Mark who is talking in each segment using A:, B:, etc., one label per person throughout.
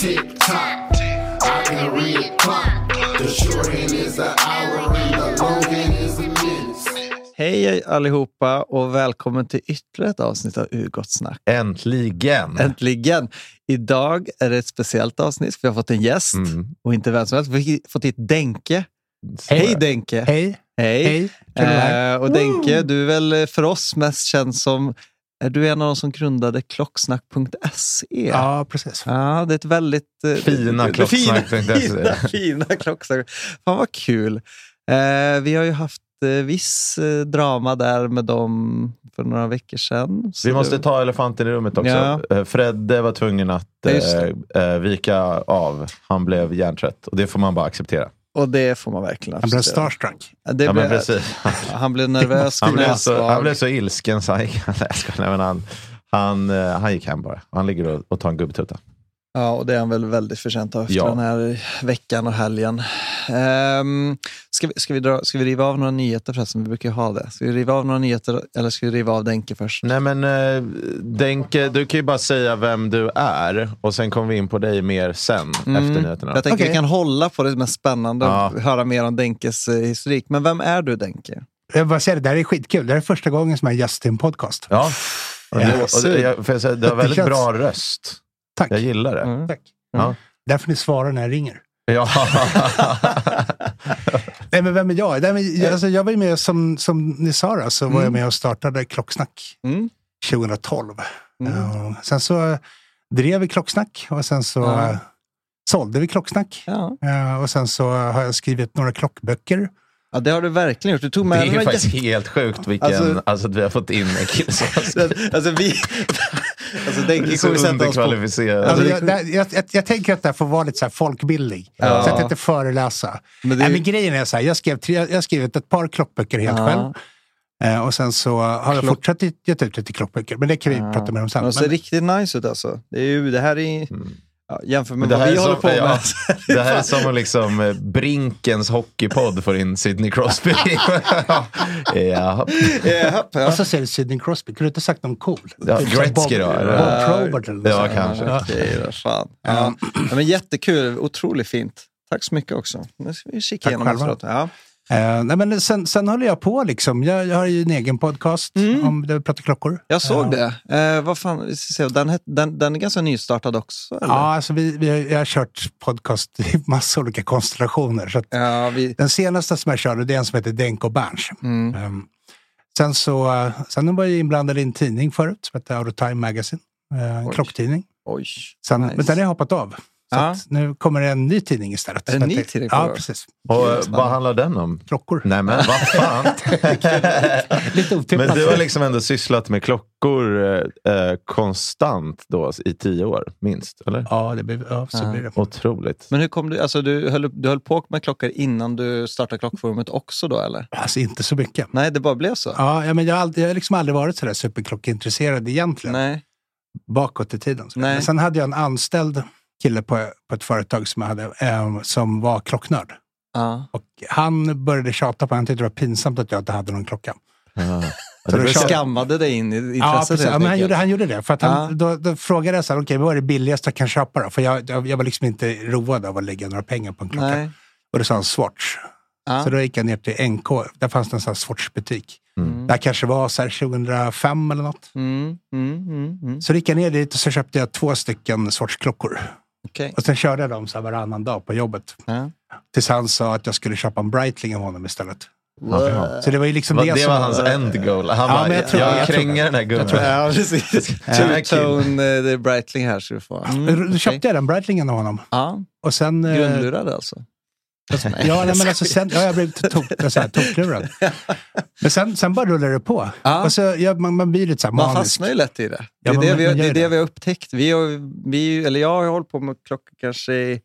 A: Tick tock, I can read a clock. The short end is an hour and the long end is a minute.
B: Hej allihopa och välkommen till ytterligare ett avsnitt av Urgottssnack.
C: Äntligen!
B: Äntligen! Idag är det ett speciellt avsnitt. för Vi har fått en gäst
C: Mm.
B: och inte vem som helst. Vi har fått hit Denke. Hej Denke!
D: Hej.
B: Hej!
D: Hej. Kul att vara här.
B: Eh, och Denke, du är väl för oss mest känd som är du en av de som grundade klocksnack.se.
D: Ja, precis.
B: Ja, det är ett väldigt... eh,
C: Fina
B: det-
C: klocksnack,
B: Fina,
C: tänkte jag
B: fina,
C: säga.
B: fina klocksnack. Fan vad kul. Eh, vi har ju haft eh, viss eh, drama där med dem för några veckor sedan. Så
C: Vi måste
B: det-
C: ta elefanten i rummet också.
B: Ja.
C: Eh, Fredde var tvungen att
B: Ja, just
C: eh, eh, vika av. Han blev hjärntrött och det får man bara acceptera.
B: Och det får man verkligen
D: Han blev
B: acceptera.
D: starstruck.
B: Ja, Det
C: Ja, men
B: blev-
C: precis.
B: Han blev nervös.
C: Han blev, så,
B: knäsvag.
C: han blev så ilsken så han gick, nej, jag skojar. nej, men han, han, eh, han gick hem bara. Han ligger och, och tar en gubbtuta.
B: Ja, och det är han väl väldigt förtjänt av efter
C: Ja.
B: den här veckan och helgen. Um, ska, vi, ska, vi dra, ska vi riva av några nyheter förresten? Vi brukar ju ha det. Ska vi riva av några nyheter eller ska vi riva av Denke först?
C: Nej men eh, Denke, du kan ju bara säga vem du är och sen kommer vi in på dig mer sen efter nyheterna.
B: Mm. Jag tänker vi
D: Okej.
B: kan hålla på det mest spännande och
C: Ja.
B: höra mer om Denkes eh, historik. Men vem är du Denke?
D: Jag bara säger det, det här är skitkul. Det här är första gången som jag är gäst i en podcast.
C: Ja. Och
B: Ja,
C: det, och det, jag, får jag säga, du har
D: Det
C: väldigt
D: känns-
C: bra röst.
D: Tack.
C: Jag gillar det.
B: Mm.
D: Tack.
C: Ja.
D: Därför ni svarar när jag ringer.
C: Ja.
D: Nej, men vem är jag? Nej, men jag, alltså, jag var ju med, som, som ni sa, då, så var jag med och startade Klocksnack
B: Mm.
D: 2012.
B: Mm.
D: Eh, sen så drev vi Klocksnack och sen så
B: Ja.
D: ja. sålde vi Klocksnack.
B: Ja.
D: Eh, och sen så har jag skrivit några klockböcker.
B: ja, det har du verkligen gjort. Du tog
C: Det
B: med
C: är
B: de
C: ju
B: här
C: faktiskt helt sjukt vilken,
B: Alltså-
C: alltså, att vi har fått in en kille som
B: gästerna. alltså, vi... alltså Denke
C: är
B: kommer
C: så
B: sätta oss på...
C: underkvalificerad.
D: Alltså,
B: det
D: jag, det, här- jag, jag, jag tänker att det här får vara lite så här folkbildning.
B: Ja.
D: Så att jag inte föreläsa.
B: Men
D: Men,
B: det är-
D: Nej, men grejen är så här, jag, skrev tre, jag har skrivit ett par klockböcker helt
B: Ja.
D: själv. Eh, och sen så har jag
B: Klock-
D: fortsatt ge- gett ut lite klockböcker. Men det kan vi prata mer om sen.
B: De ser
D: Men,
B: riktigt nice ut alltså. Det, är ju, det här är... Ja, jämför med
C: Mm. Men det
B: vad
C: här
B: vi
C: är
B: håller
C: som-
B: på med.
C: ja. det här är som om liksom eh, Brinkens hockeypodd får in Sidney Crosby. ja.
B: Japp, ja.
D: och så ser du Sidney Crosby. Kunde du inte sagt någon cool?
C: Ja,
D: Typ så här
C: Gretzky då,
D: Bob,
C: eller?
D: Bob Probert eller något
C: Ja,
D: sånt.
C: kanske.
D: Ja.
B: Okej då, fan. Ja. Ja, men jättekul, otroligt fint. Tack så mycket också. Nu ska vi kika
D: Tack
B: igenom
D: själva.
B: efteråt. Ja.
D: Eh, nej, men sen, sen håller jag på liksom. Jag, jag har ju en egen podcast om där vi pratar klockor.
B: Jag såg
D: Eh,
B: det. Eh, vad fan, vi ska se, den, het- den, den är ganska nystartad också? Eller?
D: Ja, alltså vi, vi har, jag har kört podcast i massa olika konstellationer. Så att
B: Ja, vi,
D: Den senaste som jag körde, det är en som heter Denko Berns.
B: mm.
D: Ehm, sen så, eh, sen var jag inblandad i en tidning förut som hette Out of Time Magazine. eh, En
B: Oj.
D: klocktidning.
B: Oj.
D: Sen,
B: nice.
D: Men den har jag hoppat av. Så
B: Ja.
D: att nu kommer det en ny tidning istället.
B: Är det en
D: Så att
B: ny tidning på
D: Ja,
B: gång?
D: precis.
C: Och eh, vad handlar den om?
D: Klockor.
C: Nej men vad fan.
D: Lite
C: Men
D: otippat.
C: du har liksom ändå sysslat med klockor eh, eh, konstant då i tio år, minst? Eller?
D: Ja, det blir, ja, så blir det.
C: Otroligt.
B: Men hur kom du, alltså du höll, du höll på med klockor innan du startade klockforumet också då eller?
D: Alltså inte så mycket.
B: Nej, det bara blev så?
D: Ja, ja, men jag har, aldrig, jag har liksom aldrig varit sådär superklockintresserad egentligen.
B: Nej.
D: bakåt i tiden. sådär.
B: Nej.
D: Men sen hade jag en anställd kille på, på ett företag som, jag hade, ehm, som var klocknörd.
B: Ja.
D: Och han började tjata på, han tyckte det var pinsamt att jag inte hade någon klocka.
C: Ja.
D: Så
C: Det
D: då
B: Du
D: tjatade-
B: skammade dig in i intresset
D: Ja, precis.
B: helt
D: Ja, men han,
B: enkelt.
D: gjorde, han gjorde det. För att han,
B: Ja.
D: då, då frågade jag så här, okej, vad är det billigaste jag kan köpa då? För jag, jag, jag var liksom inte road av att lägga några pengar på en klocka.
B: Nej.
D: Och då sa han Swatch.
B: Ja.
D: Så då gick jag ner till NK, där fanns det en sån här Swatch-butik.
C: Mm.
D: Där kanske var så här 2005 eller något.
B: Mm, mm, mm, mm.
D: Så då gick jag ner dit och så köpte jag två stycken Swatch-klockor.
B: Okej.
D: Och sen körde jag dem så här varannan dag på jobbet.
B: Ja.
D: Tills han sa att jag skulle köpa en Breitling av honom istället. Så det var ju liksom
C: Va-
D: det,
C: Det
D: som...
C: var hans end goal. Han
D: Ja,
C: bara,
D: men
C: jag,
D: jag tror- jag tror-
C: kränger den här gubben.
B: Ja, precis. Two-tone eh, det är Breitling här ska du få. Mm,
D: Då
B: okej.
D: köpte jag den Breitlingen av honom.
B: Ja,
D: Och sen... eh,
B: grundlurad alltså.
D: Ja, nej, men alltså, sen, ja, jag blev tok- så här toklurad. Men sen, sen bara rullar det på.
B: Ja.
D: Och så, ja, man, man blir lite så här
B: Man
D: manisk.
B: fastnar ju lätt i det. Det
D: Ja,
B: är,
D: men
B: det,
D: man-
B: vi,
D: man
B: det
D: gör
B: är det
D: det.
B: vi har upptäckt. Vi har, vi, eller jag har hållit på med klockor kanske i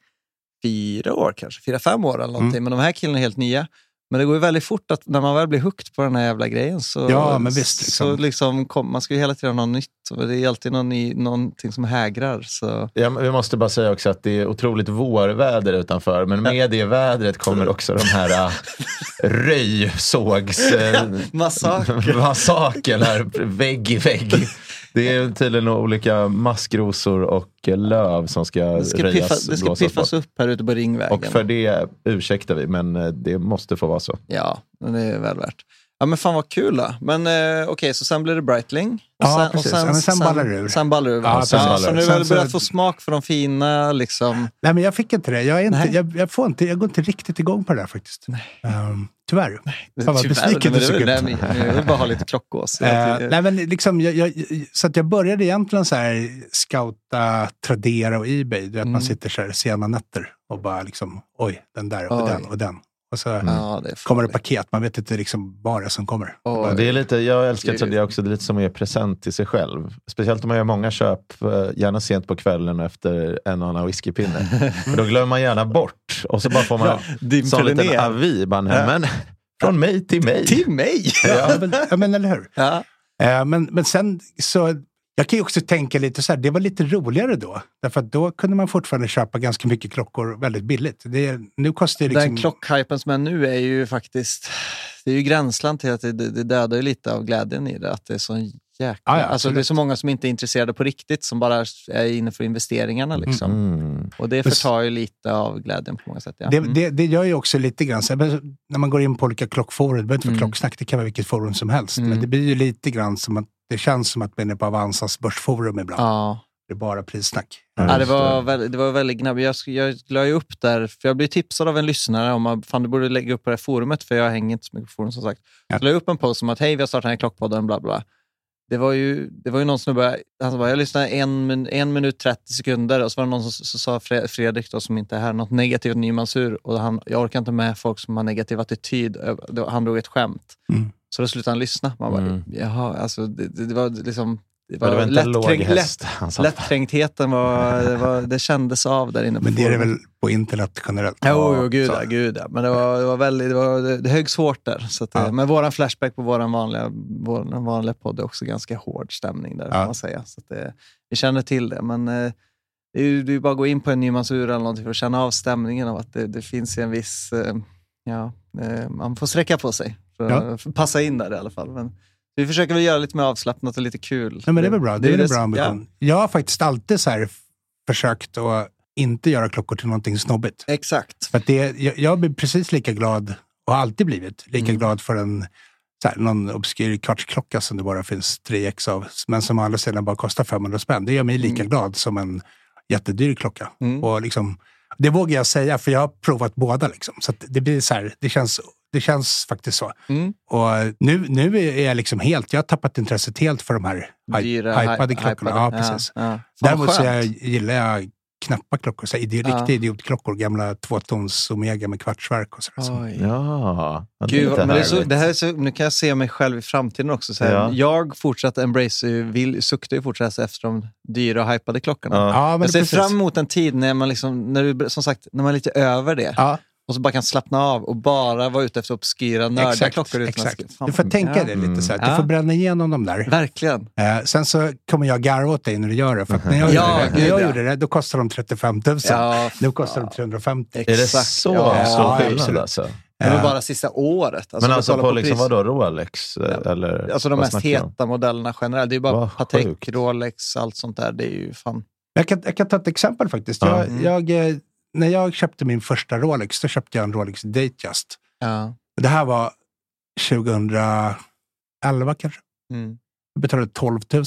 B: fyra år, kanske fyra, fem år eller
D: Mm.
B: någonting. Men de här killarna är helt nya. Men det går ju väldigt fort att när man väl blir hooked på den här jävla grejen så,
D: Ja, men visst,
B: så
D: liksom.
B: liksom kom, man ska ju hela tiden ha något nytt. Och det är alltid någon ny, någonting som hägrar. Så.
C: Ja, men vi måste bara säga också att det är otroligt vårväder utanför, men med det vädret kommer också de här äh, röjsågs... Äh,
B: Massaker.
C: Massaker här, vägg i vägg. Det är tydligen olika maskrosor och eh, löv som ska,
B: Det ska,
C: röjas.
B: piffa, det ska
C: blåsas
B: piffas
C: bort.
B: upp här ute på Ringvägen.
C: Och för det ursäktar vi, men eh, det måste få vara så.
B: Ja, men det är väl värt. Ja, men fan vad kul då. Men eh, okej, så sen blir det Breitling.
D: Ja, precis. Ja, men sen ballar det ur.
B: Sen ballar det ur.
D: Ja,
B: Ja,
D: sen
B: så,
C: ballar
B: så
C: det
B: nu
C: ur.
B: har du
D: Sen så-
B: börjat få smak för de fina liksom.
D: Nej, men jag fick inte det. Jag, är inte,
B: Nej.
D: jag, jag, får inte, jag går inte riktigt igång på det där faktiskt. Ehm, tyvärr. Nej. Fan vad
B: Tyvärr,
D: besviken
B: men
D: du
B: det
D: såg
B: var-
D: ut.
B: nej, men Jag vill bara ha lite klockås. Jag-
D: Eh, nej, men liksom, jag, jag, så att jag började egentligen så här scouta Tradera och Ebay. Du vet,
B: Mm.
D: Man sitter så här sena nätter och bara liksom, oj, den där och
B: Oj.
D: den och den. Och så
B: ja, det är
D: kommer det
B: farligt.
D: paket. Man vet inte liksom vad det är som kommer.
B: Oj.
C: Det är lite, jag älskar
B: Det-
C: Tradera också, det är lite som att ge present till sig själv. Speciellt om man gör många köp, eh, gärna sent på kvällen efter en och annan whiskypinne. För då glömmer man gärna bort och så bara får man en sån
B: dimper det
C: liten
B: ner.
C: avi. Bara, nej, men, från mig till mig.
B: Till mig!
D: Ja, men, ja, men eller hur?
B: Ja.
D: Eh, men, men sen så, jag kan ju också tänka lite så här, det var lite roligare då. Därför att då kunde man fortfarande köpa ganska mycket klockor väldigt billigt. Det, är- nu kostar det liksom...
B: Den klockhypen som är nu är ju faktiskt... Det är ju gränsland till att det, det det dödar ju lite av glädjen i det. Att det är sån jäkla...
D: Ja, ja,
B: alltså, det är
D: absolut.
B: så många som inte är intresserade på riktigt som bara är inne för investeringarna. Liksom.
C: Mm.
B: Och det
D: Men-
B: förtar ju lite av glädjen på många sätt. Ja.
D: Det,
B: Mm.
D: det, det gör ju också lite grann, så här, men när man går in på olika klockforum, det behöver inte vara
B: Mm.
D: klocksnack, det kan vara vilket forum som helst,
B: Mm.
D: men det blir ju lite grann som att det känns som att man är på Avanzas börsforum ibland.
B: Ja.
D: Det är bara prissnack.
B: Ja, det,
C: Just
B: var väldigt, det var väldigt gnabbigt. Jag, sk- jag la ju upp där, för jag blev tipsad av en lyssnare om att fan, du borde lägga upp på det här forumet, för jag hänger inte så mycket på forum som sagt.
D: Ja.
B: Så la jag upp en post om att hej, vi har startat den här klockpodden, bla bla. Det var ju, det var ju någon som började, han sa bara, jag lyssnade en, min- en minut 30 sekunder och så var det någon som så, så sa Fre- Fredrik, då, som inte är här, något negativt om Nymansur. Och han, jag orkar inte med folk som har negativ attityd. Ö- det var- Han drog ett skämt.
D: Mm.
B: Så då slutade han lyssna. Man bara,
C: Mm.
B: jaha, alltså det, det, det var liksom... Det
C: Ja,
B: var,
C: det var inte en låg
B: lättkränkt- lätt
C: häst. Han sa,
B: Lättränktheten var, det var, det kändes av där inne på
D: Men det är det
B: forumet.
D: väl på internet generellt?
B: Jo, jo, gud,
D: Så.
B: ja, gud ja. Men det var, det var väldigt, det, var, det, det höggs hårt där. Så att, det-
D: Ja.
B: Men våran flashback på våran vanliga, våran vanliga podd är också ganska hård stämning där,
D: Ja.
B: kan man säga. Så att det, vi känner till det, men eh, det är ju det är ju bara att gå in på en Nymansur eller någonting för att känna av stämningen av att det, det finns ju en viss, eh, ja, eh, man får sträcka på sig. För,
D: Ja.
B: för att passa in där i alla fall. Men, vi försöker väl göra lite mer avslappnat och lite kul.
D: Nej, men det är väl bra. Det, är
B: ju
D: väl en bra
B: som- ja.
D: ambition. Jag har faktiskt alltid så här f- försökt att inte göra klockor till någonting snobbigt.
B: Exakt.
D: För att det, jag, jag blir precis lika glad, och har alltid blivit, lika glad för en så här, någon obskyr kvartsklocka som det bara finns 3x av, men som å andra sidan bara kostar 500 spänn. Det gör mig lika glad som en jättedyr klocka. Och liksom, det vågar jag säga, för jag har provat båda. Liksom. Så att det, blir så här, det, känns, det känns faktiskt så. Och nu, nu är jag liksom helt, jag har tappat intresset helt för de här hy-
B: Dyra,
D: hypade
B: hy-
D: klockorna. Ja,
B: hypade.
D: precis.
B: Ja, ja. Fan,
D: Däremot så
B: skönt.
D: jag, gillar jag knappa klockor. Så här, det är riktiga idiotklockor. Gamla tvåtons Omega med kvartsverk och sådär. Så.
B: Oj.
C: ja, det är
B: Gud,
C: lite
B: vad- men det är så,
C: härligt.
B: det här är så, nu kan jag se mig själv i framtiden också. Så här,
C: Ja.
B: Jag fortsatt embrace, vill, suktar ju fortsatt efter de dyra och hypade klockorna.
C: Ja.
D: Ja, men
B: jag ser
D: precis.
B: fram emot en tid när man, liksom, när du, som sagt, när man är lite över det
D: Ja,
B: och så bara kan slappna av och bara vara ute efter obskyra nördiga
D: exakt.
B: klockor. Utan att-
D: exakt.
B: Fan,
D: Du får tänka
B: ja.
D: dig lite så här. Du
B: Ja.
D: får bränna igenom dem där.
B: Verkligen.
D: Eh, sen så kommer jag garva åt dig när du gör det. För att när jag,
B: Ja,
D: gjorde, det, när
B: gud,
D: jag
B: ja.
D: gjorde det, då kostade de 35 000.
B: Ja,
D: Nu kostar de 350.
C: Är det
B: Exakt,
C: så
B: ja.
C: stor
D: Ja,
C: skillnad
D: absolut.
C: alltså?
B: Det var
D: Ja.
B: bara sista året.
C: men alltså
B: vi
C: på,
B: kollar
C: liksom,
B: pris-
C: vadå, Rolex? eh, Eller,
B: Alltså de
C: vad
B: mest
C: snackar vi om?
B: heta modellerna generellt. Det är bara
C: Vad
B: Patek,
C: sjukt.
B: Rolex, allt sånt där. Det är ju fan...
D: Jag, kan, jag kan ta ett exempel faktiskt.
C: Ja.
B: Mm.
D: Jag, jag, eh, när jag köpte min första Rolex, då köpte jag en Rolex Datejust.
B: Ja.
D: Det här var 2011 kanske.
B: Mm.
D: Jag betalade 12 000.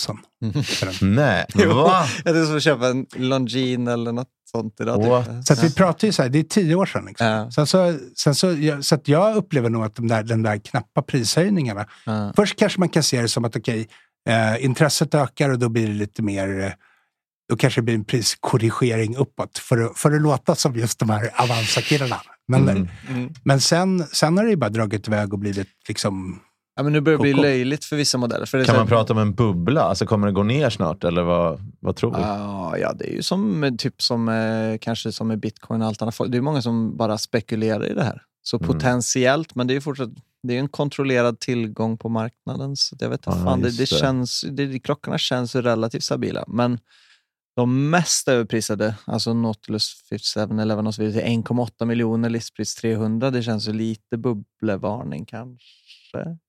C: Nej,
B: Jo.
C: va?
B: Det är som att köpa en Longines eller något sånt idag.
C: What?
B: typ.
D: Så att vi pratar ju så här, det är tio år sedan. Liksom.
B: Ja.
D: Sen så, sen så, jag- så att jag upplever nog att de där, den där knappa prishöjningarna,
B: Ja.
D: först kanske man kan se det som att okej, eh, intresset ökar och då blir det lite mer eh, då kanske det blir en priskorrigering uppåt för att, för att låta som just de här Avanza-killarna. Men,
C: Mm.
B: Mm.
D: men sen, sen har det ju bara dragit iväg och blivit liksom...
B: Ja, men nu börjar det bli
D: Koko.
B: löjligt för vissa modeller. För det är
C: Kan
B: så
C: man
B: här-
C: prata om en bubbla? Alltså, kommer det gå ner snart? Eller vad, vad tror du?
B: Ja, Ah, ja, det är ju som, eh, typ som, eh, kanske som med bitcoin och allt annat. Det är många som bara spekulerar i det här. Så
C: Mm.
B: potentiellt, men det är ju fortsatt, det är ju en kontrollerad tillgång på marknaden. Så det, vet jag,
C: Ja,
B: fan, det,
C: just
B: det
C: det.
B: känns, det, klockorna känns ju relativt stabila. Men de mest överprisade, alltså Nautilus 5711 och så vidare, till 1,8 miljoner, listpris 300. Det känns ju lite bubblevarning kanske.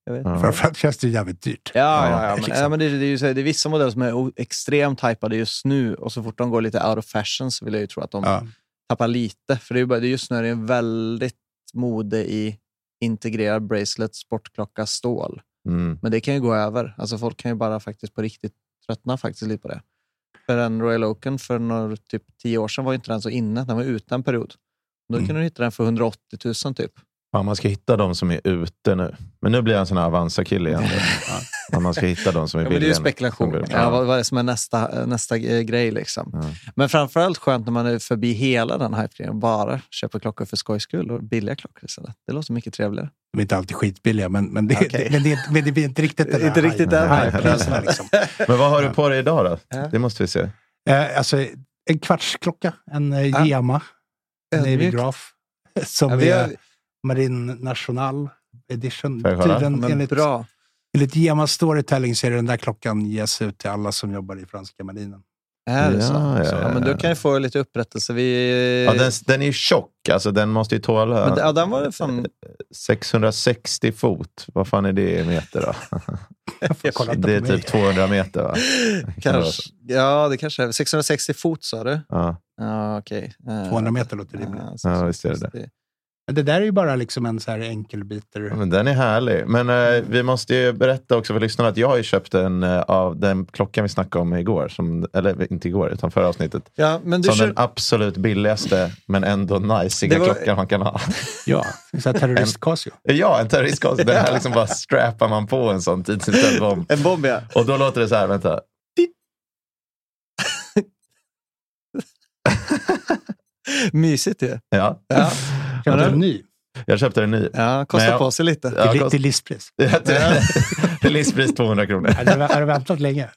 B: Jag vet. inte.
C: Ja.
D: Framförallt känns det jävligt dyrt.
B: Ja,
C: Ja,
B: ja, ja, men,
D: liksom.
B: ja, men det, det, är ju så, här, det är vissa modeller som är o- extremt hypade just nu och så fort de går lite out of fashion så vill jag ju tro att de
D: Ja.
B: tappar lite. För det är ju bara, det är just nu är det ju väldigt mode i integrerad bracelet, sportklocka, stål.
C: Mm.
B: Men det kan ju gå över. Alltså folk kan ju bara faktiskt på riktigt tröttna faktiskt lite på det. För en Royal Oaken för några, typ tio år sedan var ju inte den så inne. Den var ute en period. Då
D: Mm.
B: kunde du hitta den för 180 000 typ.
C: Fan, man ska hitta de som är ute nu. Men nu blir jag en sån här Avanza-kille igen.
D: Ja.
C: Men man ska hitta de som är
B: Ja, men det är
C: billiga.
B: ju
C: nu.
B: spekulation.
C: Ja.
B: Ja, vad, vad är det som är nästa, nästa eh, grej? Liksom.
C: Ja.
B: Men framförallt skönt när man är förbi hela den hypegrejen och bara köper klockor för skojs skull och billiga klockor istället. Det låter mycket trevligare.
D: De är inte alltid skitbilliga, men, men, det,
B: Okej.
D: men, det, men det blir inte riktigt den
B: Inte
D: här
B: riktigt
D: hype-
C: den här.
D: hypepriserna, liksom.
C: Men vad har du på dig idag då?
B: Ja.
C: Det måste vi se.
D: Eh, alltså, en kvartsklocka, en eh,
B: Ja.
D: Gema, en Navy
B: Ödmjukt.
D: Graph, som
B: Ja, vi
D: är
B: har,
D: Marin National Edition.
C: Får jag kolla?
D: Tydligen,
B: men
D: enligt,
B: bra.
D: enligt Gemas storytelling så är det den där klockan ges ut till alla som jobbar i franska marinen.
B: Är det så?
C: Ja, ja,
B: så, ja, men
C: ja,
B: då
C: ja.
B: kan jag få lite upprättelse. Vi,
C: Ja, den, den är ju tjock, alltså den måste ju tåla
B: men, ja, den var det fan...
C: 660 fot. Vad fan är det i meter då?
D: Jag får kolla inte
C: Det är
D: på mig.
C: typ 200 meter va? Kan det vara
B: Kanske, ja, det kanske är 660 fot sa du?
C: Ja,
B: Ja, okej. Eh,
D: 200 meter låter rimligt.
B: ja,
C: Ja, visst är det
B: det.
D: Men det där är ju bara liksom en så här enkelbiter.
C: men den är härlig. Men eh, vi måste ju berätta också för lyssnarna att jag har ju köpt en eh, av den klockan vi snackade om igår. Som, eller inte igår, utan förra avsnittet.
B: Ja, men du
C: Som den
B: kör...
C: absolut billigaste, men ändå
B: Det
C: najsiga
B: var-
C: klockan man kan ha.
D: Ja, så här terrorist Casio.
C: Ja, en terroristkonst. Den här liksom bara strappar man på en sån tidsinställd bomb.
B: En bomb, ja.
C: Och då låter det så här, vänta.
B: Mysigt ju.
C: Ja,
B: Ja,
D: Kan
B: Ja,
D: vara
B: det-
D: ny.
C: jag köpte en ny.
B: ja kostar
C: Men jag-
B: på sig lite.
C: Ja,
D: Till,
C: kost-
D: till listpris.
C: Till listpris 200 kronor.
D: Har du, har du väntat länge?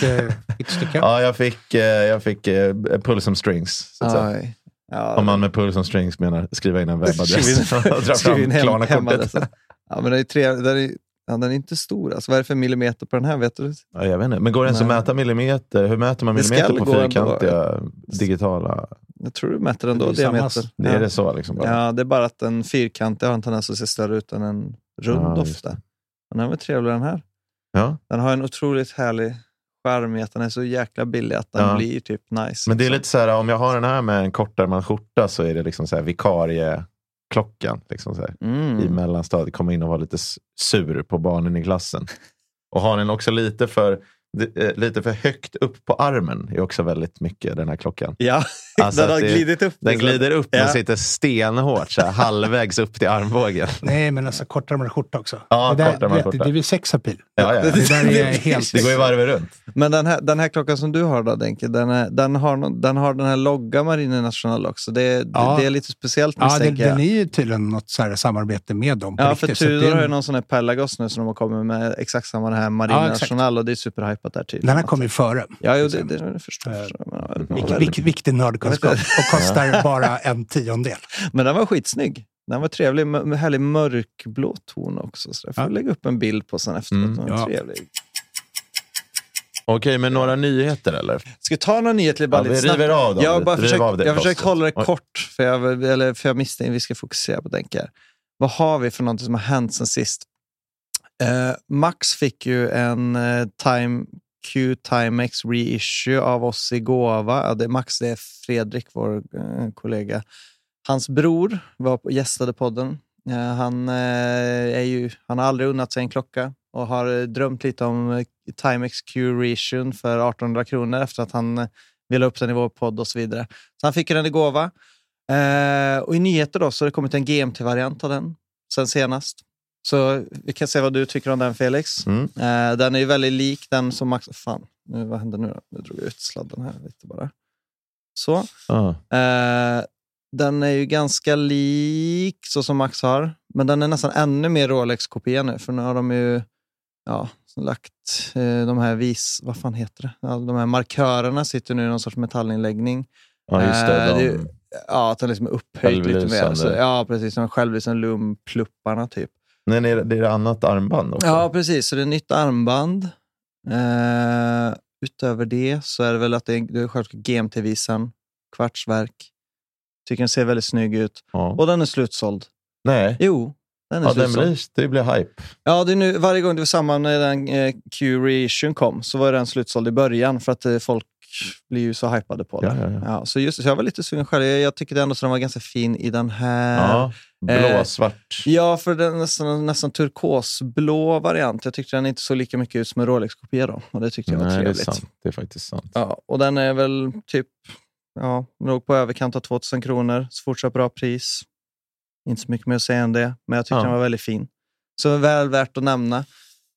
D: Det fick sticka.
C: Ja, jag fick, eh, jag fick eh, pull some strings. Så att säga.
B: Oj. Ja,
C: Om man med pull some strings menar skriva in en webbadress och dra
B: Skriv
C: fram
B: in hem,
C: Klarna-kortet.
B: hemadressen. Ja, men den är, tre, den, är, ja, den är inte stor. Alltså, vad är det för millimeter på den här? Vet du?
C: Ja, jag vet inte. Men går det ens att
B: Nej.
C: mäta millimeter? Hur mäter man
B: Det ska
C: millimeter på
B: gå ändå.
C: fyrkantiga digitala?
B: Jag tror du mäter den
D: Det är
B: då,
D: ju samma
B: diameter.
D: s-
C: Det är
B: ja.
C: det så liksom? Bara.
B: Ja, det är bara att en fyrkantig har en tendens att se större ut än en rund
C: Ja, just
B: ofta. Men den var trevligare den här.
C: Ja.
B: Den har en otroligt härlig skärm i att den är så jäkla billig att den
C: Ja.
B: blir typ nice.
C: Men det är
B: liksom.
C: lite så här, om jag har den här med en kortärmad skjorta så är det liksom så här vikarieklockan. Liksom så här. i
B: Mm.
C: mellanstadiet komma in och vara lite s- sur på barnen i klassen. Och har den också lite för, d- eh, lite för högt upp på armen är också väldigt mycket den här klockan.
B: Ja,
C: Alltså
B: den har
C: att det-
B: glidit upp.
C: Den
B: liksom.
C: glider upp men
B: Ja.
C: sitter stenhårt så här, halvvägs upp till armbågen.
D: Nej, men alltså kortärmad skjorta också.
C: Ja,
D: det, där,
C: kortärmad
D: vet du,
C: skjorta.
D: det är ju sexapil.
C: Ja, ja.
D: Det där är helt...
C: Det går ju varvet runt.
B: Men den här, den här klockan som du har då, Denke, den, är, den, har, någon- den har den här logga Marine National också. Det,
D: Ja.
B: det, det är lite speciellt
D: Ja, den,
B: misstänker jag.
D: den är ju tydligen något så här samarbete med dem. på
B: Ja, för
D: riktigt, så det
B: Tudor
D: är en-
B: har ju någon sån här Pelagos nu som de har kommit med exakt samma den här Marina
D: Ja, exakt.
B: National och det är superhypat där tydligen.
D: Den här kom Eh. ju före.
B: Ja, jo, det, det, det förstår jag.
D: Vilk, vilk, viktig nördkunskap. Och kostar bara en tiondel.
B: Men den var skitsnygg. Den var trevlig, med med härlig mörkblå ton också. Så jag får
D: Ja.
B: lägga upp en bild på sen efteråt.
C: Mm,
B: Den
D: ja.
B: var trevlig.
C: Okej, men några nyheter eller?
B: Ska vi ta några nyheter? Bara
C: Ja,
B: lite
C: vi
B: snabbt?
C: river av dem.
B: Jag har
C: lite.
B: bara
C: Riv
B: försökt,
C: av det
B: jag har försökt
C: plåstret.
B: hålla det
C: Oj.
B: kort, för jag, eller, för jag misstänker vi ska fokusera på Denke. Vad har vi för någonting som har hänt sen sist? Eh, Max fick ju en eh, Time Q Timex reissue av oss i gåva. Ja, det, Max det är Fredrik, vår eh, kollega. Hans bror var på, gästade podden. Eh, han, eh, är ju, han har aldrig unnat sig en klocka och har eh, drömt lite om eh, Timex Q reissuen för 1800 kronor efter att han eh, vi la upp den i vår podd och så vidare. Så han fick ju den i gåva. Eh, och i nyheter då så har det kommit en GMT-variant av den sen senast. Så vi kan se vad du tycker om den Felix.
C: Mm.
B: Eh, den är ju väldigt lik den som Max... Fan, nu, vad hände nu då? Nu drog jag ut sladden här lite bara. Så.
C: Ah.
B: Eh, Den är ju ganska lik så som Max har, men den är nästan ännu mer Rolex-kopia nu. För nu har de ju ja, lagt eh, de här vis... Vad fan heter det? All de här markörerna sitter nu i någon sorts metallinläggning.
C: Ja, just det.
B: Eh,
C: De,
B: det är ju- Ja, att den liksom är upphöjd lite mer.
C: Självlysande.
B: Så, ja, precis. Som självlysande lumplupparna typ.
C: Nej, det, är, det är annat armband också.
B: Ja, precis. Så det är nytt armband. Eh, utöver det så är det väl att det är, det är självklart GMT-visan, kvartsverk. Tycker den ser väldigt snygg ut.
C: Ja.
B: Och den är slutsåld.
C: Nej,
B: Jo, den är
C: ja, den
B: slutsåld.
C: blir, det blir hype.
B: Ja, det är nu, varje gång det var samma när den eh, Q-reissuen kom så var den slutsåld i början för att eh, folk blir ju så hypade på
C: Ja,
B: den.
C: ja, ja.
B: Ja, så, just, så jag var lite sugen själv. Jag, jag tycker ändå att den var ganska fin i den här.
C: Ja,
B: eh,
C: blå, svart.
B: Ja, för den är nästan, nästan turkosblå variant. Jag tyckte den inte så lika mycket ut som en Rolex-kopia då. Och det tyckte jag var
C: Nej, det är
B: trevligt.
C: sant. Det är faktiskt sant.
B: ja, och den är väl typ, ja, låg på överkant av 2000 kronor. Så fortsatt bra pris. Inte så mycket mer att säga än det, men jag tyckte
C: Ja.
B: den var väldigt fin. Så väl värt att nämna.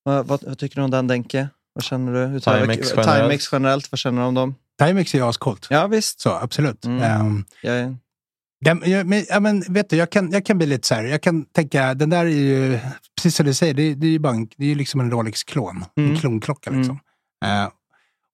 B: Vad, vad, vad tycker du om den, Denke? Vad känner du? Utöver-
C: Timex generellt.
B: Timex generellt, vad känner du om dem?
D: Timex är ju ascoolt.
B: Ja, visst.
D: Så absolut.
B: Mm.
D: Ehm,
B: Jag är
D: Den, jag, men, ja, men, vet du, jag kan, jag kan bli lite så här, jag kan tänka, den där är ju, precis som du säger, det, det är ju bara en, det är ju liksom en Rolex-klon,
B: Mm.
D: en klonklocka liksom. Eh,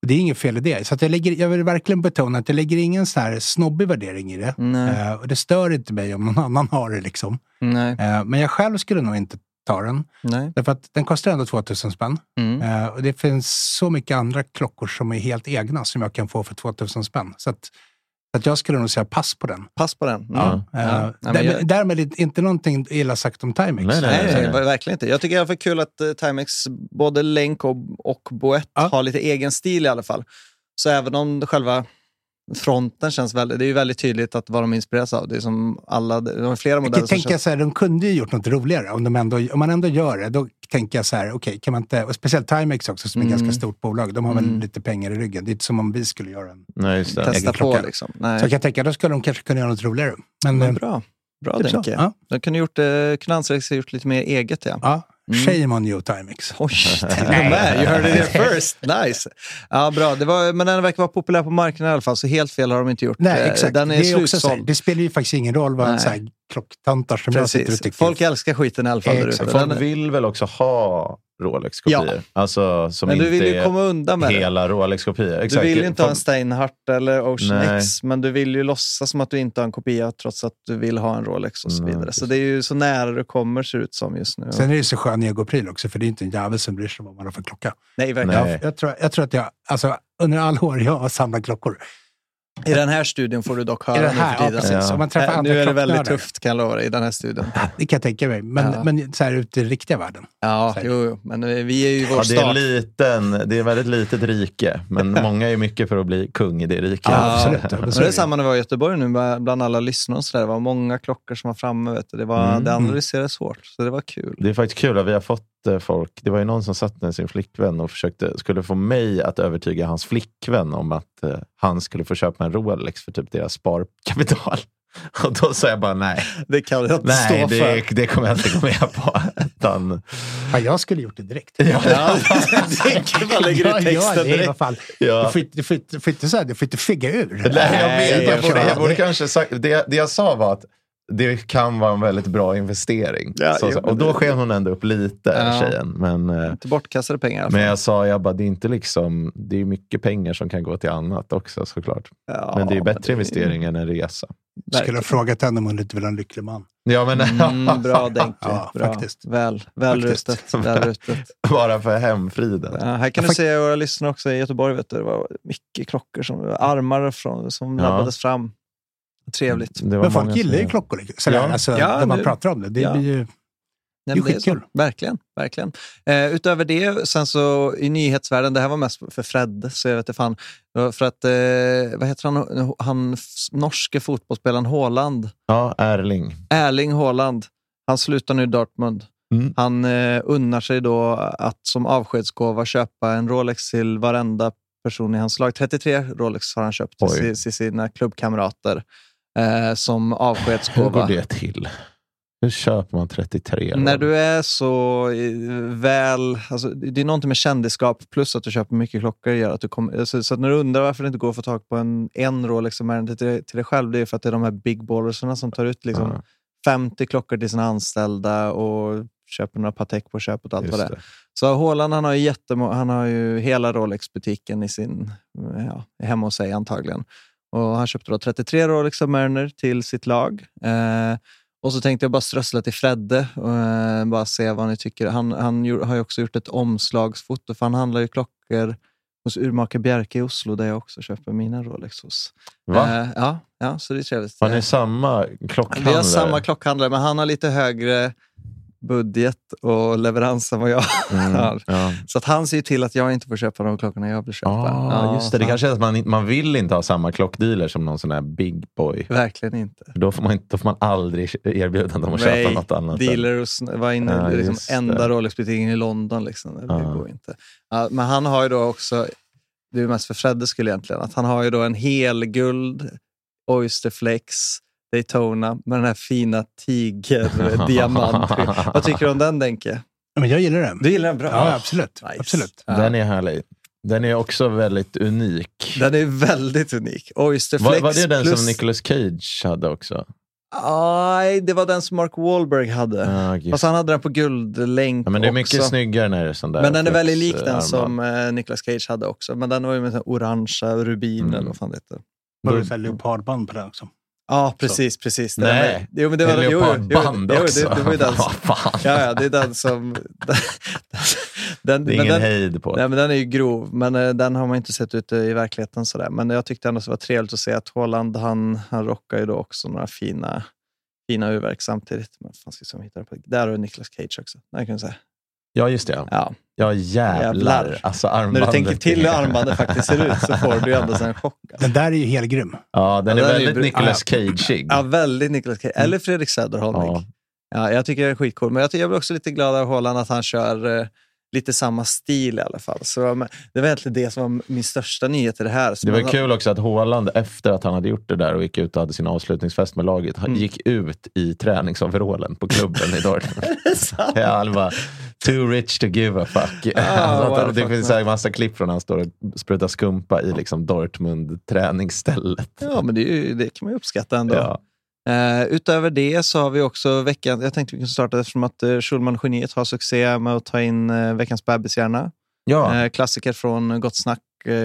D: och det är inget fel i det. Så att jag, lägger, jag vill verkligen betona att jag lägger ingen så här snobbig värdering i det.
B: nej.
D: Eh, och det stör inte mig om någon annan har det liksom.
B: nej,
D: Eh, men jag själv skulle nog inte ta den.
B: nej.
D: Därför att den kostar ändå 2000 spänn.
B: Mm.
D: Eh, och det finns så mycket andra klockor som är helt egna som jag kan få för 2000 spänn. Så att, så att jag skulle nog säga pass på den.
B: Pass på den. Mm.
C: Ja.
D: Eh,
B: Ja, men
D: därmed,
B: jag-
D: därmed är inte någonting illa sagt om Timex.
C: Nej, nej.
B: Nej, nej,
C: nej.
B: verkligen inte. Jag tycker i alla fall kul att eh, Timex, både länk och, och boett,
D: Ja.
B: har lite egen stil i alla fall. Så även om själva fronten känns väldigt... Det är ju väldigt tydligt att vad de inspireras av. Det är som alla... De har flera
D: Jag
B: modeller
D: kan
B: som
D: tänka
B: känns...
D: så här, de kunde ju gjort något roligare. Om, de ändå, om man ändå gör det, då tänker jag så här, okej, kan man inte... Och speciellt Timex också, som är ett
B: Mm.
D: ganska stort bolag. De har väl
B: Mm.
D: lite pengar i ryggen. Det är inte som om vi skulle göra en...
C: Nej, just det.
B: Testa
D: egen
B: på
D: klocka.
B: liksom.
D: Så jag
B: Nej.
D: kan tänka, då skulle de kanske kunna göra något roligare. Men, eh,
B: Men
D: men
B: bra. Bra,
D: typ så.
B: Denke.
D: Ja,
B: De kunde gjort, eh, kunde ansträngt sig och gjort lite mer eget. Ja.
D: ja.
B: Mm.
D: Shame on you, Timex.
B: Oj, till och med. You heard it here first. Nice. Ja, bra. Det var, men den verkar vara populär på marknaden i alla fall, så helt fel har de inte gjort.
D: Nej,
B: Eh,
D: exakt.
B: Den är,
D: det, är också så här,
B: slutsåld.
D: det spelar ju faktiskt ingen roll vad
B: Nej.
D: så här, klocktantar som jag sitter och
B: Precis.
D: tycker.
B: Folk älskar skiten i alla fall. där
D: Exakt.
B: ute. Den-
C: Folk vill väl också ha Rolex-kopior? Alltså, som
B: Men du
C: inte
B: vill ju
C: är
B: komma undan med det.
C: hela Rolex-kopior.
B: Du
C: Exakt.
B: vill ju inte ha en
C: Folk-
B: Steinhardt eller Ocean
C: Nej.
B: X, men du vill ju låtsas som att du inte har en kopia trots att du vill ha en Rolex och så
C: Nej,
B: vidare. så
C: precis.
B: det är ju så nära du kommer ser det ut som just nu.
D: Sen är det ju så skön egopryl också, för det är inte en jävel som bryr sig om vad man har för klocka.
B: Nej, verkligen.
D: Jag,
C: Nej.
D: jag, tror, jag tror att jag, alltså, under alla år jag har samlat klockor,
B: I den här studion får du dock höra
D: Är det
B: nu
D: här?
B: för
D: Ja,
B: tiden.
D: precis.
C: Ja.
D: Om man träffar
B: Äh,
D: andra
B: nu är det väldigt
D: klocknördar.
B: tufft kan jag lova dig, i den här studion.
D: Det kan jag tänka mig. Men,
B: Ja.
D: men så här ute i riktiga världen.
B: Ja,
D: Säkert.
B: jo, jo. men eh, vi är ju i vår
C: Ja, det, är
B: stad.
C: liten, det är väldigt litet rike, men många är mycket för att bli kung i det riket.
B: Ja,
D: absolut. Ja,
B: Men
D: men så
B: det
D: är
B: är
D: det.
B: samma när vi var i Göteborg nu med- bland alla lyssnare. Och så där. Det var många klockor som var framme. Vet du. Det, var,
C: Mm.
B: det analyserades hårt, så det var kul.
C: Det är faktiskt kul att vi har fått eh, folk. Det var ju någon som satt med sin flickvän och försökte, skulle få mig att övertyga hans flickvän om att eh, han skulle få köpa en Rolex för typ deras sparkapital. Och då sa jag bara nej,
B: Det kan jag inte
C: nej
B: stå för.
C: det, det kommer jag inte gå med på. Utan,
D: Ja, jag skulle gjort det direkt.
B: Ja, man lägger ut
D: Ja, ja,
B: texten
D: det är i alla
B: direkt.
D: fall.
C: Ja.
D: Du får inte- du får inte- du får inte så här, du får inte figga ur.
C: Nej, jag
B: Nej,
C: vet. Jag
B: jag
C: borde, jag
D: förstår.
C: borde kanske sagt, det, det jag sa var att det kan vara en väldigt bra investering.
B: Ja,
C: så,
B: jo,
C: och då
B: men-
C: sken hon ändå upp lite,
B: Ja.
C: tjejen. Men, eh,
B: Inte bortkastade pengar alltså. i alla
C: men
B: fall.
C: jag sa, jag bara, det är inte liksom, det är mycket pengar som kan gå till annat också såklart.
B: Ja,
C: Men det är ju bättre
B: ju-
C: investering än en resa.
D: Du skulle ha frågat henne om hon inte vill ha en lycklig man.
C: Ja, men
B: Mm, bra Denke.
D: Ja,
B: bra.
D: faktiskt.
B: Väl, väl
D: Faktiskt.
B: rustet. Väl rustet.
C: bara för hemfriden.
B: Ja, här kan
D: Ja,
B: du
D: fak-
B: se våra lyssnare också i Göteborg. Vet du, det var mycket klockor, som, armar från, som
C: Ja.
B: labbades fram. Trevligt.
C: Det var
D: Men
C: många
D: folk
C: som-
D: gillar ju klockor. liksom. Så
C: Ja.
D: där, alltså,
B: Ja,
D: när man
B: det-
D: pratar om det. Det
B: ja.
D: blir ju...
B: Nej,
D: Det
B: men
D: är
B: så.
D: skitkul.
B: Verkligen. verkligen. Eh, utöver det, sen så i nyhetsvärlden, det här var mest för Fred, så jag vet inte fan. Det var För att, eh, vad heter han, han norske fotbollsspelaren Haaland.
C: Ja, Erling.
B: Erling Haaland, han slutar nu i Dortmund.
C: Mm.
B: Han eh, unnar sig då att som avskedsgåva köpa en Rolex till varenda person i hans lag. 33 Rolex har han köpt till,
C: Oj.
B: si- till sina klubbkamrater eh, som
C: Hur går
B: avskedsgåva.
C: det till? Nu köper man 33
B: När
C: Rolex.
B: du är så eh, väl... Alltså, det är någonting med kändisskap plus att du köper mycket klockor. Gör att du kommer- alltså, så att när du undrar varför det inte går att få tag på en, en Rolex som är inte till, till dig själv, det är för att det är de här big ballerserna som tar ut liksom,
C: Ja,
B: 50 klockor till sina anställda och köper några Patek på köpet och allt
C: just
B: vad det är.
C: det.
B: Så Haaland han har, ju jättemo- han har ju hela Rolex-butiken i sin, eh, ja, hemma hos sig antagligen. Och han köpte då 33 Rolex och Mariner till sitt lag. Eh, och så tänkte jag bara strössla till Fredde och eh, bara se vad ni tycker. Han, han gjo- har ju också gjort ett omslagsfoto, för han handlar ju klockor hos Urmakar Bjerke i Oslo, där jag också köper mina Rolex hos.
C: Va?
B: Eh, ja, ja, så det är trevligt.
C: Har
B: Eh,
C: ni samma
B: vi
C: klockhandlare?
B: har samma klockhandlare, men han har lite högre budget och leverans än vad jag
C: Mm,
B: har.
C: ja.
B: Så att han ser ju till att jag inte får köpa de klockorna jag vill köpa.
C: Ah,
B: Ja,
C: just det. Det
B: fan.
C: kanske är att man, inte- man vill inte ha samma klockdealer som någon sån här big boy.
B: Verkligen inte.
C: För Då får man, inte, då får man aldrig erbjudande om att
B: Nej,
C: köpa något annat.
B: Dealer och sn- var inne
C: Ja,
B: i liksom
C: just det. Ah.
B: enda Rolex-butiken i London. Liksom. Det
C: Ja.
B: går inte. Ja, men han har ju då också, det är ju mest för Fredde skulle egentligen, att han har ju då en helguld Oysterflex Daytona med den här fina tigerdiamant. Vad tycker du om den Denke?
D: Men jag gillar den.
B: Du gillar den bra?
D: Ja, absolut.
B: Nice.
D: absolut.
B: Ja.
C: Den är härlig. Den är också väldigt unik.
B: Den är väldigt unik. Oysterflex
C: var, var det den
B: plus...
C: som Nicolas Cage hade också?
B: Nej, det var den som Mark Wahlberg hade.
C: Ja, just
B: Fast han hade den på guldlänk
C: Ja, men det är mycket
B: också.
C: snyggare när det är sån där
B: Men den är väldigt lik
C: flexarmband.
B: den som eh, Nicolas Cage hade också. Men den var ju med sån här orangea rubin
C: Mm.
B: eller vad fan det heter.
D: Var det så här leopardband på den också?
B: Ja, precis, precis. Det
C: Nej,
B: där med- jo, men det
C: Det
B: var,
C: är
B: jo, jo, jo,
C: leopardband
B: jo, det-
C: också.
B: Det var ju den som...
C: Vad fan.
B: Ja, ja, det är den som... den,
C: det är
B: men
C: ingen
B: den,
C: hejd på det.
B: Nej, men den är ju grov, men eh, den har man inte sett ute i verkligheten. Sådär. Men jag tyckte ändå att det var trevligt att se att Haaland, han, han rockar ju då också några fina, fina urverk samtidigt. Men fan ska jag hitta det på? Där har du Nicolas Cage också. Där kan jag säga.
C: Ja, just det.
B: Ja.
C: Ja, jävlar.
B: Jävlar.
C: Alltså,
B: När
C: armbandet
B: du tänker till hur
C: är-
B: armbandet faktiskt ser ut så får du ju ändå en chock. Alltså.
D: Den där är ju helgrym.
C: Ja, den
B: Ja,
C: är
B: den är ju bru-
C: väldigt Nicolas Cage-ig.
B: Ja, väldigt Nicolas Cage. Eller Fredrik Söderholm.
C: Ja.
B: Ja. jag tycker den är skitcool. Men jag, ty- jag blir också lite glad av Haaland att han kör eh, lite samma stil i alla fall. Så, um, det var egentligen det som var min största nyhet i det här. Så
C: Det var ju
B: man-
C: kul också att Haaland, efter att han hade gjort det där och gick ut och hade sin avslutningsfest med laget, han
B: Mm.
C: gick ut i träningsoverallen på klubben i Dortmund.
B: Det är sant.
C: ja, han bara, too rich to give a fuck.
B: Ah,
C: alltså,
B: what
C: att han,
B: the
C: det
B: fuck,
C: finns
B: man.
C: en massa klipp från när han står och sprutar skumpa i liksom Dortmund-träningsstället.
B: Ja, men det, är ju, det kan man ju uppskatta ändå.
C: Ja.
B: Eh, utöver det så har vi också veckan... Jag tänkte vi kunde starta eftersom att eh, Schulman-geniet har succé med att ta in eh, veckans bebishjärna.
C: Ja.
B: Eh, klassiker från Gott Snack, eh,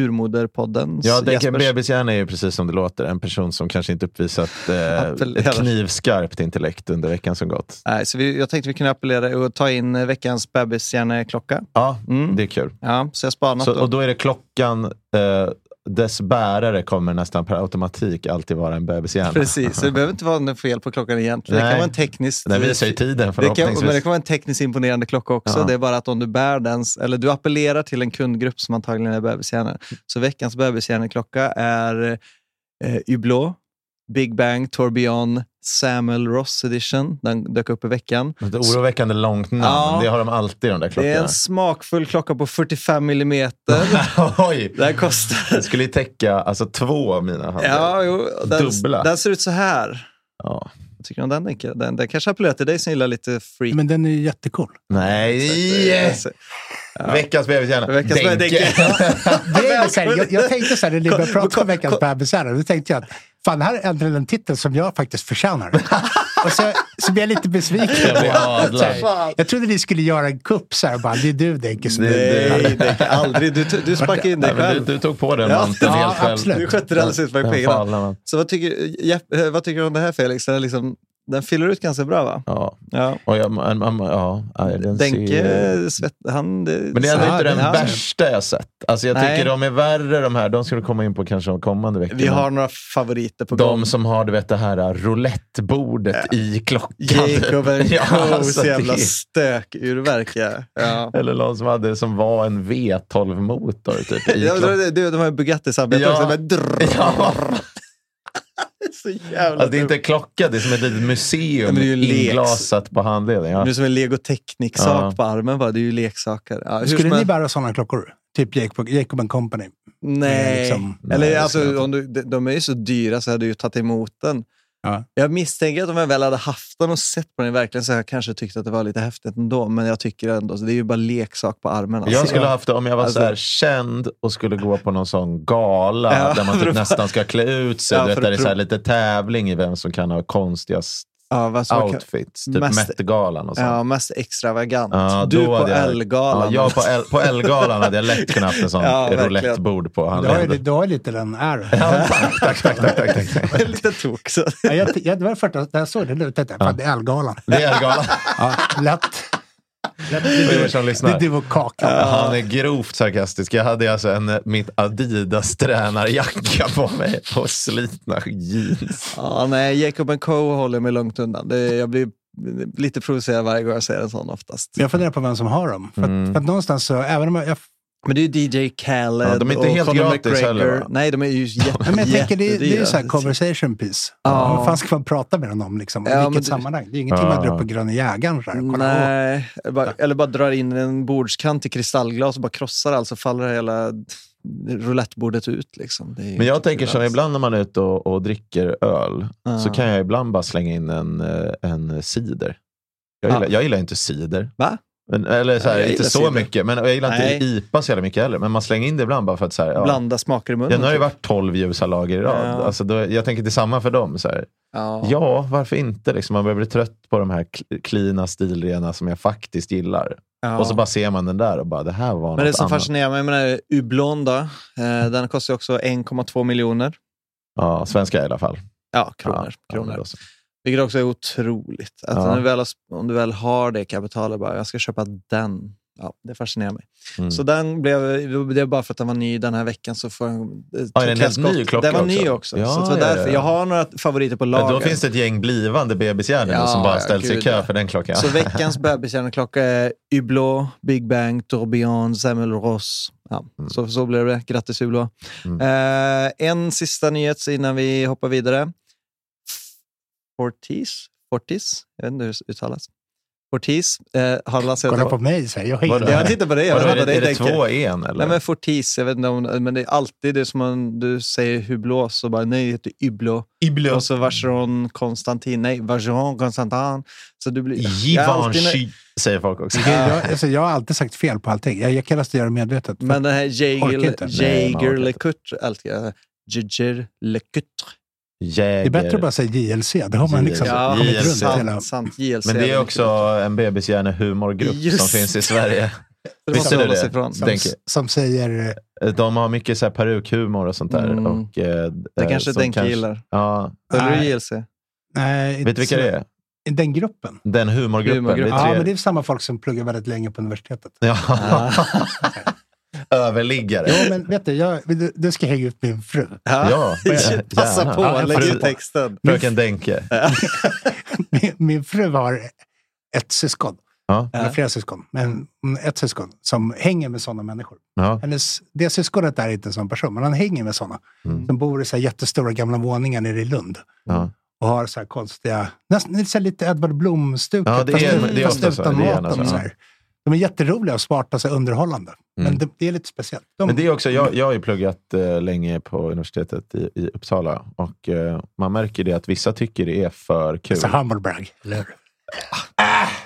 B: Urmoderpodden.
C: Ja, jag tänker en
B: Jespers-
C: bebishjärna är ju precis som det låter. En person som kanske inte uppvisat eh,
B: Appellerar.
C: ett knivskarpt intellekt under veckan som gått.
B: Nej, så vi, jag tänkte vi kunde appellera och ta in eh, veckans bebishjärneklocka.
C: Ja,
B: Mm.
C: det är kul.
B: Ja, så jag spanat
C: Så, och
B: då.
C: då är det klockan, eh, dess bärare kommer nästan per automatik alltid vara en bebishjärna.
B: Precis, så det behöver inte vara något fel på klockan egentligen. Det
C: Nej.
B: kan vara en tekniskt...
C: Den visar ju tiden
B: Det kan,
C: förhoppningsvis.
B: men det kan vara en tekniskt imponerande klocka också.
C: Ja.
B: Det är bara att om du bär den, eller du appellerar till en kundgrupp som antagligen är
C: Mm.
B: bebishjärnor. Så veckans bebishjärneklocka är eh, Hublot, Big Bang, Tourbillon, Samuel Ross edition. Den dök upp i veckan.
C: Ett oroväckande långt namn.
B: Ja.
C: Det har de alltid de där
B: Det är
C: klockorna.
B: en smakfull klocka på 45 millimeter.
C: Oj!
B: Den kostar...
C: Det skulle ju täcka alltså, två av mina händer.
B: Ja, jo, den,
C: Dubbla.
B: den ser ut så här.
C: Ja.
B: Vad tycker du om den, Denke? Den, den kanske appellerar till dig som gillar lite freak. Alltså,
D: Men den är ju jättecool.
C: Nej! Yes. Veckans bebishjärna.
B: Veckans bebis-
D: Det är så här, jag, jag tänkte så här, när vi pratade om veckans bebisar, då tänkte jag att fan, här är äntligen en titel som jag faktiskt förtjänar. Och så, så blev jag lite besviken.
C: Jag blir
D: på att,
C: adlad.
D: så här, Jag trodde ni skulle göra en kupp så här, och bara, det är du Denke som
C: Det-
B: Nej, Denke, aldrig. Du, du sparkade in
C: Nej,
B: dig
C: men du,
B: själv.
C: du tog på den
B: Ja,
C: manteln
D: ja,
C: helt själv.
D: absolut.
B: Du skötte det alldeles utmärkt
C: Den
B: på egen hand.
C: fallna man-
B: Så vad tycker, Jeff, eh, vad tycker du om det här, Felix? Den, är liksom, den fyller ut ganska bra, va?
C: Ja.
B: Ja.
C: Och jag, man, man, ja, nej, den
B: Denke,
C: ser...
B: svett, han... det-
C: Men det är ändå
B: så-
C: inte den
B: ja.
C: värsta jag sett. Alltså jag
B: Nej.
C: tycker de är värre de här. De ska du komma in på kanske de kommande veckorna.
B: Vi har några favoriter på gång. Äh,
C: de som har du vet, det här äh, roulettebordet i klockan.
B: Jacob and
C: Ja, alltså,
B: Co's
C: det-
B: jävla stökurverk. Ja. Ja.
C: Eller någon som hade det som var en V12-motor. Typ, i
B: Jag tror
C: klockan.
B: det- du, de här Bugatti-samarbetena
C: Ja.
B: också. Men drrr,
C: Ja,
B: så jävla
C: alltså, det är
B: dumt.
C: inte en klocka, det är som ett litet museum
B: Nej, men det är ju en lek.
C: inglasat på handleden. Ja.
B: Det är som en legotekniksak
C: Ja.
B: på armen. Va? Det är ju leksaker. Ja, hur som
D: Skulle ni
B: helst-
D: bära sådana klockor? Typ Jacob, Jacob and Company.
B: Nej.
D: liksom-
C: Nej,
B: Eller,
C: det skulle jag
B: alltså,
C: inte.
B: om du, de, de är ju så dyra så hade du ju tagit emot den.
D: Ja.
B: Jag misstänker att om jag väl hade haft den och sett på den verkligen så hade jag kanske tyckt att det var lite häftigt ändå. Men jag tycker ändå, så det är ju bara leksak på armen. Alltså.
C: Jag skulle ha haft det om jag var
B: Alltså-
C: så här känd och skulle gå på någon sån gala
B: Ja,
C: där man
B: för
C: typ
B: att-
C: nästan ska klä ut sig.
B: Ja,
C: du vet,
B: för
C: där
B: att
C: det är så här
B: prov-
C: lite tävling i vem som kan ha konstigast
B: ja, vad som kan-
C: outfits. Typ
B: mest-
C: Met-galan och sånt.
B: ja, mest extravagant.
C: Ja,
B: du
C: då
B: på
C: hade jag-
B: L-galan.
C: Ja, jag på, L, på L-galan hade jag lätt kunnat haft en sån
B: Ja, verkligen.
C: roulettebord på. Han
D: Du har, ju,
C: levde.
D: du har ju lite den äran.
C: Ja, tack, tack, tack, tack, tack, tack.
B: Det är lite tok. Så.
D: Ja, jag, jag, det var det första, när jag såg det nu tänkte jag, fan det är Ellegalan.
C: Det är L-galan.
D: Ja, lätt. lätt. Det
C: För er
D: är
C: som
D: du-
C: lyssnar.
D: det är du och Kakan.
C: Han är grovt sarkastisk. Jag hade alltså en, mitt Adidas tränarjacka på mig och slitna jeans.
B: Ja, nej, Jacob Co håller mig långt undan. Det, jag blir lite provocerad varje gång jag ser en sån oftast.
D: Jag funderar på vem som har dem. För att,
C: Mm.
D: för att någonstans så, även om jag... jag
B: Men det är ju DJ Khaled
C: Ja, de är inte
B: och
C: helt
B: Conor
C: gratis
B: McGregor.
C: heller, va?
B: Nej, de är ju jätte,
D: men jag tänker, det, är- det är ju så här
B: jättedyra.
D: conversation piece.
B: Ja.
D: Vad fan ska man prata med den om? Liksom? I
B: Ja, men
D: vilket
B: det-
D: sammanhang? Det är ingenting man drar upp på gröna jägaren. så här,
C: Äh,
D: kolla, åh.
B: Nej, eller bara, eller bara drar in en bordskant i kristallglas och bara krossar allt så faller hela roulettebordet ut. Liksom. Det är ju
C: Men jag
B: inte
C: tänker
B: kul
C: som
B: alls.
C: ibland när man är ute och, och dricker öl
B: Ja.
C: så kan jag ibland bara slänga in en, eh, en cider. Jag
B: Ja.
C: gillar, jag gillar inte cider.
B: Va?
C: Men, eller så här,
B: Ja, jag
C: inte
B: gillar
C: så
B: cider.
C: mycket. Men jag gillar
B: Nej.
C: inte IPA så jävla mycket heller. Men man slänger in det ibland bara för att så här, ja.
B: Blanda smaker i munnen.
C: Ja, nu har det
B: typ.
C: varit 12 ljusa lager i rad.
B: Ja.
C: Alltså då, jag tänker det är samma för dem. Så här.
B: ja.
C: Ja. varför inte? Liksom, man börjar bli trött på de här kl- klina stilrena som jag faktiskt gillar.
B: Ja.
C: Och så bara ser man den där och bara, det här var
B: Men det
C: något
B: som
C: annat.
B: fascinerar mig med den här Ublonda, eh, den kostar ju också 1,2 miljoner
C: Ja, svenska i alla fall.
B: ja, kronor.
C: Ja,
B: kronor.
C: ja, det är så.
B: Vilket också är otroligt. Att
C: Ja.
B: när du väl har, om du väl har det kapitalet, bara, jag ska köpa den. Ja, det fascinerar mig.
C: Mm.
B: Så den blev, det är bara för att den var ny den här veckan. Så får jag, eh,
C: Ja, är den helt ny klocka
B: Den var ny
C: också?
B: också.
C: Ja,
B: så det var
C: ja, ja.
B: därför. Jag har några favoriter på
C: Men
B: lager.
C: då finns det ett gäng blivande bebishjärnor
B: Ja,
C: som bara
B: ja,
C: ställs i
B: gud,
C: kö
B: ja.
C: för den klockan.
B: Så veckans bebishjärneklocka är Hublot, Big Bang, Tourbillon, Samuel Ross. Ja, så, så blev det. Grattis Hublot.
C: Mm.
B: Eh, en sista nyhet innan vi hoppar vidare. Fortis, Fortis, jag vet inte hur det uttalas. Fortis eh, har lanserat...
D: Kolla på mig, säger jag.
C: Vadå?
D: jag.
B: Jag tittar på dig, jag
C: Vadå,
B: vet inte vad
C: är det,
B: dig
C: är det
B: tänker.
C: två en eller?
B: Nej, men Fortis, jag vet inte om, men det är alltid det som man, du säger Hublot, så bara nej, det heter Hublot.
C: Iblo.
B: Och så Vacheron Konstantin, nej, Vacheron Konstantin. Så du blir... Jag är alltid nöjd.
C: Givenchy, säger folk också.
D: Jag, alltså, jag har alltid sagt fel på allting. Jag, jag kallas det göra medvetet. För
B: Men den här
D: Orkar inte.
B: Jaeger-
C: Nej, man orkar
B: Jaeger
C: inte.
B: LeCoultre, alltid. jag säger, Jaeger LeCoultre.
C: Jäger.
D: det är bättre att bara säga JLC. Det har man liksom
C: Ja,
D: kommit
C: JLC.
D: runt hela.
B: sant, sant. JLC.
C: Men det är också en bebishjärne-humorgrupp som
B: Just
C: finns i Sverige.
B: Det
C: visste
B: måste
C: du
B: man hålla
C: det?
B: sig ifrån.
C: Som- tänker.
D: Som säger... eh,
C: De har mycket så här perukhumor och sånt där.
B: Mm.
C: Och, eh, d-
B: Det
C: eh,
B: kanske
C: som
B: Denke gillar.
C: Ja.
B: Följer du
D: Nej.
B: JLC?
D: Nej,
C: Vet
D: inte
C: du vilka
D: så-
C: det är?
D: Den gruppen?
C: Den humorgruppen.
B: Humorgruppen.
C: Vi
D: Ja,
C: tre.
D: men det är samma folk som pluggar väldigt länge på universitetet.
C: ja. Överliggare.
D: Ja, men vet du, jag, du, du ska hänga ut min fru.
C: Ja,
B: Passa
C: gärna.
B: på,
D: Ja,
B: lägg
D: fru-
B: ut texten.
C: Fröken Denke.
D: Min, min fru har ett syskon,
C: Ja.
D: eller flera syskon, men ett syskon som hänger med sådana människor.
C: Ja.
D: Hennes, det syskonet är inte en sån person, men han hänger med sådana.
C: Mm.
D: Som bor i så här jättestora gamla våningar nere i Lund.
C: Ja.
D: Och har så här konstiga, nästan lite så här lite Edvard Blom-stuket.
C: Ja, det
D: fast-
C: är- det är
D: fast
C: ofta så.
D: utan
C: Det är gärna
D: maten.
C: så,
D: Så
C: ja.
D: här. De är jätteroliga och smarta, så här underhållande. Men
C: Mm.
D: det, det är lite speciellt. De,
C: Men det är också, jag, jag har ju pluggat eh, länge på universitetet i, i Uppsala och eh, man märker det att vissa tycker det är för kul.
D: så humblebrag, eller hur?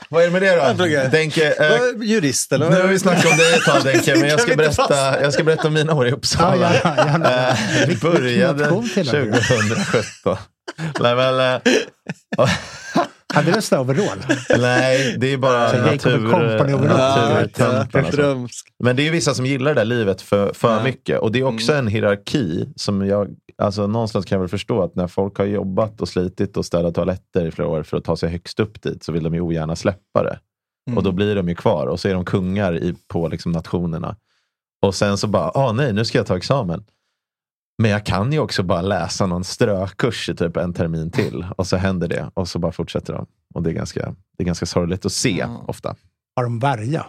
C: Vad är det med det
B: Jag
C: då?
B: pluggar.
C: Denke, eh,
B: Vad, Jurist eller?
C: nu har vi snackat om dig ett tag Denke, men
B: Kan
C: jag
B: vi
C: ska,
B: inte
C: berätta,
B: fastna?
C: jag ska berätta om mina år i
D: Ja,
C: Uppsala.
D: ja, ja, ja.
C: Eh,
D: Vilken
C: började
D: motion till och med.
C: 2017. Nej, men, eh,
D: Hade du sån där overall?
C: nej, det är bara
D: Så Jacob
C: natur,
D: Company överallt.
B: Ja,
C: naturtempel. och sånt.
B: drömsk.
C: Men det är vissa som gillar det där livet för, för
B: Ja. Mm.
C: mycket. Och det är också en hierarki som jag, alltså någonstans kan jag väl förstå att när folk har jobbat och slitit och städat toaletter i flera år för att ta sig högst upp dit så vill de ju ogärna släppa det. Mm. Och
B: Mm.
C: då blir de ju kvar och så är de kungar i, på liksom nationerna. Och sen så bara, ah nej, nu ska jag ta examen. Men jag kan ju också bara läsa någon strökurs i typ en termin till. Och så händer det och så bara fortsätter de. Och det är ganska, det är ganska sorgligt att se
B: Ja.
C: ofta.
D: Har de värja?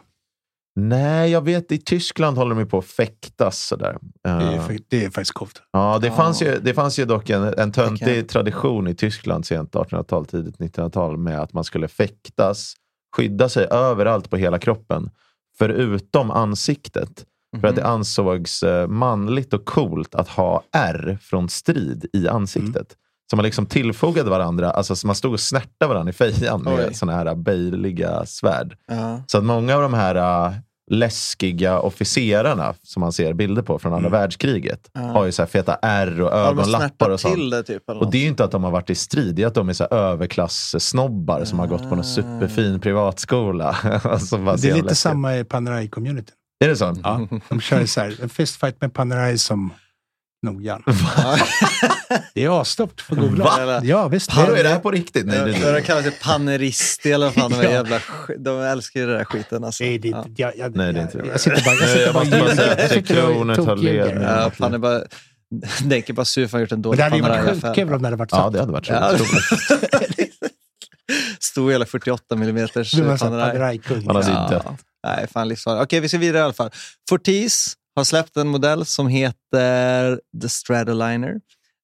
C: Nej, jag vet. I Tyskland håller de ju på att fäktas. Sådär. Eh,
D: Det är ju fa- Det är faktiskt coolt.
C: ja, det,
B: Ja.
C: Fanns ju, det fanns ju dock en, en töntig
B: Okej.
C: tradition i Tyskland sent 1800-tal, tidigt 1900-tal med att man skulle fäktas, skydda sig överallt på hela kroppen, förutom ansiktet.
B: Mm.
C: För att det ansågs eh, manligt och coolt att ha ärr från strid i ansiktet. Så man liksom tillfogade varandra, alltså så man stod och snärtade varandra i fejan
B: Oj.
C: med sådana här böjliga svärd.
B: Ja.
C: Så att många av de här äh, läskiga officerarna som man ser bilder på från andra världskriget har ju så här feta ärr och
B: Har Mm. de
C: ögonlappar
B: snärtat
C: och sånt.
B: till det typ? Eller
C: Och det är ju
B: något?
C: inte att de har varit i strid, det är att de är så här överklassnobbar som har gått
B: Ah.
C: på någon superfin privatskola. alltså bara så
D: Det är
C: jävla
D: lite
C: läskigt.
D: samma i Panerai-communityn.
C: Är det så?
D: Ja. De kör så här, en fistfight med Panerai som knogjärn. Det är avstoppt för googla.
B: Va? Eller-
D: Ja, visst.
C: Hallå, är det
D: det,
C: här på riktigt? Nej,
B: Ja,
C: det
B: De
C: är
B: kallar sig panerister i alla fall. De,
D: Ja.
B: är jävla, sk- de älskar ju den där skiten. Alltså.
D: det är
B: Ja.
D: inte... Jag, jag,
C: Nej, det är
D: jag,
C: inte det.
D: jag sitter bara... Jag
C: Nej,
D: sitter
C: jag
D: bara och
C: måste bara säga
D: ljuger.
C: att
D: Jag sitter och
C: klonet har
D: tokljuger.
C: ledning.
D: Men
B: Ja, fan, det är bara, Denke bara sur för att han gjort en dålig
D: det hade ju varit
B: Panerai-affär.
D: skitkul om det hade varit
C: Ja,
D: sant.
C: det hade varit
B: Ja.
C: roligt. Alltså,
B: Stor jävla 48 mm
D: Du var en sån här
B: Panerai.
D: Panerai-kung.
C: Man hade ju
B: Ja.
C: dött.
B: Nej, fan livsfarligt. Okej, vi ska vidare i alla fall. Fortis har släppt en modell som heter The Stratoliner.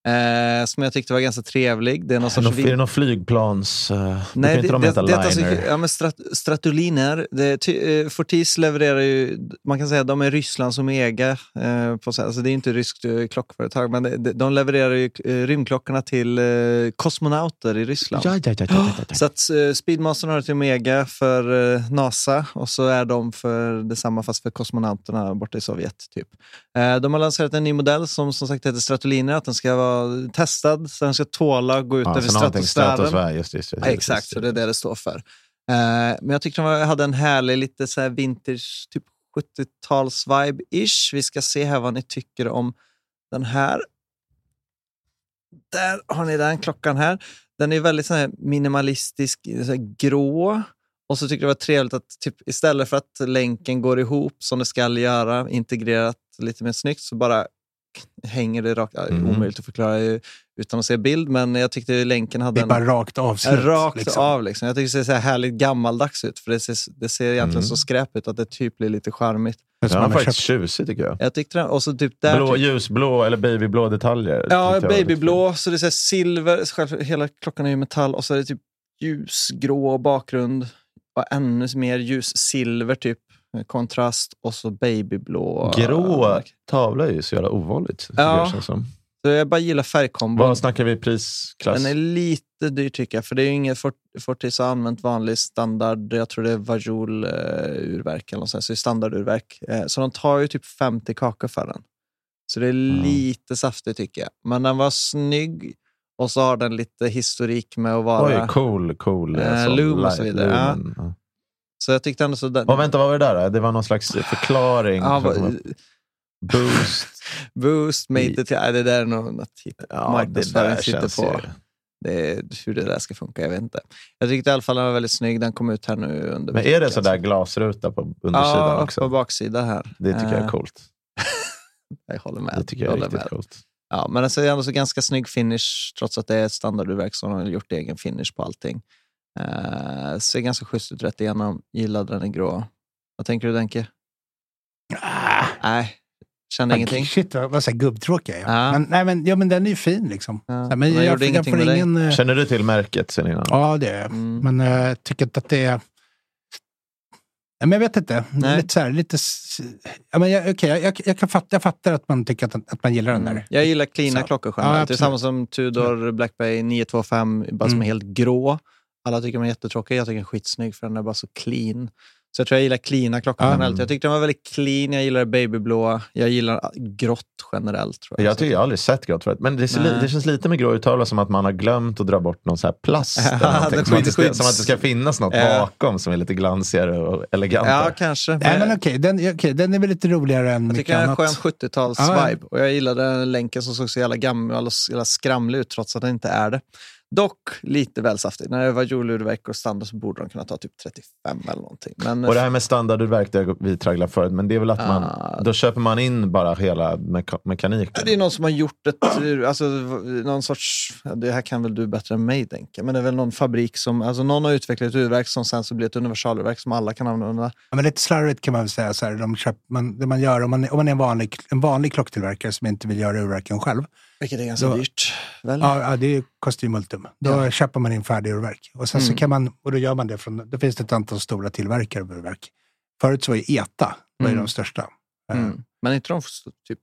B: Eh, som jag tyckte var ganska trevlig. Det är någon
C: Är det
B: sorts...
C: någon- Är det någon flygplans... Uh, Nej,
B: Alltså, Nej,
C: inte de heta
B: det, alltså, är att de ska-
C: liner?
B: ja, men strat, Stratoliner. Det, är ty, eh, Fortis levererar ju... Man kan säga att de är Rysslands Omega. Eh, på, så- alltså det är inte ryskt eh, klockföretag, men det, det- de levererar ju eh, rymdklockorna till eh, kosmonauter i Ryssland.
C: Ja, ja, ja, ja, ja,
B: Så
C: ja.
B: att eh, Speedmastern har ett Omega för eh, NASA och så är de för detsamma fast för kosmonauterna borta i Sovjet. typ. Eh, de har lanserat en ny modell som som sagt heter Stratoliner. Att den ska vara testad, så den ska tåla att gå ut
C: Ja,
B: över
C: så någonting
B: stratosfären.
C: stratosfär, just det, just det, just det.
B: Exakt, så det är det det står för. Eh, men jag tyckte de var- hade en härlig lite så här vintage, typ 70-tals-vibe-ish. Vi ska se här vad ni tycker om den här. Där har ni den klockan här. Den är väldigt så här minimalistisk, så här grå. Och så tyckte jag det var trevligt att typ, istället för att länken går ihop som det ska göra, integrerat lite mer snyggt, så bara hänger det rakt. Mm.
C: Mm.
B: Omöjligt att förklara eh, utan att se bild, men jag tyckte länken hade
D: Det är
B: en-
D: bara rakt avslut.
B: Rakt
D: liksom.
B: av. Liksom. Jag tycker det ser så här härligt gammaldags ut. För Det ser, det ser egentligen
C: Mm.
B: så skräp ut att det typ blir lite charmigt.
D: Men som
C: Den
D: man
C: var
D: har
C: faktiskt
D: köpt.
C: tjusig tycker jag.
B: Jag tyckte den, och så typ där...
C: Blå,
B: typ,
C: ljusblå eller babyblå detaljer.
B: ja,
C: tyckte jag var lite
B: babyblå, så det är så här silver. Själv, hela klockan är ju metall och så är det typ ljusgrå bakgrund och ännu mer ljussilver typ. Kontrast och så babyblå.
C: fint. Grå tavla är ju så jävla ovanligt.
B: Ja.
C: Ja. Som.
B: Så jag bara gillar färgkombon.
C: Vad snackar vi prisklass?
B: Den är lite dyr tycker jag, för det är ju inget Fort- Fortis har använt vanlig standard, jag tror det är Vajol eh, urverk eller något sånt, så det är standardurverk. Eh, så de tar ju typ 50 kakor för den. Så det är
C: Mm.
B: lite saftigt tycker jag. Men den var snygg och så har den lite historik med att vara.
C: Oj, cool, cool.
B: Eh,
C: sån
B: Loom och
C: li-
B: så vidare,
C: Lumen, ja.
B: Så jag tyckte ändå så den...
C: Och vänta, vad var det där? då? Det var någon slags förklaring.
B: Ja,
C: för att
B: va-
C: man- boost.
B: boost, mate, it, ja, det där är nog något hit.
C: Ja, det
B: Marknadsföring
C: där
B: sitter
C: känns
B: på.
C: ju...
B: Det är, hur det där ska funka, jag vet inte. Jag tyckte i alla fall den var väldigt snygg. Den kom ut här nu under
C: Men är det
B: veckan,
C: sådär glasruta på undersidan
B: Ja,
C: också?
B: på baksida här.
C: Det tycker jag
B: Eh,
C: är coolt.
B: Jag håller med.
C: Det tycker jag är
B: håller
C: riktigt
B: med.
C: coolt.
B: Ja, men alltså, det är ändå så ganska snygg finish, trots att det är ett standardurverk som har gjort egen finish på allting. Eh, ser ganska schysst ut rätt igenom. Gillade den i grå. Vad tänker du Denke?
D: Ah,
B: Nej, kände ingenting.
D: Shit, vad, vad så här gubbtråkig jag är.
B: Ja.
D: Men, nej, men, ja, men den är ju fin liksom.
B: Ja,
D: Så här,
B: men
D: men jag,
B: Eh, gjorde
D: jag,
B: ingenting
D: får
B: med dig?
D: ingen... eh,
C: Känner du till märket sen innan?
D: Ja, det är jag.
B: Mm.
D: Men eh, jag tycker inte att det är... Ja, men jag vet inte. Det är
B: Nej.
D: Lite så här, lite... s- Ja, men jag, okej, jag, jag, jag, kan fatta, jag fattar att man tycker att, att man gillar den
B: Mm.
D: där.
B: Jag gillar cleana
D: Så.
B: klockor
D: Ja,
B: generellt. det är
D: absolut.
B: samma som Tudor Black Bay 925, bara som är
D: Mm.
B: helt grå. Alla tycker de är jättetråkiga. Jag tycker den är skitsnygg för den är bara så clean. Så jag tror jag gillar cleana klockor
D: Ja.
B: generellt. Jag tyckte den var väldigt clean. Jag gillar babyblå. Jag gillar grått generellt. Tror jag.
C: Jag tycker jag har aldrig sett grått förut. Men det, ser li-
B: Nej.
C: det känns lite med grå uttavla som att man har glömt att dra bort någon så här plast.
B: Ja,
C: eller någonting.
B: den
C: som, att det ska,
B: skydds-
C: som att det ska finnas något
B: Ja.
C: bakom som är lite glansigare och
B: Eh. Ja,
C: elegantare.
B: kanske.
D: Nej,
B: Men
D: men okej, den, okej, den är väl lite roligare än
B: jag tycker
D: mycket
B: den är en
D: annat.
B: skön 70-tals
D: Ja, ja.
B: vibe. Och jag gillade den länken som såg så jävla gammal och så jävla skramlig ut trots att den inte är det. Dock lite väl saftig. När det var julurverk och standard så borde de kunna ta typ 35 eller någonting. Men eh,
C: Och det här med standardurverk, det har vi tragglat förut, men det är väl att man,
B: Ah.
C: då köper man in bara hela meka- mekaniken.
B: det är någon som har gjort ett, alltså, någon sorts, ja, det här kan väl du bättre än mig tänka, men det är väl någon fabrik som, alltså någon har utvecklat ett urverk som sen så blir ett universalurverk som alla kan använda.
D: Ja, men lite slarvigt kan man väl säga. Så här, de köp, man, det man gör om man, om man är en vanlig, en vanlig klocktillverkare som inte vill göra urverken själv.
B: Vilket är ganska
D: Då-
B: dyrt. Väl?
D: Ja, ja det kostar ju multum. Då köper man in färdiga urverk. Och
B: Mm.
D: sen så kan man, och då gör man det från, då finns det ett antal stora tillverkare av urverk. Förut så var ju ETA, var ju
B: Mm.
D: de största. Eh,
B: Mm. Men inte de f- typ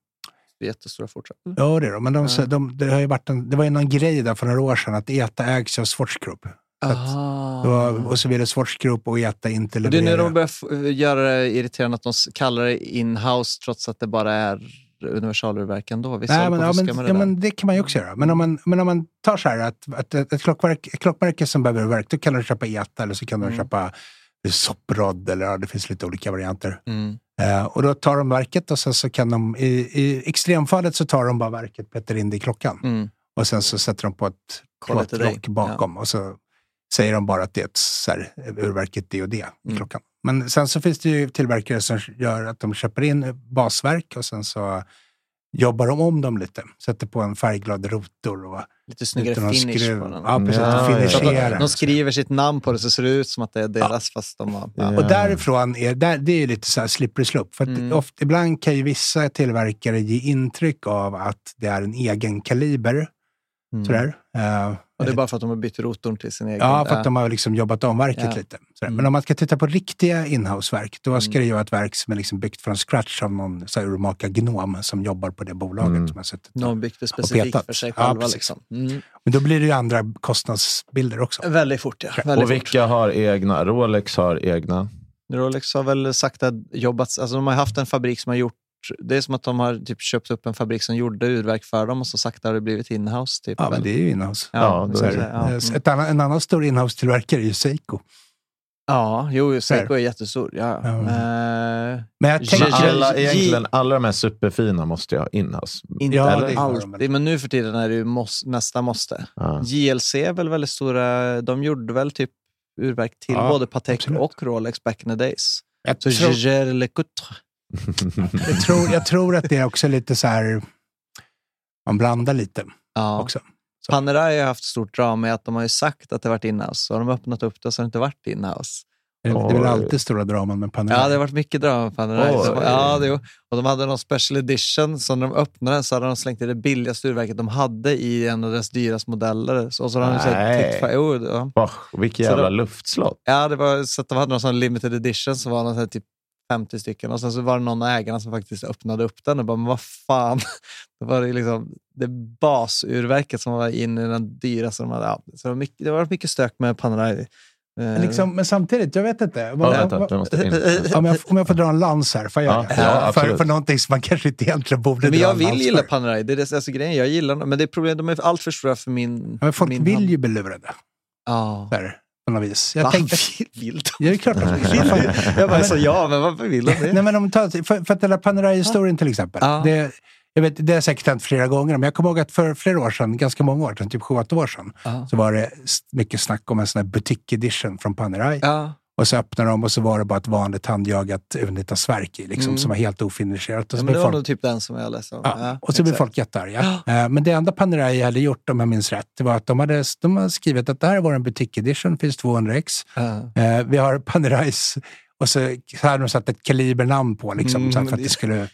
B: är jättestora fortfarande.
D: Ja, det är de. Men de,
B: Ja.
D: de, det, har ju varit en, det var ju någon grej där för några år sedan att ETA ägs av Swatch Group.
B: Ah.
D: att- Det var, och så blir det Swatch Group och ETA inte
B: Och det är nu de
D: levererar.
B: börjar f- göra det irriterande att de s- kallar det in-house trots att det bara är universalurverk ändå. Visst
D: Nej,
B: håller
D: men,
B: på
D: ja,
B: att fuska
D: men,
B: med
D: ja,
B: det där?
D: men det kan man ju också göra. Men om man, men om man tar så här att, att ett, ett, klockverk, ett klockmärke som behöver verk, då kan du köpa ETA eller så kan du
B: Mm.
D: köpa Soprod eller ja, det finns lite olika varianter.
B: Mm.
D: Eh, och då tar de verket och sen så kan de, i, i extremfallet så tar de bara verket, petar in det i klockan.
B: Mm.
D: Och sen så sätter de på ett
B: Kolla till dig.
D: plåtlock bakom och så säger de bara att det är ett så här, urverket det och det i
B: Mm.
D: klockan. Men sen så finns det ju tillverkare som gör att de köper in basverk och sen så jobbar de om dem lite. Sätter på en färgglad rotor och
B: Lite snyggare
D: lite någon
B: finish
D: skruv.
B: på den.
D: Ja, precis.
C: Ja, ja, ja.
B: Så att de,
D: finisherar.
B: de skriver sitt namn på det så ser det ut som att det är deras fast de har... Ja.
C: Ja.
D: Och därifrån är där, det är ju lite så här slippery slope. För att
B: Mm.
D: ofta, ibland kan ju vissa tillverkare ge intryck av att det är en egen kaliber.
B: Mm.
D: Sådär. Eh,
B: Och det är bara för att de har bytt rotorn till sin egen. äh,
D: Ja, för
B: Ja.
D: att de har liksom jobbat om verket
B: Ja.
D: lite. Sådär.
B: Mm.
D: Men om man ska titta på riktiga inhouseverk, då ska
B: Mm.
D: det ju vara ett verk som är liksom byggt från scratch av någon så här urmaka gnom som jobbar på det bolaget.
C: Mm.
D: Som har suttit. där.
B: De byggde specifikt
D: petat.
B: för sig
D: Ja,
B: själva.
D: precis.
B: liksom. mm.
D: Men då blir det ju andra kostnadsbilder också.
B: Väldigt fort, ja. Väldigt
C: Och vilka har egna? Rolex har egna.
B: fort. Rolex har väl sakta jobbat... Alltså de har haft en fabrik som har gjort... Det är som att de har typ köpt upp en fabrik som gjorde urverk för dem och så sakta har det blivit inhouse. Typ,
D: Ja,
B: väl.
D: men det är ju inhouse.
C: Ja,
B: det
C: då
D: Så
B: ska
D: är
B: jag
D: det.
B: säga. ja.
D: Eh,
B: Mm.
D: Ett annan, en annan stor inhouse-tillverkare är ju Seiko.
B: ja, jo, jo, Seiko
D: Där.
B: är jättestor. Ja.
D: Ja.
B: Eh,
D: Men jag
B: G-
C: Men
D: tänker...
C: alla,
B: G-
C: egentligen, alla de här superfina måste jag ha alltså. inhouse.
B: inte
D: Ja,
C: Eller?
D: det- har de
B: alltid, men nu för tiden är det ju måste, nästa måste.
C: Ja.
B: JLC är väl väldigt stora. De gjorde väl typ urverk till
D: Ja,
B: både Patek
D: absolut.
B: och Rolex back in the days.
D: Jag
B: Så
D: tror-
B: Jaeger LeCoultre.
D: Jag tror, jag tror att det är också lite så här... Man blandar lite
B: Ja.
D: också. Så.
B: Panerai har haft stort drama med att de har ju sagt att det varit inhouse. Så har de öppnat upp det så har det inte varit inhouse.
D: Det är väl
C: Oj.
D: alltid stora draman med Panerai.
B: Ja, det har varit mycket drama med Panerai.
C: Oj.
B: Så- Ja, det, och de hade någon special edition, så när de öppnade den så hade de slängt i det billigaste urverket de hade i en av deras dyraste modeller. Så, och så har de
C: Nej.
B: sett jo, det var-
C: Oh, vilket
B: Så
C: jävla
B: då-
C: luftslott.
B: Ja, det var så att de hade någon sån limited edition som var någon sån här typ 50 stycken och sen så var det någon av ägarna som faktiskt öppnade upp den och bara, men vad fan. Det var det liksom det basurverket som var in i den dyraste de hade. Ja, så det, var mycket, det var mycket stök med Panerai. Eh,
D: Men liksom, men samtidigt, jag vet inte.
C: Ja,
D: Vad-
C: vänta,
D: vad-
C: vi måste in.
D: Om jag, om jag får dra en lans här, får jag
C: Ja,
D: göra det?
C: ja, absolut.
D: för, för någonting som man kanske inte egentligen borde
B: men
D: dra
B: jag
D: en
B: vill
D: lans
B: gilla
D: för.
B: Panerai, det är det, alltså, grejen. Jag gillar dem, men det är problem, de är allt för stora för min...
D: Ja, Men folk
B: min hand.
D: vill ju bli lurade,
B: Ja.
D: så här, på något vis.
B: Va?
D: Jag tänkte,
B: Vill de?
D: ja, det är klart att de
B: Vill
D: vill.
B: de? Jag bara, så, ja, men varför vill de det?
D: Nej, men om ta, för, för att den där Panerai-historien till exempel.
B: Ja.
D: Det, jag vet, det har säkert hänt flera gånger, men jag kommer ihåg att för flera år sedan, ganska många år sedan, typ 7-8 år sedan,
B: Ja.
D: så var det s- mycket snack om en sån här butik-edition från Panerai.
B: Ja.
D: Och så öppnade de och så var det bara ett vanligt handjagat unitasverk i, liksom,
B: Mm.
D: som var helt ofinisherat. Och
B: Ja, men
D: så blev
B: det var
D: folk-
B: nog typ den som jag läste om.
D: Ja, och så blir
B: exakt.
D: folk jättearga. Eh, Men det enda Panerai hade gjort, om jag minns rätt, det var att de hade, de hade skrivit att det här var en butik edition, finns 200 ex.
B: Ja.
D: Eh, Vi har Panerais och så, så hade de satt ett kalibernamn på liksom,
B: Mm,
D: så här, för
B: men
D: att
B: det-
D: det skulle...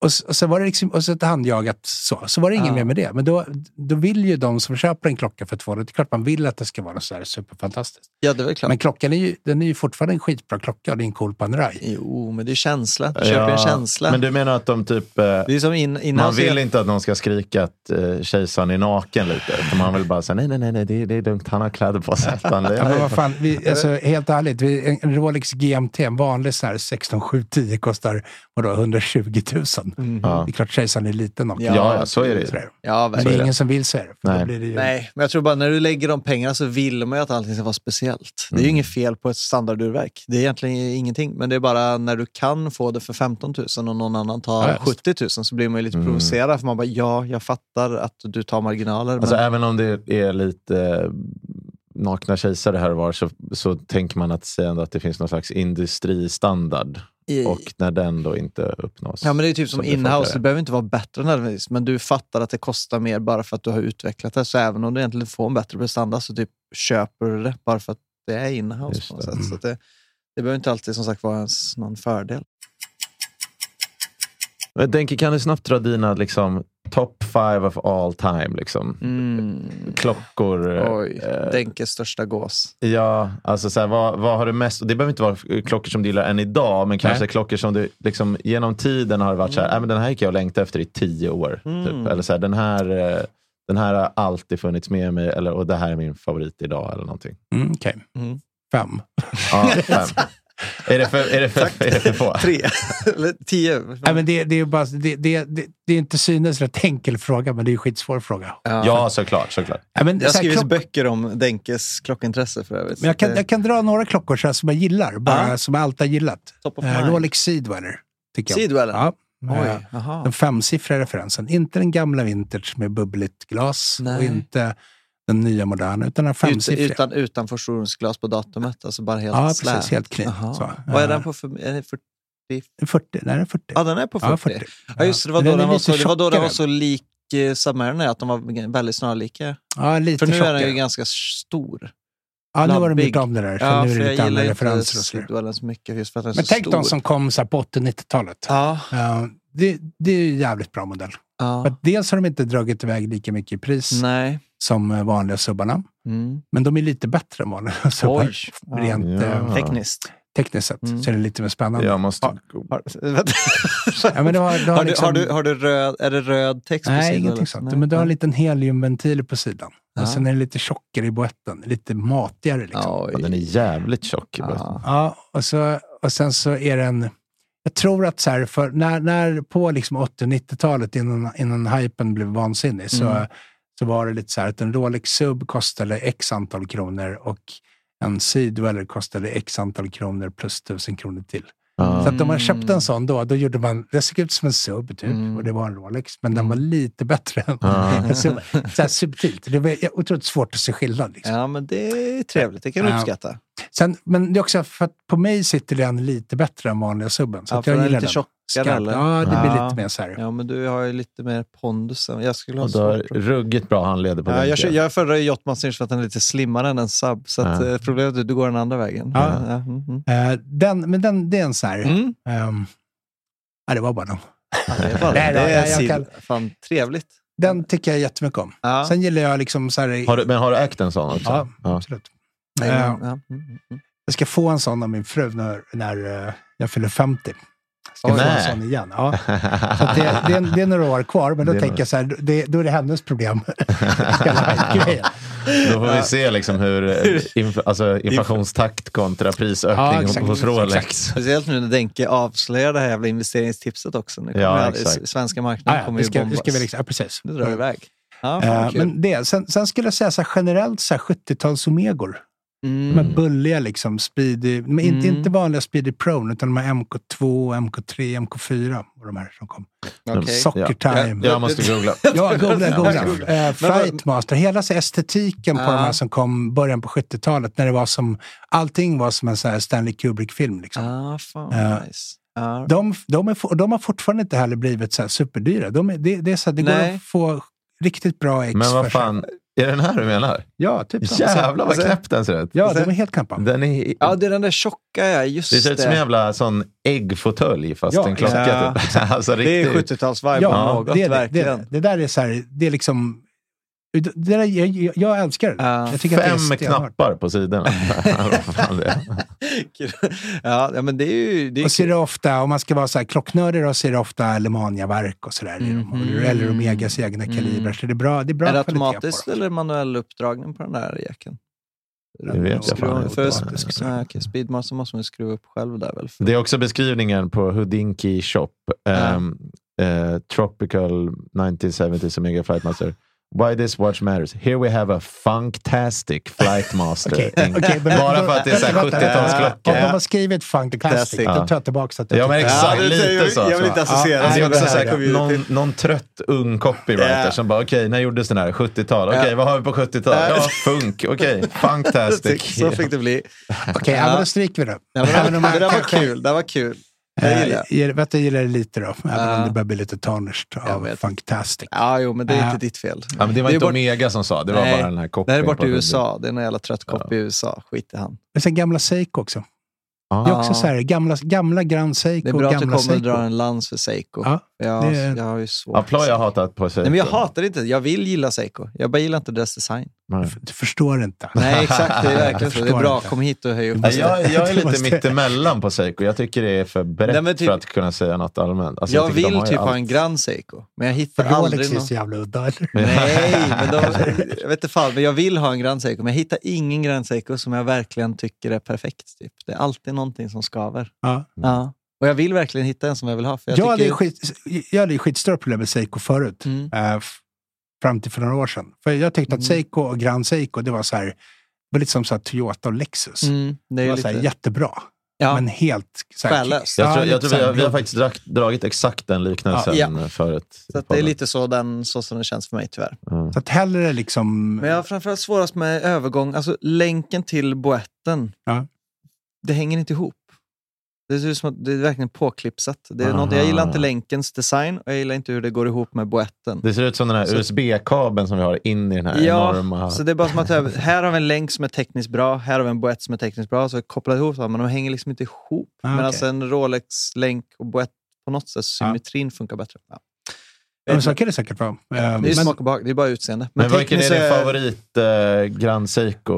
D: Och, s- och så var det liksom, och så ett handjagat så. Så var det ingen
B: Ja.
D: mer med det. Men då, då vill ju de som köper en klocka för 200, det är klart man vill att det ska vara något så här superfantastiskt.
B: Ja, det var klart.
D: Men klockan är ju, den är ju fortfarande en skitbra klocka och det är en cool Panerai.
B: Jo, men det är känsla. Du köper en känsla.
C: Men du menar att de typ... eh,
B: det är som in, innan
C: Man vill
B: så-
C: inte att någon ska skrika att eh, kejsaren är naken lite. För man vill bara säga nej, nej, nej, nej det, är- det är lugnt. Han har kläder på sig. Han
D: Ja, men vad
C: lever.
D: fan, vi, alltså, helt ärligt, vi, en- en Rolex GMT, en vanlig sån här 16 710 kostar vadå, 120 000.
B: Mhm.
D: Det
C: Ja.
D: är klart kejsaren är liten naken.
C: Mm. Ja, ja, så är det ju.
D: Sådär.
B: Ja,
D: Men
B: verkligen.
D: det är
C: det.
D: ingen som vill se det. För
C: Nej.
D: Då blir det ju,
B: Nej, men jag tror bara när du lägger de pengarna så vill man ju att allting ska vara speciellt. Det är ju
C: Mm.
B: inget fel på ett standardurverk. Det är egentligen ingenting, men det är bara när du kan få det för 15 000 och någon annan tar
D: Ja, just.
B: 70 000 så blir man ju lite
C: Mm.
B: provocerad för man bara ja, jag fattar att du tar marginaler.
C: Alltså,
B: men...
C: även om det är lite eh, nakna kejsare här och var så, så tänker man att säga ändå att det finns någon slags industristandard.
B: i-
C: Och när den då inte uppnås.
B: Ja, men det är ju typ som
C: som blir
B: inhouse.
C: folkligare.
B: Det behöver inte vara bättre nödvändigtvis, men du fattar att det kostar mer bara för att du har utvecklat det. Så även om du egentligen får en bättre prestanda så typ köper du det bara för att det är inhouse
C: Just
B: på något
C: det.
B: sätt. Så att
D: Mm.
B: det, det behöver inte alltid som sagt vara ens någon fördel.
C: Jag tänker, kan du snabbt dra dina liksom, top five of all time? Liksom?
B: Mm.
C: Klockor. eh,
B: Oj, Denkes största gås.
C: Ja, alltså så här, vad, vad har du mest, och det behöver inte vara klockor som du gillar än idag, men kanske
B: Nej. Mm.
C: klockor som du liksom, genom tiden har varit så här, "Nej, men den här gick jag och längtade efter i tio år. Typ. Eller så här, den här, eh, den här har alltid funnits med mig eller, och det här är min favorit idag eller någonting.
D: Mm, Okej.
B: Mm.
D: Fem.
C: Ja, fem. är, det för, är, det för, är det för få?
B: Tre, eller tio.
D: Nej, men det, det, är ju bara, det, det, det, det är inte synes rätt enkel fråga, men det är ju en skitsvår fråga.
C: Ja, såklart. såklart.
D: Nej, men,
B: Jag har
D: så här,
B: skrivit
D: klock-
B: böcker om Denkes klockintresse för övrigt.
D: men jag, kan,
C: eh.
B: Det-
D: jag kan dra några klockor så här, som jag gillar, bara,
B: Ja.
D: som jag alltid har gillat.
B: Top of
D: Eh,
B: mind.
D: Rolex Seedweller. Tycker jag.
B: Sidwell?
D: Ja. Eh,
B: Oj, jaha.
D: Den femsiffriga referensen. Inte den gamla vintage med bubbligt glas
B: Nej.
D: och inte den nya moderna, utan den
B: Ut,
D: femsiffriga.
B: utan utan förstoringsglas på datumet, alltså bara helt
D: ja,
B: slät.
D: precis. Helt clean.
B: Jaha.
D: Så.
B: Vad är
D: Eh,
B: den på? För, är det 40?
D: 40. Nej, den är 40.
B: Ja, den är på 40.
D: Ja,
B: Ja,
D: 40.
B: just det. Det var
D: Men
B: då
D: den är
B: den var, så,
D: lite
B: det var, då den var
D: tjockare.
B: så lik eh, Submariner, att de var väldigt snarlika.
D: Ja, lite
B: För nu är
D: tjockare.
B: den ju ganska stor.
D: ja, nu har de
B: labbig.
D: gjort om det där, så
B: Ja,
D: nu är
B: för
D: det lite
B: jag
D: andra
B: gillar ju inte
D: referenser och så vidare.
B: Sidwellen så mycket just för att den är
D: Men
B: så
D: tänk
B: stor.
D: de som kom så här på 80 90-talet.
B: Ja,
D: Eh, det, det är ju en jävligt bra modell. För
B: ja.
D: att dels har de inte dragit iväg lika mycket i pris
B: Nej.
D: som eh, vanliga subbarna.
B: Mm.
D: Men de är lite bättre än vanliga subbar.
B: Ja.
D: Rent eh,
C: Ja.
B: Tekniskt.
D: tekniskt sett
B: Mm.
D: så är det lite mer spännande.
C: Jag måste...
B: Har, vänta.
D: Ja, men det har, det har
B: har, du,
D: liksom-
B: har, du, har du röd, är det röd text på
D: Nej,
B: sidan?
D: ingenting sånt. Men du har en liten heliumventil på sidan.
B: Ja.
D: Och sen är det lite tjockare i boetten. Lite matigare liksom. Ja,
C: Ja, den är jävligt tjock. i botten.
D: och, så, och sen så är den... Jag tror att så här, för när, när på liksom 80 och 90-talet, innan, innan hypen blev vansinnig, så,
B: Mm.
D: så var det lite så här att en Rolex Sub kostade x antal kronor och en Sidweller kostade x antal kronor plus tusen kronor till. Så
C: Ja.
D: att om man köpte en
B: Mm.
D: sån då, då gjorde man, det såg ut som en sub typ,
B: Mm.
D: och det var en Rolex, men den var lite bättre än
C: Ja.
D: en sub. Så här subtilt. Det var otroligt svårt att se skillnad. Liksom.
B: Ja, men det är trevligt. Det kan du
D: Ja.
B: uppskatta.
D: Sen, men det är också för att på mig sitter den lite bättre än vanliga subben. Så
B: Ja,
D: att
B: för
D: jag
B: den är
D: gillar
B: lite
D: den.
B: tjockare,
D: Skarp.
B: eller?
D: Ja, det blir
B: Ja.
D: lite mer så här.
B: Ja, men du har ju lite mer pondus. än- Jag skulle ha
C: Och du har
B: svårt att...
C: ruggigt bra handleder på
B: Ja,
C: den.
B: jag, kö- jag föredrar ju Jotman Sinch för att den är lite slimmare än en sub. Så att,
C: Ja.
B: eh, problemet är att du går den andra vägen.
D: Ja.
B: mm, mm.
D: Eh, Den, men den, det är en så här...
B: Mm.
D: ehm, ja, det var bara den.
B: Ja, det är bara,
D: Nej,
B: det
D: nej,
B: är
D: nej, jag
B: sid-
D: kan-
B: Fan, trevligt.
D: Den tycker jag jättemycket om.
B: Ja.
D: Sen gillar jag liksom så här...
C: Har du, men har du ägt en sån också?
D: ja,
C: Ja.
D: absolut.
B: Nej,
D: Eh,
B: men- ja. Mm, mm, mm.
D: Jag ska få en sån av min fru när, när eh, jag fyller 50. Ska
C: Oj.
D: få en
C: Nej.
D: sån igen. Ja. Så att det, det, är, det är några år kvar, men då
C: Det är
D: tänker
C: några-
D: jag så här, det, då är det hennes problem. Hela grejen.
C: Då får vi se liksom hur eh, inf- alltså inflationstakt kontra
D: Ja,
C: prisökning
D: exakt.
C: hos Rolex.
B: Speciellt nu när Denke avslöjar det här jävla investeringstipset också. Nu kommer
C: Ja,
B: ja,
C: exakt.
B: svenska marknaden
D: Ja, ja,
B: kommer
D: det
B: ju
D: ska, det
B: bombas.
D: ska vi liksom, ja, precis.
B: Nu drar det iväg. Ja, fan,
D: Eh,
B: vad kul.
D: men det, sen, sen skulle jag säga så här, generellt så här 70-tals Omegor. De här
B: mm.
D: bulliga, liksom, speedy, men inte,
B: Mm.
D: inte vanliga Speedy Pro, utan de här MK2, MK3, MK4 och de här som kom.
B: Okej.
D: Soccer Time.
C: Jag måste googla.
D: Ja, googla, googla.
C: Ja,
D: Eh, Frightmaster, hela så här estetiken på
B: Ja.
D: de här som kom början på 70-talet, när det var som, allting var som en så här Stanley Kubrick-film. Liksom.
B: Ah, fan,
D: Eh,
B: nice. Ja.
D: De, de, är, for- de har fortfarande inte heller blivit så här superdyra. De är, det, det, är så här, det går
B: Nej.
D: att få riktigt bra ex
C: Men
D: för
C: vad
D: sig.
C: fan, Alltså, är den här du menar?
D: Ja, typ så.
C: Jävlar vad knäpp den ser ut.
D: Ja, de är helt knappa.
C: Den är,
B: ja, det är den där tjocka, ja. Just
C: det ser ut som en
B: det.
C: jävla sån äggfåtölj fast
D: Ja,
C: en klocka.
B: exakt.
C: Typ. Alltså,
B: Det är
C: riktigt.
B: 70-talsvibe
D: Ja,
B: ja, något,
D: det, är det, det, är
B: verkligen.
D: det. det där är så här, det är liksom... Det där, är- jag, jag, jag älskar det.
B: Ja.
D: jag tycker att det är
C: Fem
D: stenhårt.
C: knappar på sidorna. Vad fan det är.
B: Kul. ja, ja, men det är ju... Det är
D: Och så är
B: kul.
D: det ofta, om man ska vara så här klocknördig, då, så är det ofta Alemannia-verk och sådär.
B: Mhm.
D: Mm. Eller Omegas egna
B: Mm.
D: kalibrar. Så det är bra, det är bra
B: är det
D: kvalitet
B: automatisk
D: på dem.
B: eller manuell uppdragning på den där jäkeln?
C: Det vet jag fan
B: Skruva-
C: inte.
B: för
D: automatisk, så.
B: Nej, okej, Speedmaster måste man ju skruva upp själv där väl? För,
C: Det är också beskrivningen på Houdinki Shop. Ehm, eh, tropical 1970s Omega Flightmaster. Why this watch matters. Here we have a funktastic Flightmaster.
D: Okej,
C: Inc.
D: okej, men-
C: Bara för att det är så här
D: Vänta, vänta, vänta.
C: 70-talsklocka.
D: Om de har skrivit Funk Classic,
B: Classic.
D: då tar jag tillbaka att typ- jag
C: Ja, men
D: tycker-
C: exakt.
B: det-
C: lite
B: jag,
C: så.
B: Jag vill inte
D: Ja,
B: associera
D: nej,
C: Alltså,
D: men
C: jag
D: det
C: också
D: här
C: så
D: kom
C: här, någon, någon trött ung copywriter
B: Ja.
C: som bara, okej, när gjordes den här? 70-tal? Okej,
B: Ja.
C: vad har vi på 70-tal?
B: Ja.
C: Ja, funk. Okej, funktastic.
B: Så fick det bli.
D: Okej, ja. men då stryker vi det.
B: Ja, men
D: Även
B: det,
D: om
B: det
D: man
B: där var
D: kanske-
B: kul. Det där var kul. Det gillar
D: Eh,
B: jag.
D: jag, vet, jag gillar det lite då, även om
B: Ja.
D: det börjar bli lite tarnished
B: Jag
D: av
B: vet.
D: Funktastic.
B: Ja, jo, men det är
D: Ja.
B: inte ditt fel.
C: Ja, men det var
B: är
C: inte
B: bort-
C: Omega som sa, det var
B: Nej.
C: bara den här
B: Det här
C: copyn.
B: är borta
C: på
B: i
C: Houdin.
B: USA. Det är någon jävla trött kopp i USA. Skit i han.
D: Men sen gamla Seiko också. Det är
C: Ja.
D: också så här, gamla, gamla Grand
B: Det är
D: Seiko,
B: bra att du
D: gamla
B: kommer och
D: Seiko.
B: drar en lans för Seiko.
D: Ja,
B: jag,
D: det är-
B: jag har ju svårt.
C: Ja, Ploy har hatat på sig.
B: Nej, men jag hatar inte. Jag vill gilla Seiko. Jag bara gillar inte deras design.
C: Nej.
D: Du förstår inte.
B: Nej, exakt. Det är verkligen så. Det är
D: förstår
B: bra.
D: inte.
B: Kom hit och höj upp.
C: Nej, Jag, jag är
D: Du måste-
C: lite mittemellan på Seiko. Jag tycker det är för brett
B: Nej, men typ-
C: för att kunna säga något allmänt. Alltså,
B: Jag
C: tycker de
B: vill
C: har ju
B: typ
C: allt.
B: ha en Grand Seiko, men jag
D: För
B: hittar
D: Rolex
B: aldrig
D: är
B: någon.
D: så jävla udda, eller?
B: Nej, men de, jag vet inte fan, men jag vill ha en Grand Seiko, men jag hittar ingen Grand Seiko som jag verkligen tycker är perfekt. Typ. Det är alltid någonting som skaver.
C: Mm.
D: Ja.
B: Ja. Och jag vill verkligen hitta en som jag vill ha. För jag
D: Jag, hade
B: tycker,
D: ju skit, jag hade ju skitstörre problem med Seiko förut.
B: Mm.
D: eh, f- fram till för några år sedan. För jag tyckte att
B: Mm.
D: Seiko och Grand Seiko, det var så här, det var lite som så här Toyota och Lexus.
B: Mm, det
D: Det
B: är
D: var
B: ju
D: så här,
B: lite,
D: jättebra,
B: ja,
D: men helt... Så här,
B: Själlöst.
C: Jag tror, jag
D: lite
C: tror vi,
D: så
C: har,
D: här
C: vi har
D: blod-
C: faktiskt drag, dragit exakt den liknelsen
B: Ja. Ja.
C: förut.
B: så att det är lite så, den, så som den känns för mig tyvärr.
C: Mm.
D: Så att hellre liksom...
B: Men jag har framförallt svårast med övergång, alltså länken till boetten.
D: Ja.
B: Det hänger inte ihop. Det ser ut som att det är verkligen påklipsat. Det är
C: Aha.
B: något, jag gillar inte länkens design och jag gillar inte hur det går ihop med boetten.
C: Det ser ut som den här
B: Så-
C: USB-kabeln som vi har in i den här
B: Ja,
C: enorma...
B: Så det är bara som att jag- här har vi en länk som är tekniskt bra, här har vi en boett som är tekniskt bra. Så vi kopplar ihop dem, men de hänger liksom inte ihop.
D: Ah,
B: Medan
D: okej.
B: en Rolex-länk och boett, på något sätt,
D: Ja.
B: symmetrin funkar bättre. Ja.
D: Ja, men så kan det säkert vara. Eh,
B: det är
D: men,
B: smak och behag, det är bara utseende.
C: Men, vilken är
B: tekniskt
C: din
B: så
C: favorit eh, Grand Seiko?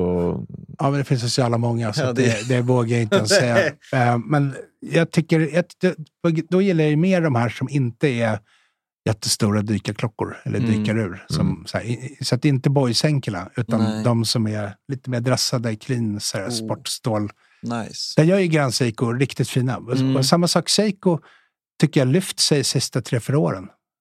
D: ja, men det finns ju så jävla många, så
B: Ja,
D: att
B: det-
D: det, det vågar jag inte ens säga. Eh, men jag tycker... Att, det- då gillar jag ju mer de här som inte är jättestora dykarklockor eller
B: Mm.
D: dykarur. Som, så, här, i- så att det är inte boysänklarna, utan
B: Nej. Oh.
D: de som är lite mer dressade, clean, så här, sportstål.
B: Nice.
D: Där gör ju Grand Seiko riktigt fina. Och-
B: Mm.
D: Och samma sak Seiko tycker jag lyft sig sista tre, fyra åren.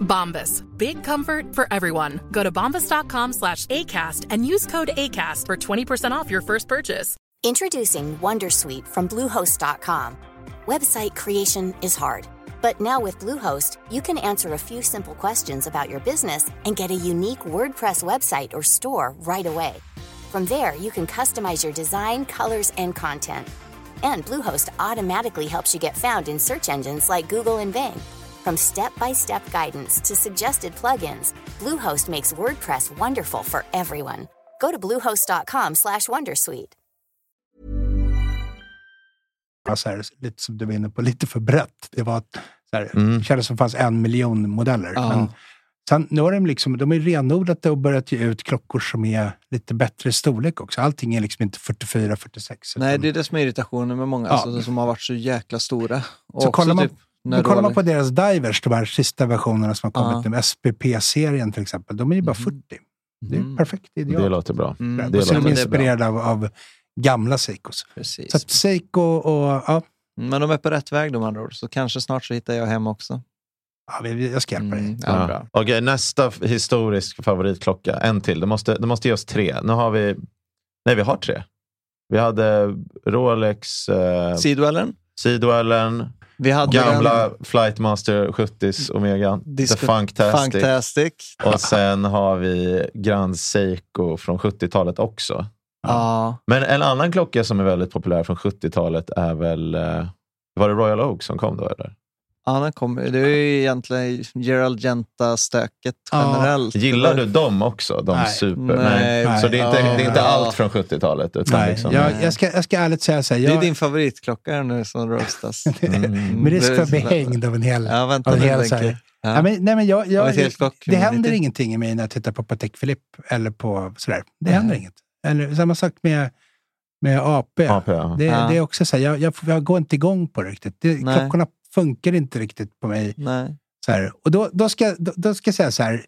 E: Bombas. Big comfort for everyone. Go to bombas.com slash ACAST and use code ACAST for 20% off your first purchase.
F: Introducing Wondersuite from Bluehost.com. Website creation is hard, but now with Bluehost, you can answer a few simple questions about your business and get a unique WordPress website or store right away. From there, you can customize your design, colors, and content. And Bluehost automatically helps you get found in search engines like Google and Bing. From step-by-step guidance to suggested plugins, Bluehost makes WordPress wonderful for everyone. Go to bluehost.com/wondersuite. slash Wondersuite.
D: bara så här, lite som du var inne på, lite för brett. Det var så här, kändes som det fanns en miljon modeller.
B: Ja.
D: Men sen, nu har de liksom, de har ju renodlat det och börjat ge ut klockor som är lite bättre i storlek också. Allting är liksom inte 44, 46.
B: Nej,
D: utan-
B: det är det som är irritationen med många,
D: Ja.
B: alltså, som har varit så jäkla stora. Och också
D: Så
B: typ
D: kollar man-
B: när
D: Då
B: du
D: kollar man
B: håller-
D: på deras divers, de här sista versionerna som har
B: Ja.
D: kommit, med SPP-serien till exempel. De är ju bara 40. Det är ju
B: Mm.
D: perfekt
C: Det
D: ideal.
C: låter bra.
B: Mm,
C: det
D: och så är
C: låter
D: de
C: bra.
D: inspirerade av, av gamla Seikos.
B: Precis.
D: Så att Seiko och... Ja,
B: Men de är på rätt väg de andra ord, så kanske snart så hittar jag hem också.
D: ja, vi- vi- jag ska hjälpa dig.
B: Mm, ja,
C: Ja.
B: bra.
C: Okej, nästa f- historisk favoritklocka. En till. Det måste, det måste ge oss tre. Nu har vi... Nej, vi har tre. Vi hade Rolex, eh,
B: Sidoellen.
C: Sidoellen,
B: Vi hade
C: gamla
B: den.
C: Flightmaster 70s Omegan,
B: Disco-
C: The Funktastic.
B: Funktastic.
C: Och sen har vi Grand Seiko från 70-talet också.
B: Ja.
C: Men en annan klocka som är väldigt populär från 70-talet är väl... eh, Var det Royal Oak som kom då? Eller?
B: Ja, den kom. Det är ju egentligen Gerald Genta-stöket
D: Ja.
B: generellt.
C: Gillar du dem också? De
D: Nej.
C: super...
B: Nej.
C: Nej. Så det är inte,
B: Nej.
C: det är inte
B: Ja.
C: allt från 70-talet? Utan
D: Nej,
C: liksom,
D: jag, jag, ska, jag ska ärligt säga så här.
B: Det är
D: Jag,
B: din favoritklocka här nu som roastas.
C: Mm.
D: Med risk för att bli
B: Mm.
D: hängd av en hel...
B: Ja, vänta
D: av en
B: nu.
D: hel
B: tänker
D: så här,
B: jag. Ja.
D: Ja, men, nej, men jag,
B: Av
D: jag,
B: ett helt block,
D: det händer
B: lite.
D: ingenting i mig när jag tittar på Patek Philippe eller på sådär. Det händer inget. Eller samma sak med, med AP.
C: AP, ja.
D: Det,
B: Ja.
D: det är också så här, jag, jag, jag går inte igång på det riktigt. Det,
B: Nej.
D: klockorna funkar inte riktigt på mig.
B: Nej.
D: Så här. Och då, då, ska, då, då ska jag säga så här,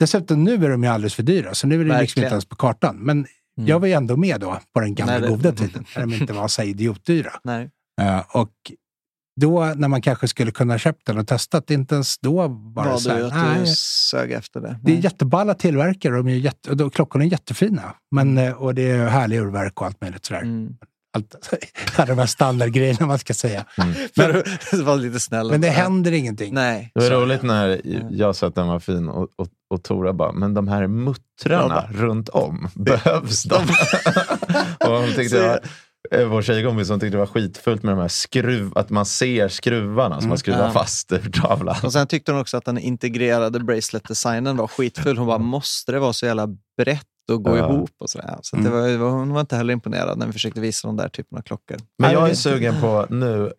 D: dessutom nu är de ju alldeles för dyra, så nu är det liksom
B: Verkligen. Mm.
D: inte ens på kartan. Men jag var ju ändå med då, på den gamla
B: Nej, det-
D: goda tiden, när de inte var så här idiotdyra.
B: Nej.
D: Eh, och då, när man kanske skulle kunna ha köpt den och testat, inte ens då var det
B: Vad
D: så här,
B: du att Mm. du
D: nej.
B: sög efter det.
D: Det är
B: Nej.
D: jätteballa tillverkare, de är ju jätte, och då, klockorna är jättefina. Men, eh, och det är härliga urverk och allt möjligt sådär.
B: Mm.
D: allt, alla de här standardgrejerna man ska säga.
B: Men, det var lite snäll.
D: Men det händer ingenting.
B: Nej.
C: Det var roligt när jag sa att den var fin och, och, och Tora bara, men de här muttrarna runt om, behövs de? och hon tyckte det var, eh, vår tjejkompis hon tyckte det var skitfullt med de här skruv, att man ser skruvarna som man skruvar
B: Ja.
C: fast ur tavlan.
B: Och sen tyckte hon också att den integrerade bracelet-designen var skitfull. Hon bara, måste det vara så jävla brett och gå
C: Mm. Ja. Mm.
B: ihop? Och sådär. Så att det var, det var- hon var inte heller imponerad när vi försökte visa de där typen av klockor.
C: Men jag är sugen på nu,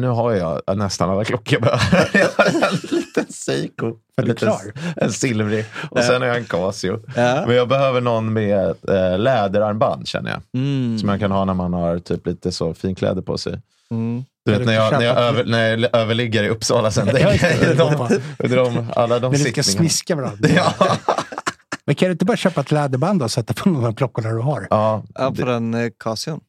C: nu har jag nästan alla klockor jag behöver. Jag har en liten Seiko. En,
D: du
C: liten,
D: klar?
C: en silvrig. Och sen har jag en Casio.
B: Ja.
C: Men jag behöver någon med eh, läderarmband känner jag.
B: Mm.
C: Som man kan ha när man har typ lite så finkläder på sig.
B: Mm.
C: Du vet,
D: du
C: när, jag, när, jag
D: köpa-
C: över, när jag överligger i Uppsala sen.
D: Ja, just det.
C: de, de, de, alla de
D: När ni ska
C: sittningarna.
D: smiska varandra. Men kan du inte bara köpa ett läderband och sätta på någon av klockorna du har?
C: Ja,
B: Ja, på
C: det,
B: den eh, Casion.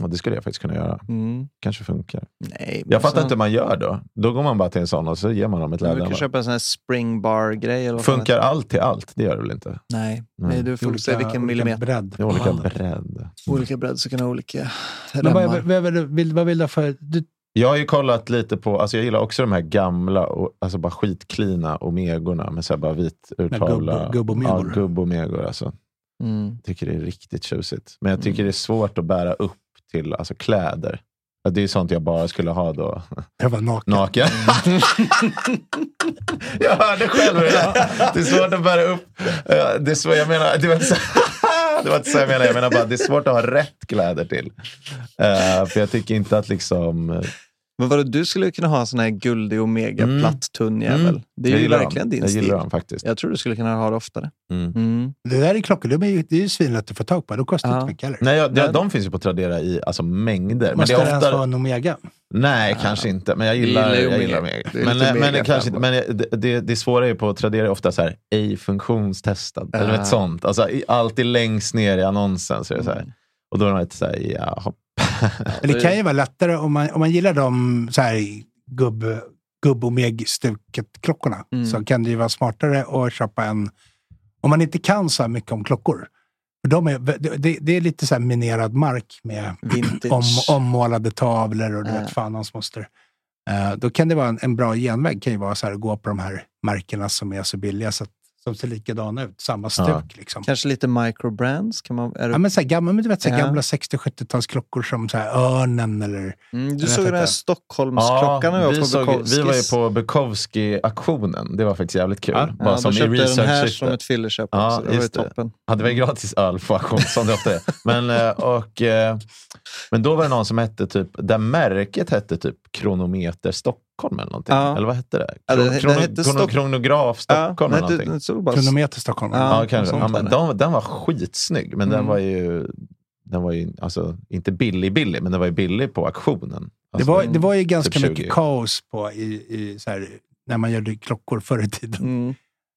C: ja, det skulle jag faktiskt kunna göra.
B: Mm.
C: kanske funkar.
B: Nej, men
C: Jag fattar
B: så-
C: inte hur man gör då. Då går man bara till en sån och så ger man dem ett
B: Men Vi kan
C: läderarmband.
B: köpa en sån här spring bar-grej. eller vad fan
C: Funkar allt till allt? Det gör det väl inte?
B: det- Nej,
C: Nej.
B: Nej du får se vilken millimeter.
D: bredd.
C: Det är olika
D: Wow.
C: bredd.
B: Olika bredd så kan du ha olika
D: Men vad,
B: remmar.
D: vad, vad, vill, vad vill du ha för... Du,
C: Jag har ju kollat lite på, alltså jag gillar också de här gamla, och, alltså bara skitklina omegorna med så här bara vit urtavla.
D: gubb- gubbomegor.
C: Ja, gubbomegor alltså.
B: Mm.
C: tycker det är riktigt tjusigt. Men jag tycker det är svårt att bära upp till alltså, kläder. Ja, Det är sånt jag bara skulle ha då.
D: jag var naken.
C: Naken.
B: Mm.
C: jag hörde själv det där. Det är svårt att bära upp. Eh, Det är svårt, jag menar, det var inte så, det var inte så jag menade. Jag menar bara det är svårt att ha rätt kläder till. Eh, för jag tycker inte att liksom... eh,
B: Men vadå, du skulle kunna ha en sån här guldig omega platt tunn jävel.
C: Mm.
B: Det är
C: jag
B: ju
C: gillar
B: verkligen
C: dem.
B: din
C: Jag
B: stil.
C: gillar dem faktiskt.
B: Jag tror du skulle kunna ha det oftare.
C: Mm.
B: Mm.
D: Det där är klockor. De är ju, det är ju svinlätt att få tag på. De kostar
B: Ja.
D: inte mycket heller.
C: Nej, jag, de,
B: Men-
C: de finns ju på Tradera i alltså, mängder. Men det
D: Måste
C: är
D: det ens
C: ofta... Alltså,
D: vara en Omega?
C: Nej, kanske inte. Men jag
B: gillar
C: gillar,
B: ju
C: jag
B: Omega.
C: gillar Omega.
B: Det är
C: Men,
B: lite
C: eh, men,
B: Omega
C: det kanske,
B: fem,
C: inte- men eh, det, det, det svåra är på att Tradera är ofta så här, ej funktionstestad. Eller
B: Ah.
C: ett sånt. Alltså, i- alltid längst ner i annonsen. Så är det så
B: Mm.
C: här. Och då är man lite så här, jaha.
D: Men det kan ju vara lättare om man, om man gillar de så här gubb, gubb och meg-stuket klockorna.
C: Mm.
D: Så kan det ju vara smartare att köpa en... Om man inte kan så här mycket om klockor. För de är, det- det, det är lite så här minerad mark med
B: Vintage.
D: om, ommålade tavlor och du
B: Ja.
D: vet fan hans moster. Eh, då kan det vara en, en bra genväg kan ju vara så här, att gå på de här märkena som är så billiga så att, som ser likadana ut. Samma stuk
C: Ja.
D: liksom.
B: Kanske lite microbrands? Kan man, är
D: Ja,
B: det,
D: men så här, gamla, men du vet, så här,
B: Ja.
D: gamla 60-70-talsklockor som så här, Örnen eller
B: mm, du
D: jag
B: såg
D: vet
B: den här
D: inte.
B: Stockholmsklockan och jag
C: vi,
B: på
C: såg, vi var ju
B: Bukowskis.
C: på Bukowski-auktionen. Det var faktiskt jävligt kul.
D: Ja.
B: Ja,
C: Bara som
B: då
C: i
B: köpte jag den här
C: research
B: som ett fillerköp
C: Ja,
B: också. Det var ju
C: just det.
B: toppen.
C: Ja, det var ju gratis öl på auktion, som det ofta är. Men, eh, och, eh, men då var det någon som hette typ, där märket hette typ Kronometer Stockholm eller någonting.
B: Ja.
C: Eller vad hette det?
B: Ja, det-
C: Krono,
B: det hette
C: krono,
B: Stock-
C: kronograf Stockholm
B: nej,
C: eller
B: det,
C: någonting.
B: det såg bara...
D: Kronometer Stockholm.
B: Ja.
C: Ja, kanske.
B: sånt
C: Ja,
B: var
C: men
B: det.
C: den, den var skitsnygg, men den
B: Mm.
C: var ju, den var ju alltså, inte billig billig, men den var ju billig på auktionen.
D: Det
C: Alltså,
D: var, det var ju ganska
B: typ
C: 20.
D: mycket kaos på i, i, så här, när man gjorde klockor förr i tiden.
B: Mm.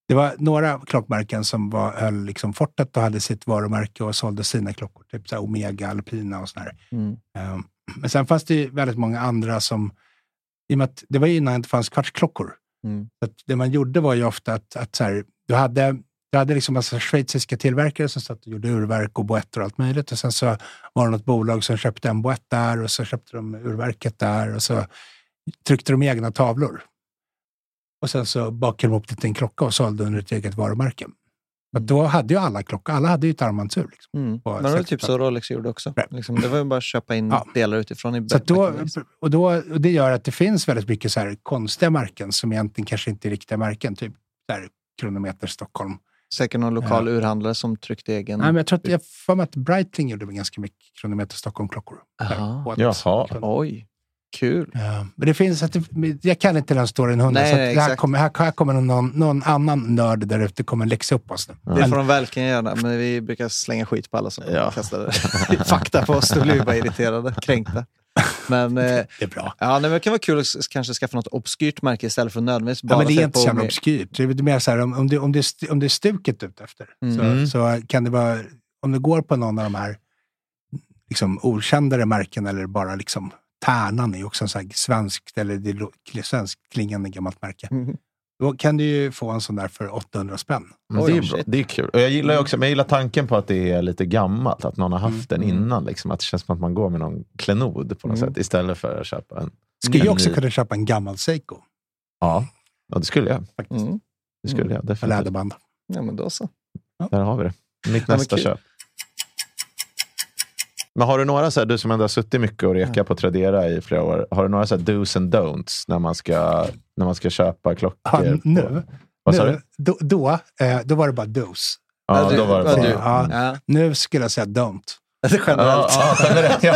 D: Det var några klockmärken som var, höll liksom fortet och hade sitt varumärke och sålde sina klockor. Typ så här Omega, Alpina och sådär.
B: Mm.
D: Um, men sen fanns det ju väldigt många andra som... I och med att det var ju innan det inte fanns kvartsklockor.
B: Mm.
D: Så att det man gjorde var ju ofta att, att så här, du hade, du hade liksom massa schweiziska tillverkare som satt och gjorde urverk och boetter och allt möjligt. Och sen så var det något bolag som köpte en boett där och så köpte de urverket där och så tryckte de egna tavlor. Och sen så bakade de upp det till en klocka och sålde under ett eget varumärke. Men då hade ju alla klocka, alla hade ju ett armbandsur. Liksom.
B: Mm.
D: På
B: Men det var ju typ
D: 60-talet.
B: så Rolex gjorde också.
D: Ja.
B: Liksom, det var ju bara att köpa in
D: Ja.
B: delar utifrån. I
D: Så att då,
B: backpacking, liksom.
D: och, då, och det gör att det finns väldigt mycket så här konstiga märken som egentligen kanske inte är riktiga märken. Typ så här, Kronometer Stockholm.
B: Mm. Säkert någon lokal urhandlare som tryckte egen.
D: Nej, men jag tror att jag har för mig att Breitling gjorde med ganska mycket Kronometer Stockholm-klockor. Där,
B: Aha.
D: på ett-
C: Jaha.
B: Oj, kul.
D: Ja, men det finns, att det, jag kan inte den storyn hundra,
B: Nej,
D: så
B: nej,
D: att här,
B: exakt.
D: kommer, här, här kommer någon, någon annan nörd där ute kommer läxa upp oss nu.
B: Det
D: Men-
B: får de verkligen göra, men vi brukar slänga skit på alla som
C: Ja.
B: kastar fakta på oss. Då blir vi bara irriterade, kränkta. Men, eh,
D: Det är bra.
B: ja, nej, men det kan vara kul att s- kanske skaffa något obskyrt märke istället för nödvändigtvis bara
D: Ja, men det
B: se
D: är inte så
B: på
D: jävla
B: med-
D: obskyrt. Det är lite mer så här, om, om, det, om, det, är st- om det är stuket ute efter,
C: Mm.
D: så, så kan det vara, om du går på någon av de här liksom, okändare märken eller bara liksom Tärnan är ju också en sån här svenskt eller det är lo- kli- svenskt klingande gammalt märke.
B: Mhm.
D: Då kan du ju få en sån där för 800 spänn.
C: Men
B: Oj,
C: det, är
B: shit. Mm.
C: bra. det är kul. Och jag gillar ju också, men jag gillar tanken på att det är lite gammalt. Att någon har haft den
B: mm.
C: innan. Liksom, att det känns som att man går med någon klenod på något sätt. Istället för att köpa en.
D: Skulle
C: En
D: ju också
C: ny.
D: kunna köpa en gammal Seiko.
C: Ja, ja det skulle jag.
D: Faktiskt.
B: Mm.
C: Det skulle jag
D: För
C: definitivt.
D: läderband.
B: Ja, men då så.
C: Där har vi det. Mitt
B: men
C: nästa
B: kul.
C: köp. Men har du några, så här, du som ändå har suttit mycket och rekat på Tradera i flera år, har du några så här do's and don'ts när man ska, när man ska köpa klockor?
D: Ja, nu,
C: På, vad sa
D: nu,
C: du?
D: då, då, eh, då var det bara dos.
C: Ja,
B: du-
C: då var det
B: ja,
C: bra.
B: du.
D: Ja.
B: Ja.
D: Nu skulle jag säga don't.
B: Det är
C: Ja,
B: generellt.
C: ja, generellt, ja.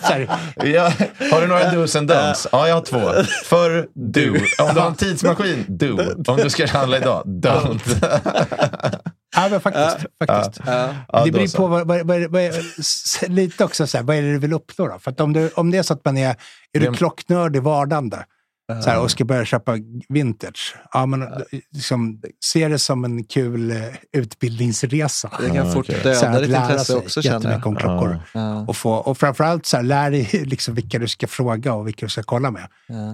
D: Så här,
C: Ja, har du några do's and don'ts? Ja, jag har två. För do. Om du har en tidsmaskin, do. Om du ska handla idag, don't.
D: Ja, men faktiskt. faktiskt.
C: Ja,
D: det
C: då
D: beror
C: så.
D: på vad, vad, vad, vad, s- lite också, så här, vad är det du vill uppnå? Då? För att om, du, om det är så att man är, är du
C: Det-
D: klocknörd i vardande så här, och ska börja köpa vintage, ja, men, liksom, se det som en kul eh, utbildningsresa.
B: Det kan fort
C: okej.
D: Så här,
B: döda
D: att
B: ditt
D: lära
B: intresse
D: sig
B: också, känner
D: jättemycket
B: jag.
D: om klockor.
B: Ja.
D: Och, få, och framförallt så här, lär dig liksom vilka du ska fråga och vilka du ska kolla med.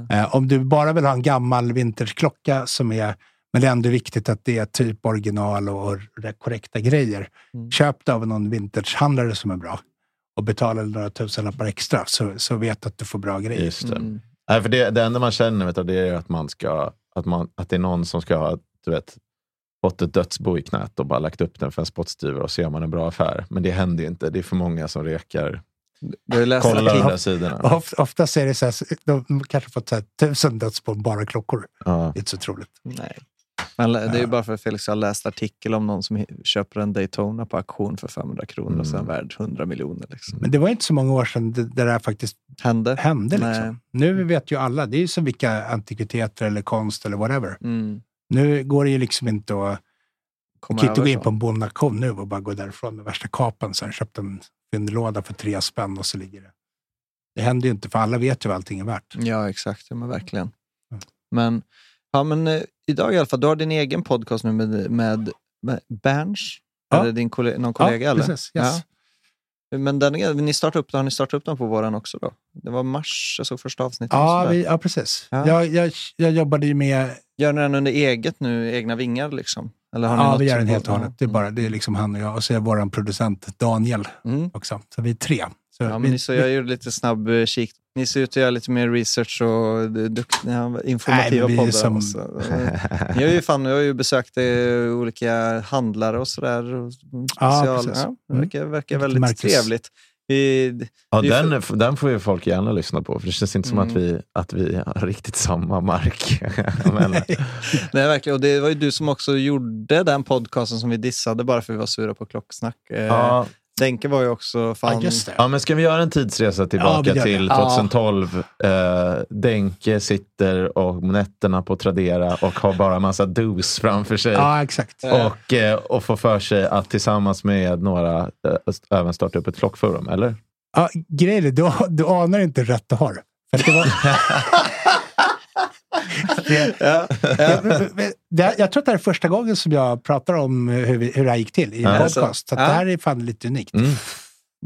B: Ja.
D: Eh, om du bara vill ha en gammal vinterklocka som är, men det är ändå viktigt att det är typ original och, och re- korrekta grejer. Köp det av någon vintagehandlare som är bra och betala några tusenlappar extra så, så vet att du får bra grejer.
C: Just det.
B: Mm.
C: Nej, för det, det enda man känner vet du, det är att, man ska, att, man, att det är någon som ska ha du vet, fått ett dödsbo i knät och bara lagt upp den för en spottstyver och så gör man en bra affär. Men det händer ju inte. Det är för många som rekar.
B: Du har ju läst
C: Kolla de
B: artiklar.
C: där sidorna.
D: Och of- Oftast är det så här, de kanske fått så här, tusen döds på bara klockor.
C: Ja.
D: Det är inte så troligt.
B: Nej. Men det är ju bara för att Felix har läst artikel om någon som hi- köper en Daytona på auktion för 500 kronor och sen
D: Mm.
B: värd 100 miljoner. Liksom.
D: Men det var inte så många år sedan det, det där faktiskt
B: Hände.
D: hände.
B: Nej.
D: Liksom. Nu vet ju alla, det är ju som vilka antikviteter eller konst eller whatever.
B: Mm.
D: Nu går det ju liksom inte att
B: Komma
D: Du kan inte
B: över
D: gå in
B: så.
D: på en bondaktion nu och bara gå därifrån med värsta kapen. Så här, köpt en fyndlåda för tre spänn och så ligger det. Det händer ju inte, för alla vet ju vad allting är värt.
B: Ja, exakt. Ja, men verkligen.
D: Mm.
B: Men, ja, men eh, idag i alla fall, du har din egen podcast nu med, med, med Berns.
D: Ja.
B: Eller din kolle någon kollega? eller?
D: precis. Yes.
B: Ja. Men den, är- ni startade upp, har ni startat upp den på våran också då? Det var mars, jag såg första avsnittet. och
D: Ja,
B: sådär.
D: vi, ja, precis.
B: Ja.
D: Jag, jag, jag jobbade ju med...
B: Gör ni den under eget nu, egna vingar liksom? Eller har ni
D: Ja,
B: något
D: vi gör
B: som
D: den
B: går-
D: helt och hållet. Det är, bara, det är liksom han och jag och så är vår producent Daniel
B: Mm.
D: också. Så vi är tre. Så
B: Ja,
D: vi,
B: men ni, så jag gjorde lite snabb eh, kik. Ni ser ut att göra lite mer research och d- duktiga, ja, informativa
D: Nej, men vi är
B: poddar.
D: som-
B: och så. Eh, Ni har ju, fan, jag har ju besökt eh, olika handlare och sådär. och
D: Ja,
B: special-
D: Ah, precis. Mm.
B: ja, Mm. det verkar, verkar
D: Lite
B: väldigt
D: Marcus.
B: trevligt. Vi,
C: Ja,
B: Det är Mm.
C: den, den får ju folk gärna lyssna på, för det känns inte som att vi, att vi har riktigt samma mark. Men,
B: nej, verkligen. Och det var ju du som också gjorde den podcasten som vi dissade bara för att vi var sura på klocksnack. Eh,
C: ja,
B: Denke var ju också fan...
D: ja, just det.
C: ja, men ska vi göra en tidsresa tillbaka
D: Ja, vi gör det.
C: till
B: Ja.
C: 2012? Eh, Denke sitter och nätterna på Tradera och har bara massa dos framför sig.
D: Ja, exakt.
C: Och, eh, och få för sig att tillsammans med några eh, st- även starta upp ett klockforum, eller?
D: Ja, grejen är, du, du anar inte hur rätt du har. För att det var... det, det, jag tror att det här är första gången som jag pratar om hur, vi, hur det här gick till i en
C: Ja.
D: podcast. Så att
B: Ja. Mm.
D: det här är fan lite unikt.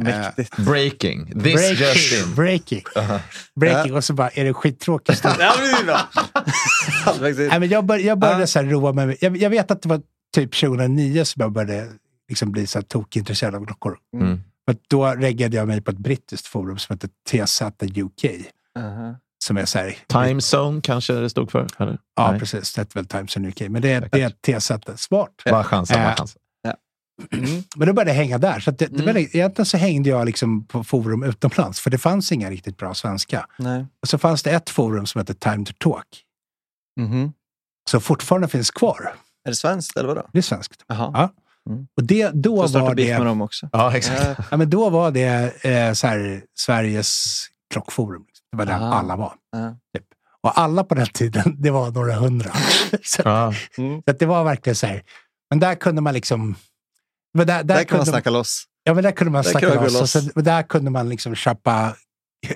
B: Mäktigt.
C: Breaking. This just in.
D: Breaking, breaking, breaking. Och så bara, är det skittråkigt?
B: Ja, men det är bra. Alltså, Faktiskt.
D: Nej, men jag, bör, jag började
B: Ja.
D: så här roa mig. med- Jag, jag vet att det var typ 2009 som jag började liksom bli så här tokintresserad av klockor.
C: Mm.
D: För att då reggade jag mig på ett brittiskt forum som heter TZ UK.
B: Aha.
D: Som är så här,
C: Time zone kanske det stod för? Eller?
D: Ja,
C: Nej.
D: precis. Det är väl Times in UK. Men det är, det är T-sättet. Smart.
C: Bara chansa, bara
D: Äh.
C: chansa.
D: Men då började jag hänga där. Så att det, det
B: Mm.
D: var, egentligen så hängde jag liksom på forum utomlands, för det fanns inga riktigt bra svenska.
B: Nej.
D: Och så fanns det ett forum som hette Time to Talk,
B: Mhm.
D: som fortfarande finns kvar.
B: Är det svenskt eller vadå?
D: Det är svenskt.
B: Jaha.
D: Ja. Och det, då,
B: Får starta
D: var
B: beef med
D: det,
B: dem också.
C: Ja, exakt.
B: Ja.
D: ja, men då var det eh, så här, Sveriges klockforum. Det var där
B: Ah.
D: alla var.
B: Ja.
D: Typ. Och alla på den tiden, det var några hundra. så
C: Ja.
D: att det var verkligen så här. Men där kunde man liksom... men Där,
B: Där kan man
D: kunde-
B: snacka loss.
D: Ja, men där kunde man
B: Där
D: snacka
B: kunde man gå
D: loss. Och
B: loss.
D: sen, och där kunde man liksom köpa,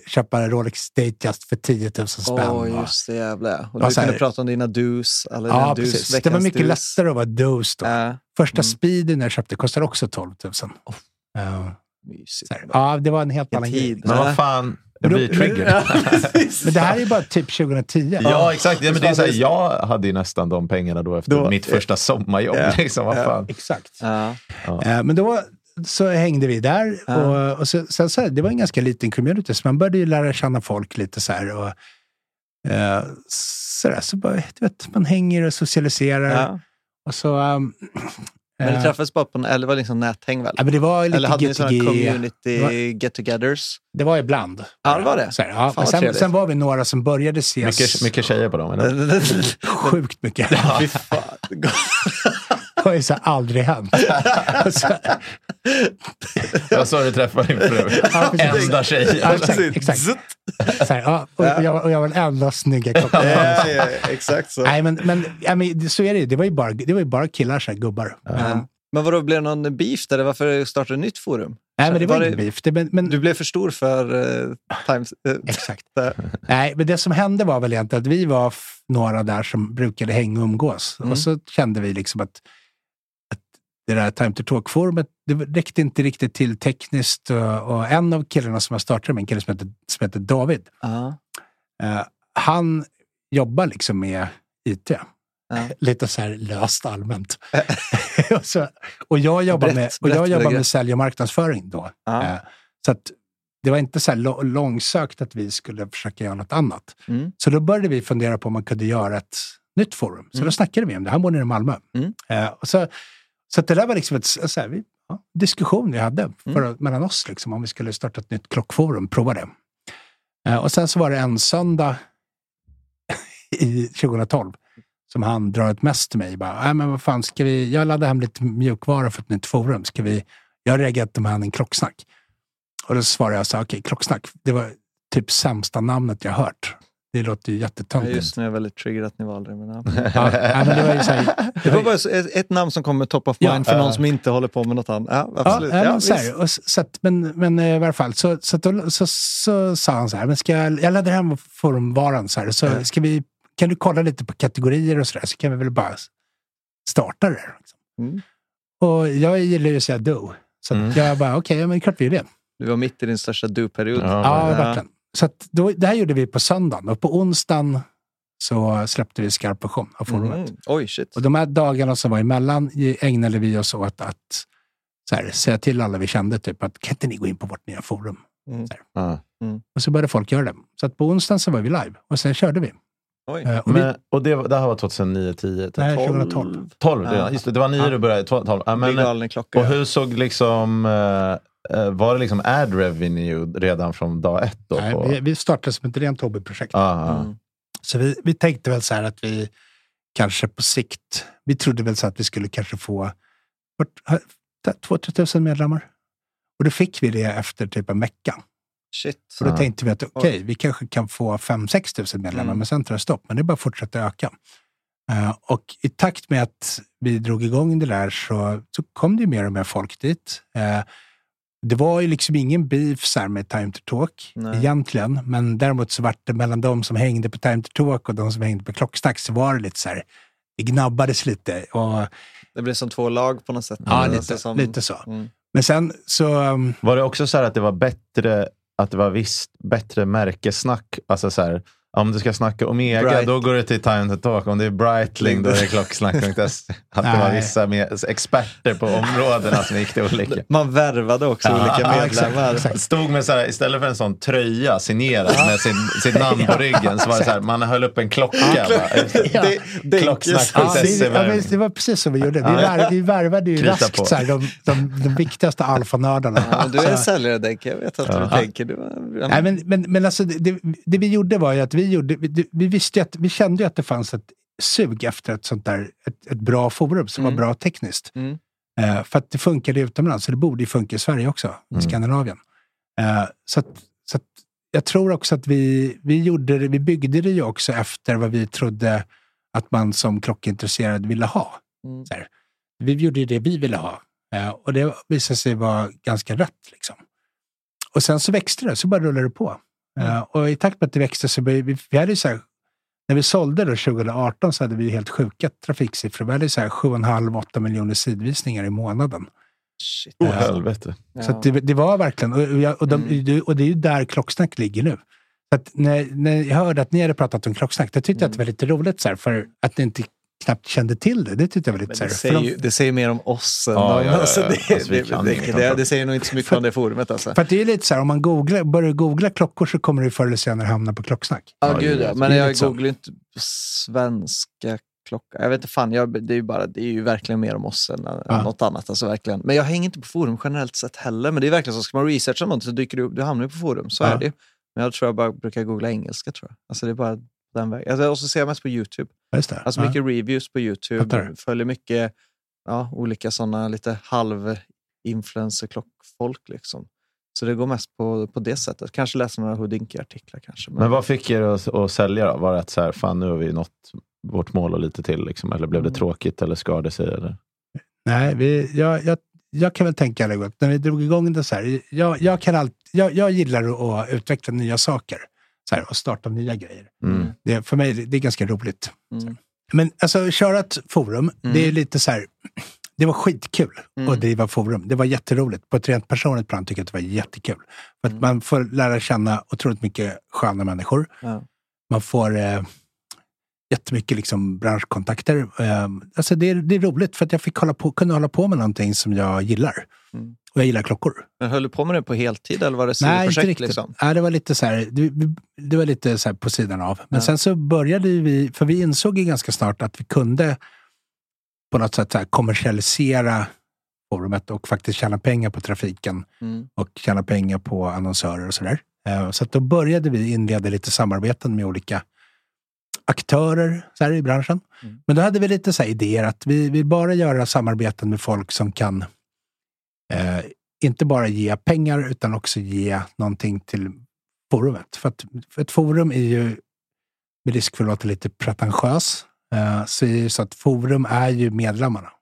D: köpa Rolex Datejust för 10 000 spänn.
B: Åh,
D: och-
B: just det jävla. Och
D: Ja,
B: du
D: så här-
B: kunde prata om dina dus. Eller
D: ja,
B: din dus,
D: precis. Det
B: veckans
D: var mycket
B: dus.
D: lättare att vara dos då.
B: Ja,
D: Första
B: mm. Oh.
D: speeden jag köpte kostade också 12 000. Ja,
B: mysigt.
D: så här. ja, det var en helt
B: En
D: annan
B: tid.
D: grej.
C: Men vad fan, Jag
D: Men
C: blir
D: då- men-
C: triggered.
D: Men det här är bara typ 2010.
C: Ja, exakt. Ja, men det är
B: Fan,
C: så här,
B: det är-
C: jag hade ju nästan de pengarna då efter
D: Då-
C: mitt första sommarjobb.
D: Ja.
C: Liksom, vad fan.
D: Exakt.
B: Ja.
D: Eh, Men då så hängde vi där.
B: Ja.
D: Och, och så, sen så här, det var en ganska liten community, så man började ju lära känna folk lite så här. Och, eh, så där, så bara, du vet, man hänger och socialiserar.
B: Ja.
D: Och så, ehm,
B: Men
D: eh,
B: ni träffades bara på en, eller var det liksom näthäng väl?
D: ja, men det var
B: eller hade
D: lite
B: ni sådana
D: GTG.
B: community get-togethers?
D: Det var ibland.
B: Ja, det var det.
D: Så här, ja.
B: Fan,
D: Men
B: vad
D: sen,
B: trevligt.
D: sen var vi några som började ses.
C: Mycket, mycket tjejer på dem. Eller?
D: Sjukt mycket.
B: Fy fan.
D: Det har ju så här aldrig hänt. Alltså,
C: Det var så du träffade din fru.
D: Ja, precis.
C: Enda tjej.
D: Ja, exakt, exakt. Så här, ja, och, jag, var- och jag var den enda snygga klockan.
B: exakt så.
D: Nej, men, men, ja, men det- så är det ju. Det var ju bara, det var ju bara killar, så här, gubbar. Men,
B: Men vadå, blev det någon beef där? eller Varför startade du ett nytt forum?
D: nej, men det var,
B: Var
D: inte
B: det-
D: beef. Det, men, men,
B: Du blev för stor för uh, Times... eh,
D: Exakt.
B: där.
D: Nej, men det som hände var väl egentligen att vi var f- några där som brukade hänga och umgås.
B: Mm.
D: Och så kände vi liksom att, att det där Time to Talk-forumet, det räckte inte riktigt till tekniskt. Och, och en av killarna som jag startade med, en kille som heter, som heter David,
B: Ja.
D: eh, han jobbar liksom med IT.
B: Ja.
D: Lite så här löst allmänt. och, så, och jag jobbar
B: Brett-
D: med, och
B: brett
D: jag jobbar med
B: begrepp.
D: sälj och marknadsföring då.
B: Ja.
D: Eh, Så att det var inte så här lo- långsökt att vi skulle försöka göra något annat.
B: Mm.
D: Så då började vi fundera på om man kunde göra ett nytt forum. Så då
B: Mm.
D: snackade vi om det. Han bor nere i Malmö.
B: Mm.
D: Eh, och så så att det där var liksom ett, så här, vi, ja, diskussion vi hade
B: Mm.
D: för, mellan oss, liksom, om vi skulle starta ett nytt klockforum. Prova det. Eh, och sen så var det en söndag i 2012 som han drar ett mess till mig. Bara, "Nej, men vad fan, ska vi, jag laddade hem lite mjukvara för ett nytt forum. Ska vi, jag har reagerat med han en klocksnack. Och då svarade jag så här, okej, klocksnack, det var typ sämsta namnet jag hört. Det låter ju
B: Ja,
D: jättetöntigt.
B: just nu är jag väldigt triggered att ni valde det. Men, ja.
D: Ja, ja, men det var ju så här,
B: Det var bara så- ett, ett namn som kommer top of
D: Ja.
B: mind för någon som inte håller på med något annat. Ja, absolut.
D: Ja,
B: Ja,
D: ja, men, så
B: visst.
D: här, och, s- så att, men, men eh, i varje fall, så, så, att då, så, så sa han så här, men ska jag, jag laddar hem formvaran så här, så ska vi, kan du kolla lite på kategorier och så där, så kan vi väl bara s- starta det. här, Liksom.
B: Mm.
D: Och jag gillar ju att säga do. Så att jag bara, okej, ja, men klart vi gör det.
B: Du var mitt i din största du-period.
D: Ja,
B: Ja.
D: verkligen. Så att då, det här gjorde vi på söndagen och på onsdagen så släppte vi skarp version av forumet.
B: Mm. Oj, shit.
D: Och de här dagarna som var emellan i- ägnade vi oss åt att så här, säga till alla vi kände, typ att kan inte ni gå in på vårt nya forum?
B: Mm.
D: Så här.
C: Ja.
D: Och så började folk göra det. Så att på onsdagen så var vi live och sen körde vi.
B: Oj.
D: Eh, Och vi
C: Men, och det, det här var 2009, 10,
D: Nej,
C: 12?
D: 2012.
C: 12 redan.
B: Ja.
C: Just det, det var 9
D: Ja.
C: du började. 12, 12. Ja,
B: Big
C: men,
B: galen klocka.
C: och hur såg liksom... eh, eh, Var det liksom ad revenue redan från dag ett? Då,
D: nej,
C: på, Ah,
D: vi, vi startade som ett rent hobbyprojekt.
C: Ja, ja.
B: Mm.
D: Så vi, vi tänkte väl så här att vi kanske på sikt, vi trodde väl så att vi skulle kanske få 2-3 000 medlemmar. Och då fick vi det efter typ en vecka.
B: Shit.
D: Och då
C: Ja.
D: tänkte vi att okej, vi kanske kan få 5-6 tusen medlemmar,
B: Mm.
D: men sen tar det stopp. Men det bara fortsätter öka. Eh, och i takt med att vi drog igång det där så, så kom det ju mer och mer folk dit. Eh, det var ju liksom ingen beef så här med Time to Talk
B: Nej.
D: egentligen, men däremot så var det mellan de som hängde på Time to Talk och de som hängde på Klockstack så var det lite så här, det gnabbades lite. Och,
B: Det blev som två lag på något sätt.
D: ja,
B: Alltså
D: lite,
B: som-
D: lite så.
B: Mm.
D: Men sen så... ehm,
C: Var det också så här att det var bättre, att det var visst, bättre märkessnack? Alltså så här, om du ska snacka Omega,
B: Bright.
C: då går du till Time to Talk. Om det är Breitling, då är det klocksnack.se. Att det var
D: Nej.
C: vissa med, experter på områdena som gick till olika.
B: Man värvade också olika
D: ja, exakt,
B: medlemmar.
D: exakt.
C: Stod med så här, istället för en sån tröja signerad med sin, sitt namn på ryggen, så var det så här, man höll upp en klocka.
B: Ja.
C: Ja.
B: Det- det-
D: Ja, det,
C: Klocksnack.se.
D: ja, men det var precis så vi gjorde. Vi, vär, vi värvade ju
C: Krita
D: raskt
C: på.
D: så här, de, de, de viktigaste alfanördarna.
B: Ja, men du är en
D: Så-
B: säljare, Denke. Jag vet att du tänker. Du,
D: Nej, men, men, men alltså, det- det, det vi gjorde var ju att vi, gjorde, vi, vi, visste ju att, vi kände ju att det fanns ett sug efter ett sånt där, ett, ett bra forum som
B: Mm.
D: var bra tekniskt.
B: Mm.
D: Eh, för att det funkade utomlands, så det borde ju funka i Sverige också,
B: Mm.
D: i Skandinavien. Eh, så att, så att jag tror också att vi, vi, gjorde det, vi byggde det ju också efter vad vi trodde att man som klockintresserad ville ha.
B: Mm.
D: Så här. Vi gjorde ju det vi ville ha eh, och det visade sig vara ganska rätt. Liksom. Och sen så växte det, så bara rullade det på.
B: Mm.
D: Eh, och i takt med att det växte så började vi, vi hade ju så här, när vi sålde då 2018 så hade vi helt sjuka trafiksiffror. Vi hade ju så här 7,5-8 miljoner sidvisningar i månaden. Eh,
B: Shit.
C: Oh, helvete.
D: Så att det, det var verkligen, och, jag, och, de,
B: Mm.
D: det- och det är ju där klocksnack ligger nu. Så att när, när jag hörde att ni hade pratat om klocksnack, det tyckte jag att
B: Mm.
D: det var lite roligt så här, för att ni inte knappt kände till det. Det tyckte jag var lite
B: Men
D: så
B: det,
D: här,
B: säger
D: för de-
B: ju, det säger mer om oss än
C: Ja,
B: dem.
C: ja, ja,
B: Alltså,
C: ja.
B: det,
C: Alltså, vi
B: det,
C: kan
B: det,
C: ingenting
B: det,
C: om
B: det säger nog inte så mycket om det forumet. Alltså.
D: För att det är lite så här, om man googlar, börjar googla klockor så kommer du förr eller senare hamna på klocksnack.
B: Ja, gud ja. Men
D: Det är
B: jag
D: lite så.
B: googlar ju inte på svenska klockan. Jag vet inte fan, jag, det, är ju bara, det är ju verkligen mer om oss än än
D: Ja.
B: något annat. Alltså, verkligen. Men jag hänger inte på forum generellt sett heller. Men det är verkligen så, ska man researcha något så dyker du upp, du hamnar ju på forum. Så
D: Ja.
B: är det ju. Men jag tror jag bara brukar googla engelska tror jag. Alltså det är bara den vägen. Alltså, och så ser jag mest på YouTube.
D: Ja, Just det.
B: Alltså
D: Ja.
B: mycket reviews på YouTube.
D: Fattar.
B: Följer mycket ja, olika sådana lite halv-influencer-klockfolk. Liksom. Så det går mest på, på det sättet. Kanske läser några Houdinki-artiklar kanske.
C: Men vad fick er att, att sälja då? Var det att så här, fan nu har vi nått vårt mål och lite till? Liksom, eller blev det
B: Mm.
C: tråkigt eller skar det sig? Eller?
D: Nej, vi, jag, jag, jag kan väl tänka det gott. När vi drog igång det så här, jag, jag, kan allt, jag, jag gillar att utveckla nya saker så här, och starta nya grejer.
C: Mm.
B: Oh,
D: Det, för mig det, det är ganska roligt.
B: Mm.
D: Men alltså, köra ett forum,
B: Mm.
D: det är lite så här, det var skitkul
B: Mm.
D: att driva forum. Det var jätteroligt. På ett rent personligt plan tycker jag att det var jättekul. För att
B: Mm.
D: man får lära känna otroligt mycket sköna människor.
B: Ja.
D: Man får eh, jättemycket liksom, branschkontakter. Eh, alltså det, är, det är roligt för att jag fick hålla på, kunde hålla på med någonting som jag gillar.
B: Mm.
D: Och jag gillar klockor.
B: Men höll du på med det på heltid eller var det
D: Nej, inte
B: sidoprojekt?
D: riktigt.
B: Liksom?
D: Nej, det var lite så här, det, det var lite så här på sidan av. Men
B: Ja.
D: sen så började ju vi, för vi insåg ju ganska snart att vi kunde på något sätt så här kommersialisera forumet och faktiskt tjäna pengar på trafiken
B: Mm.
D: och tjäna pengar på annonsörer och sådär. Eh, Så att då började vi inleda lite samarbeten med olika aktörer så här, i branschen.
B: Mm.
D: Men då hade vi lite så här idéer att vi vill bara göra samarbeten med folk som kan eh, inte bara ge pengar utan också ge någonting till forumet. För att för ett forum är ju, med risk för att låta lite pretentiös, eh, så, är det ju så att forum är ju medlemmarna.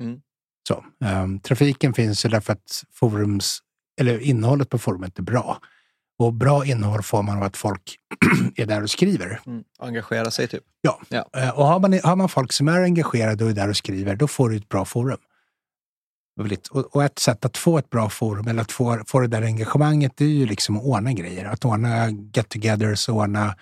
B: Mm.
D: Så, ehm, trafiken finns ju därför att forums, eller innehållet på forumet är bra. Och bra innehåll får man av att folk är där och skriver.
B: Mm. Engagera sig typ.
D: Eh, Och har man, har man folk som är engagerade och är där och skriver, då får du ett bra forum. Väldigt- Och, och ett sätt att få ett bra forum, eller att få, få det där engagemanget, det är ju liksom att ordna grejer. Att ordna get-togethers, ordna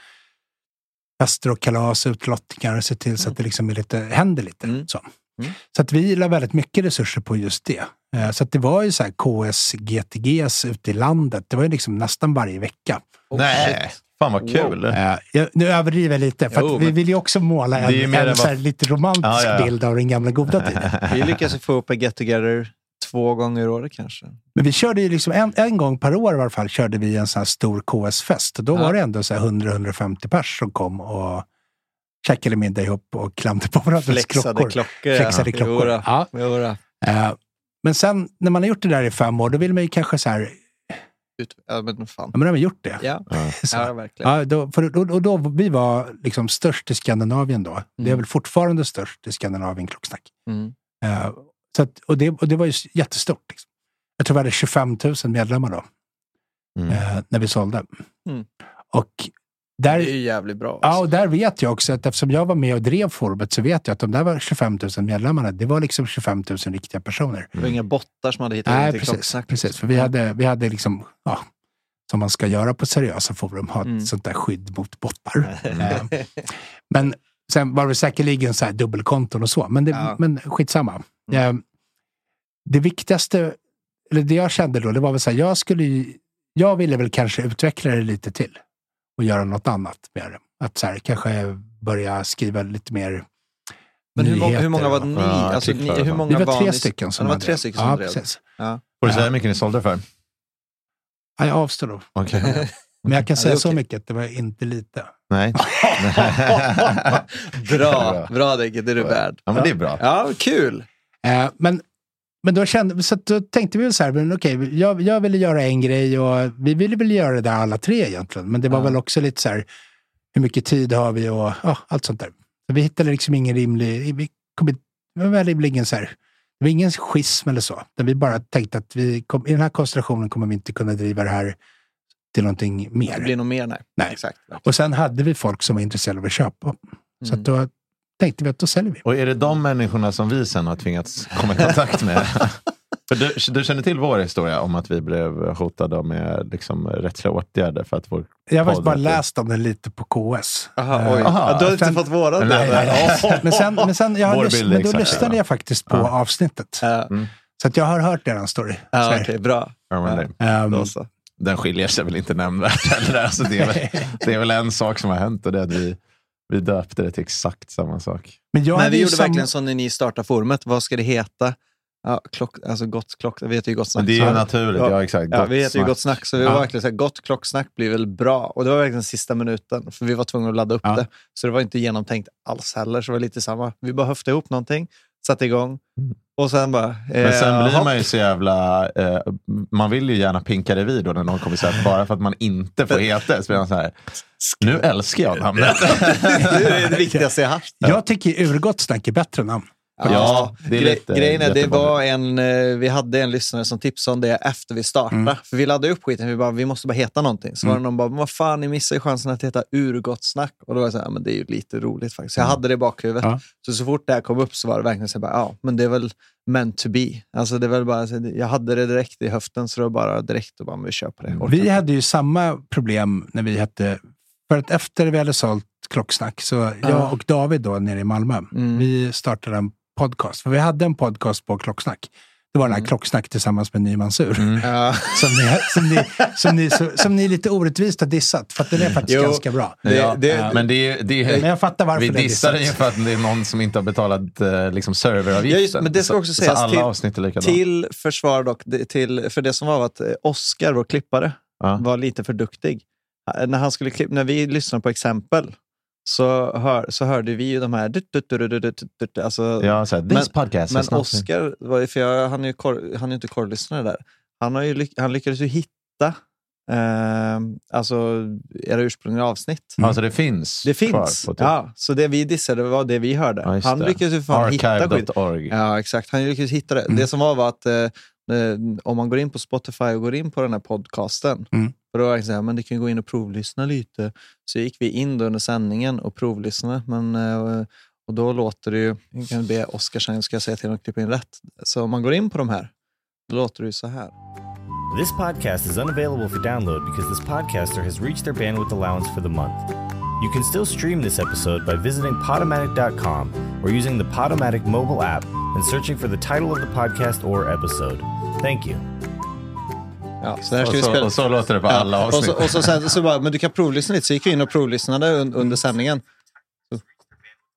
D: fester och kalas, utlottningar och se till så att det liksom är lite, händer lite.
B: Mm.
D: Så.
B: Mm.
D: så att vi la väldigt mycket resurser på just det. Eh, Så att det var ju så här KS, GTGs ute i landet. Det var ju liksom nästan varje vecka.
B: Oh,
C: Nej,
B: shit.
C: fan vad kul.
D: Eh, jag, nu överdriver jag lite, för
C: Jo,
D: att vi
C: men-
D: vill ju också måla
C: Det är ju
D: en,
C: mer än
D: en
C: vad-
D: så här, lite romantisk
C: Ja, ja, ja.
D: bild av den gamla goda tiden.
B: Vi lyckas ju få upp en get-together två gånger i året kanske.
D: Men vi körde ju liksom en, en gång per år i alla fall, körde vi en sån här stor KS-fest. Och Då
B: Ja.
D: var det ändå så här 100-150 pers som kom och käkade middag ihop och klämde på varandras klockor.
B: klockor.
D: Flexade klockor.
B: Jodå.
D: Ja.
B: Jodå.
D: Eh, men sen när man har gjort det där i fem år, då vill man ju kanske så här,
B: Ut- Ja, men fan.
D: ja men nu har vi gjort det.
B: Ja,
D: Så.
B: ja verkligen.
D: Ja, då, för, och, och då vi var liksom störst i Skandinavien då. Det är
B: Mm.
D: väl fortfarande störst i Skandinavien, klocksnack.
B: Mm.
D: Eh, så att, och, det, och det var ju s- jättestort. Liksom. Jag tror vi hade 25 000 medlemmar då,
C: Mm.
D: eh, när vi sålde.
B: Mm.
D: Och
B: Det
D: där,
B: är ju alltså- jävligt bra.
D: ja, och där vet jag också att eftersom jag var med och drev forumet så vet jag att de där var 25 000 medlemmarna, det var liksom 25 000 riktiga personer.
B: Det var inga bottar som hade hittat in
D: Nej,
B: till
D: precis.
B: klocksnack.
D: precis. För vi hade, vi hade liksom, ja, som man ska göra på seriösa forum, ha ett
B: Mm.
D: sånt där skydd mot bottar. Eh, men sen var det säkerligen så här dubbelkonton och så, men, det,
B: Ja. Mm.
D: men skitsamma. Eh, det viktigaste, eller det jag kände då, det var väl så här, jag skulle ju, jag ville väl kanske utveckla det lite till och göra något annat med det. Att så här, kanske börja skriva lite mer
B: Men hur, många,
D: nyheter.
B: hur många var ni?
C: Ja,
B: Alltså,
C: artiklar
B: ni
C: och
B: hur
C: sånt.
D: Vi
B: många
D: typ var
B: ni-
D: tre stycken som
B: Ja, det var
D: hade
B: tre stycken som
D: ja,
B: drev.
D: precis.
C: Får du säga hur mycket ni sålde för?
D: Ja, jag avstår då.
C: Okej.
D: Men jag kan
B: Ja,
D: säga
B: det är
D: så
B: okej.
D: mycket, det var inte lite.
C: Nej.
B: bra, bra Digge, det är du värd.
C: Ja, men det är bra.
B: Ja, kul!
D: Eh, men, men då, kände, så att då tänkte vi väl så här, men okej, jag, jag ville göra en grej och vi ville väl göra det där alla tre egentligen. Men det var
B: Ja.
D: väl också lite så här, hur mycket tid har vi och ja, allt sånt där. Så vi hittade liksom ingen rimlig, vi kom, inte- det var väl ingen så här, det var ingen schism eller så. Utan vi bara tänkte att vi kom, i den här konstellationen kommer vi inte kunna driva det här till någonting
B: Det
D: mer.
B: blir nog mer, nej.
D: Nej.
B: Exakt.
D: Och sen hade vi folk som var intresserade av att köpa. Så
B: Mm.
D: att då tänkte vi att då säljer vi.
C: Och är det de människorna som vi sen har tvingats komma i kontakt med? För du, du känner till vår historia om att vi blev hotade med liksom, rättsliga åtgärder för att vår
D: Jag har faktiskt bara
C: podd-
D: läst om den lite på KS.
B: Aha, oj.
C: Eh, Aha.
B: Ja, du har inte
D: Sen-
B: fått våra
C: Nej, nej, nej.
D: Men, sen, men, sen, jag
C: Vår
D: har lys-
C: bild är
D: men då
C: exakt
D: lyssnade
C: samma.
D: jag faktiskt på
C: Ja.
D: avsnittet.
B: Ja,
C: Mm,
D: Så att jag har hört er story.
B: Eh, ja,
D: Så här.
B: okej, bra.
C: Ja, men det-
D: Ehm,
B: Då så.
C: Den skiljer sig väl inte nämnvärt heller. Alltså, det, är väl, det är väl en sak som har hänt och det är att vi, vi döpte det till exakt samma sak.
D: men jag
B: Men
D: hade
B: vi
D: ju
B: gjorde
D: samma-
B: verkligen så när ni startade forumet. Vad ska det heta? Ja, klock, alltså gott klock, vi heter ju Gott
C: Men
B: Snack.
C: det är ju
B: så-
C: naturligt. Ja,
B: Ja.
C: exakt.
B: Ja,
C: Gott
B: vi heter ju
C: snack.
B: Gott Snack, så vi
C: Ja.
B: var verkligen så här, Gott Klocksnack blir väl bra. Och det var verkligen sista minuten, för vi var tvungna att ladda upp
D: Ja.
B: det. Så det var inte genomtänkt alls heller, så det var lite samma. Vi bara höftade ihop någonting, satte igång och sen bara...
C: Mm.
B: eh,
C: Men sen blir
B: hopp.
C: man ju så jävla... Eh, man vill ju gärna pinka det vid då när någon kommer säga att bara för att man inte får heta det så blir man så här... Nu älskar jag namnet.
B: det är det viktigaste jag haft.
D: Jag tycker urgott snack är bättre namn.
C: Ja, det är
B: Gre-
C: lite
B: grejen är, det
C: jättevanligt.
B: var en, eh, vi hade en lyssnare som tipsade om det efter vi startade.
C: Mm.
B: För vi laddade upp skiten, vi bara, vi måste bara heta någonting. Så var det någon bara, men vad fan, ni missar ju chansen att heta Urgott Snack. Och då var jag så här, "Ja, men det är ju lite roligt faktiskt.
C: Mm.
B: Så jag hade det i bakhuvudet.
D: Ja.
B: Så, så fort det här kom upp så var det verkligen så här, bara, ja, men det är väl meant to be. Alltså det är väl bara, så- jag hade det direkt i höften, så det var bara direkt och bara, men vi kör på det. Orkar
D: Vi
B: inte.
D: hade ju samma problem när vi hette... För att efter vi hade sålt Klocksnack, så jag och David då nere i Malmö,
B: Mm.
D: vi startade en podcast. För vi hade en podcast på Klocksnack. Det var den här
B: Mm.
D: Klocksnack tillsammans med Nyman Sur.
B: Ja.
D: Som, ni, som, ni, som, ni, så- som ni lite orättvist har dissat, för att den är faktiskt
B: Mm. Jo.
D: ganska bra.
B: Det-
C: Ja,
B: det-
C: men det är, ju- det är,
D: Men jag fattar varför
C: vi
D: det är
C: dissar det ju
D: dissat.
C: för att det är någon som inte har betalat eh, liksom
B: Ja,
C: serveravgiften.
B: just, men det ska
C: Så-
B: också
C: så
B: sägas
C: alla
B: till,
C: avsnitt är likadana.
B: till försvar dock, det- till, för det som var var att eh, Oscar, vår klippare,
C: Ja.
B: var lite för duktig. Eh, När, han skulle klippa, när vi lyssnade på exempel så, hör, så hörde vi ju de här... Dut, dut, dut, dut, dut, dut, dut, alltså,
C: Ja, så här, this
B: Men-
C: podcast
B: men
C: is not-
B: Oscar, var ju- för jag, han är ju kor, han är ju inte korrlyssnare där. Han, har ju, lyck- han lyckades ju hitta eh, alltså, era ursprungliga avsnitt.
C: Alltså det finns
B: Mm. Det
C: kvar
B: finns.
C: på typ-
B: Ja, så det vi dissade var det vi hörde.
C: Ja, just
B: han
C: det.
B: lyckades ju fan hitta skit.
C: Archive.org.
B: Ja, exakt. Han lyckades hitta
C: Mm.
B: det. Det som var var att eh, eh, om man går in på Spotify och går in på den här podcasten,
D: Mm.
B: och då var jag så här, men det kan ju gå in och provlyssna lite. Så gick vi in då under sändningen och provlyssnade, men, eh, och då låter det ju, jag kan be Oskarsson, ska jag säga till honom att klippa in rätt. Så om man går in på de här, då låter det ju så här.
G: This podcast is unavailable for download because this podcaster has reached their bandwidth allowance for the month. You can still stream this episode by visiting Podomatic.com or using the Podomatic mobile app and searching for the title of the podcast or episode. Thank you.
B: Ja, så där ska
C: Och
B: vi
C: så,
B: spela.
C: och så låter det på alla
B: och
C: avsnitt. Mm.
B: så, och så, sen, så bara, men du kan provlyssna lite. Så gick vi in och provlyssnade un, under sändningen.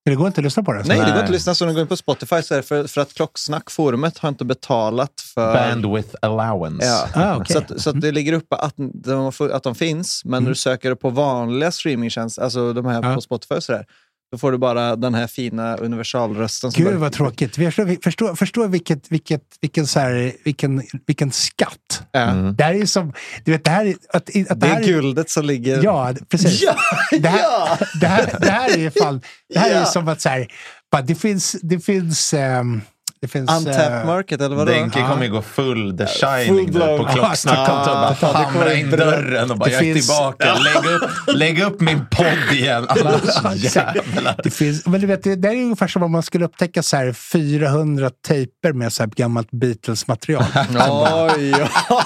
D: Det går inte att lyssna på det.
B: Nej, det går inte
C: Nej.
B: att lyssna. Så när du går in på Spotify så är det för, för att Klocksnack-forumet har inte betalat för...
C: Bandwidth allowance.
B: Ja.
D: Ah, okej. Mm.
B: Så, att, så att det ligger uppe att de, får- att de finns, men när du söker på vanliga streamingtjänster, alltså de här
D: Ja.
B: på Spotify och sådär, då får du bara den här fina universalrösten. som
D: Gud
B: bara-
D: vad tråkigt. Vi Förstår, vi förstår, förstår vilket, vilket, vilken, så här, vilken, vilken skatt.
B: Ja.
D: Det här är ju som... Du vet, det här är... Att, att
B: Det
D: här
B: är
D: är-
B: guldet som ligger...
D: Ja, precis.
B: Ja,
D: det, här,
B: ja.
D: det, här, det här är ju fan, det här är
B: Ja.
D: ju som att så här, bara, det finns, det finns, ehm, det finns...
B: Untapped
D: eh,
B: market, eller vadå?
C: Denke kommer ju gå full the shining nu
B: blown.
C: på klocksnack.
D: Ja,
C: Han tar
D: totalt.
C: bara hamra in
D: Det kommer-
C: dörren och bara,
D: Det
C: jag är
D: finns-
C: tillbaka. Lägg upp, lägg upp min podd igen,
D: Ja,
C: annars
D: exakt.
C: jävlar.
D: Det, finns, men du vet, det, det här är ungefär som om man skulle upptäcka så här 400 tejper med så här gammalt Beatles-material.
B: Oj, ja.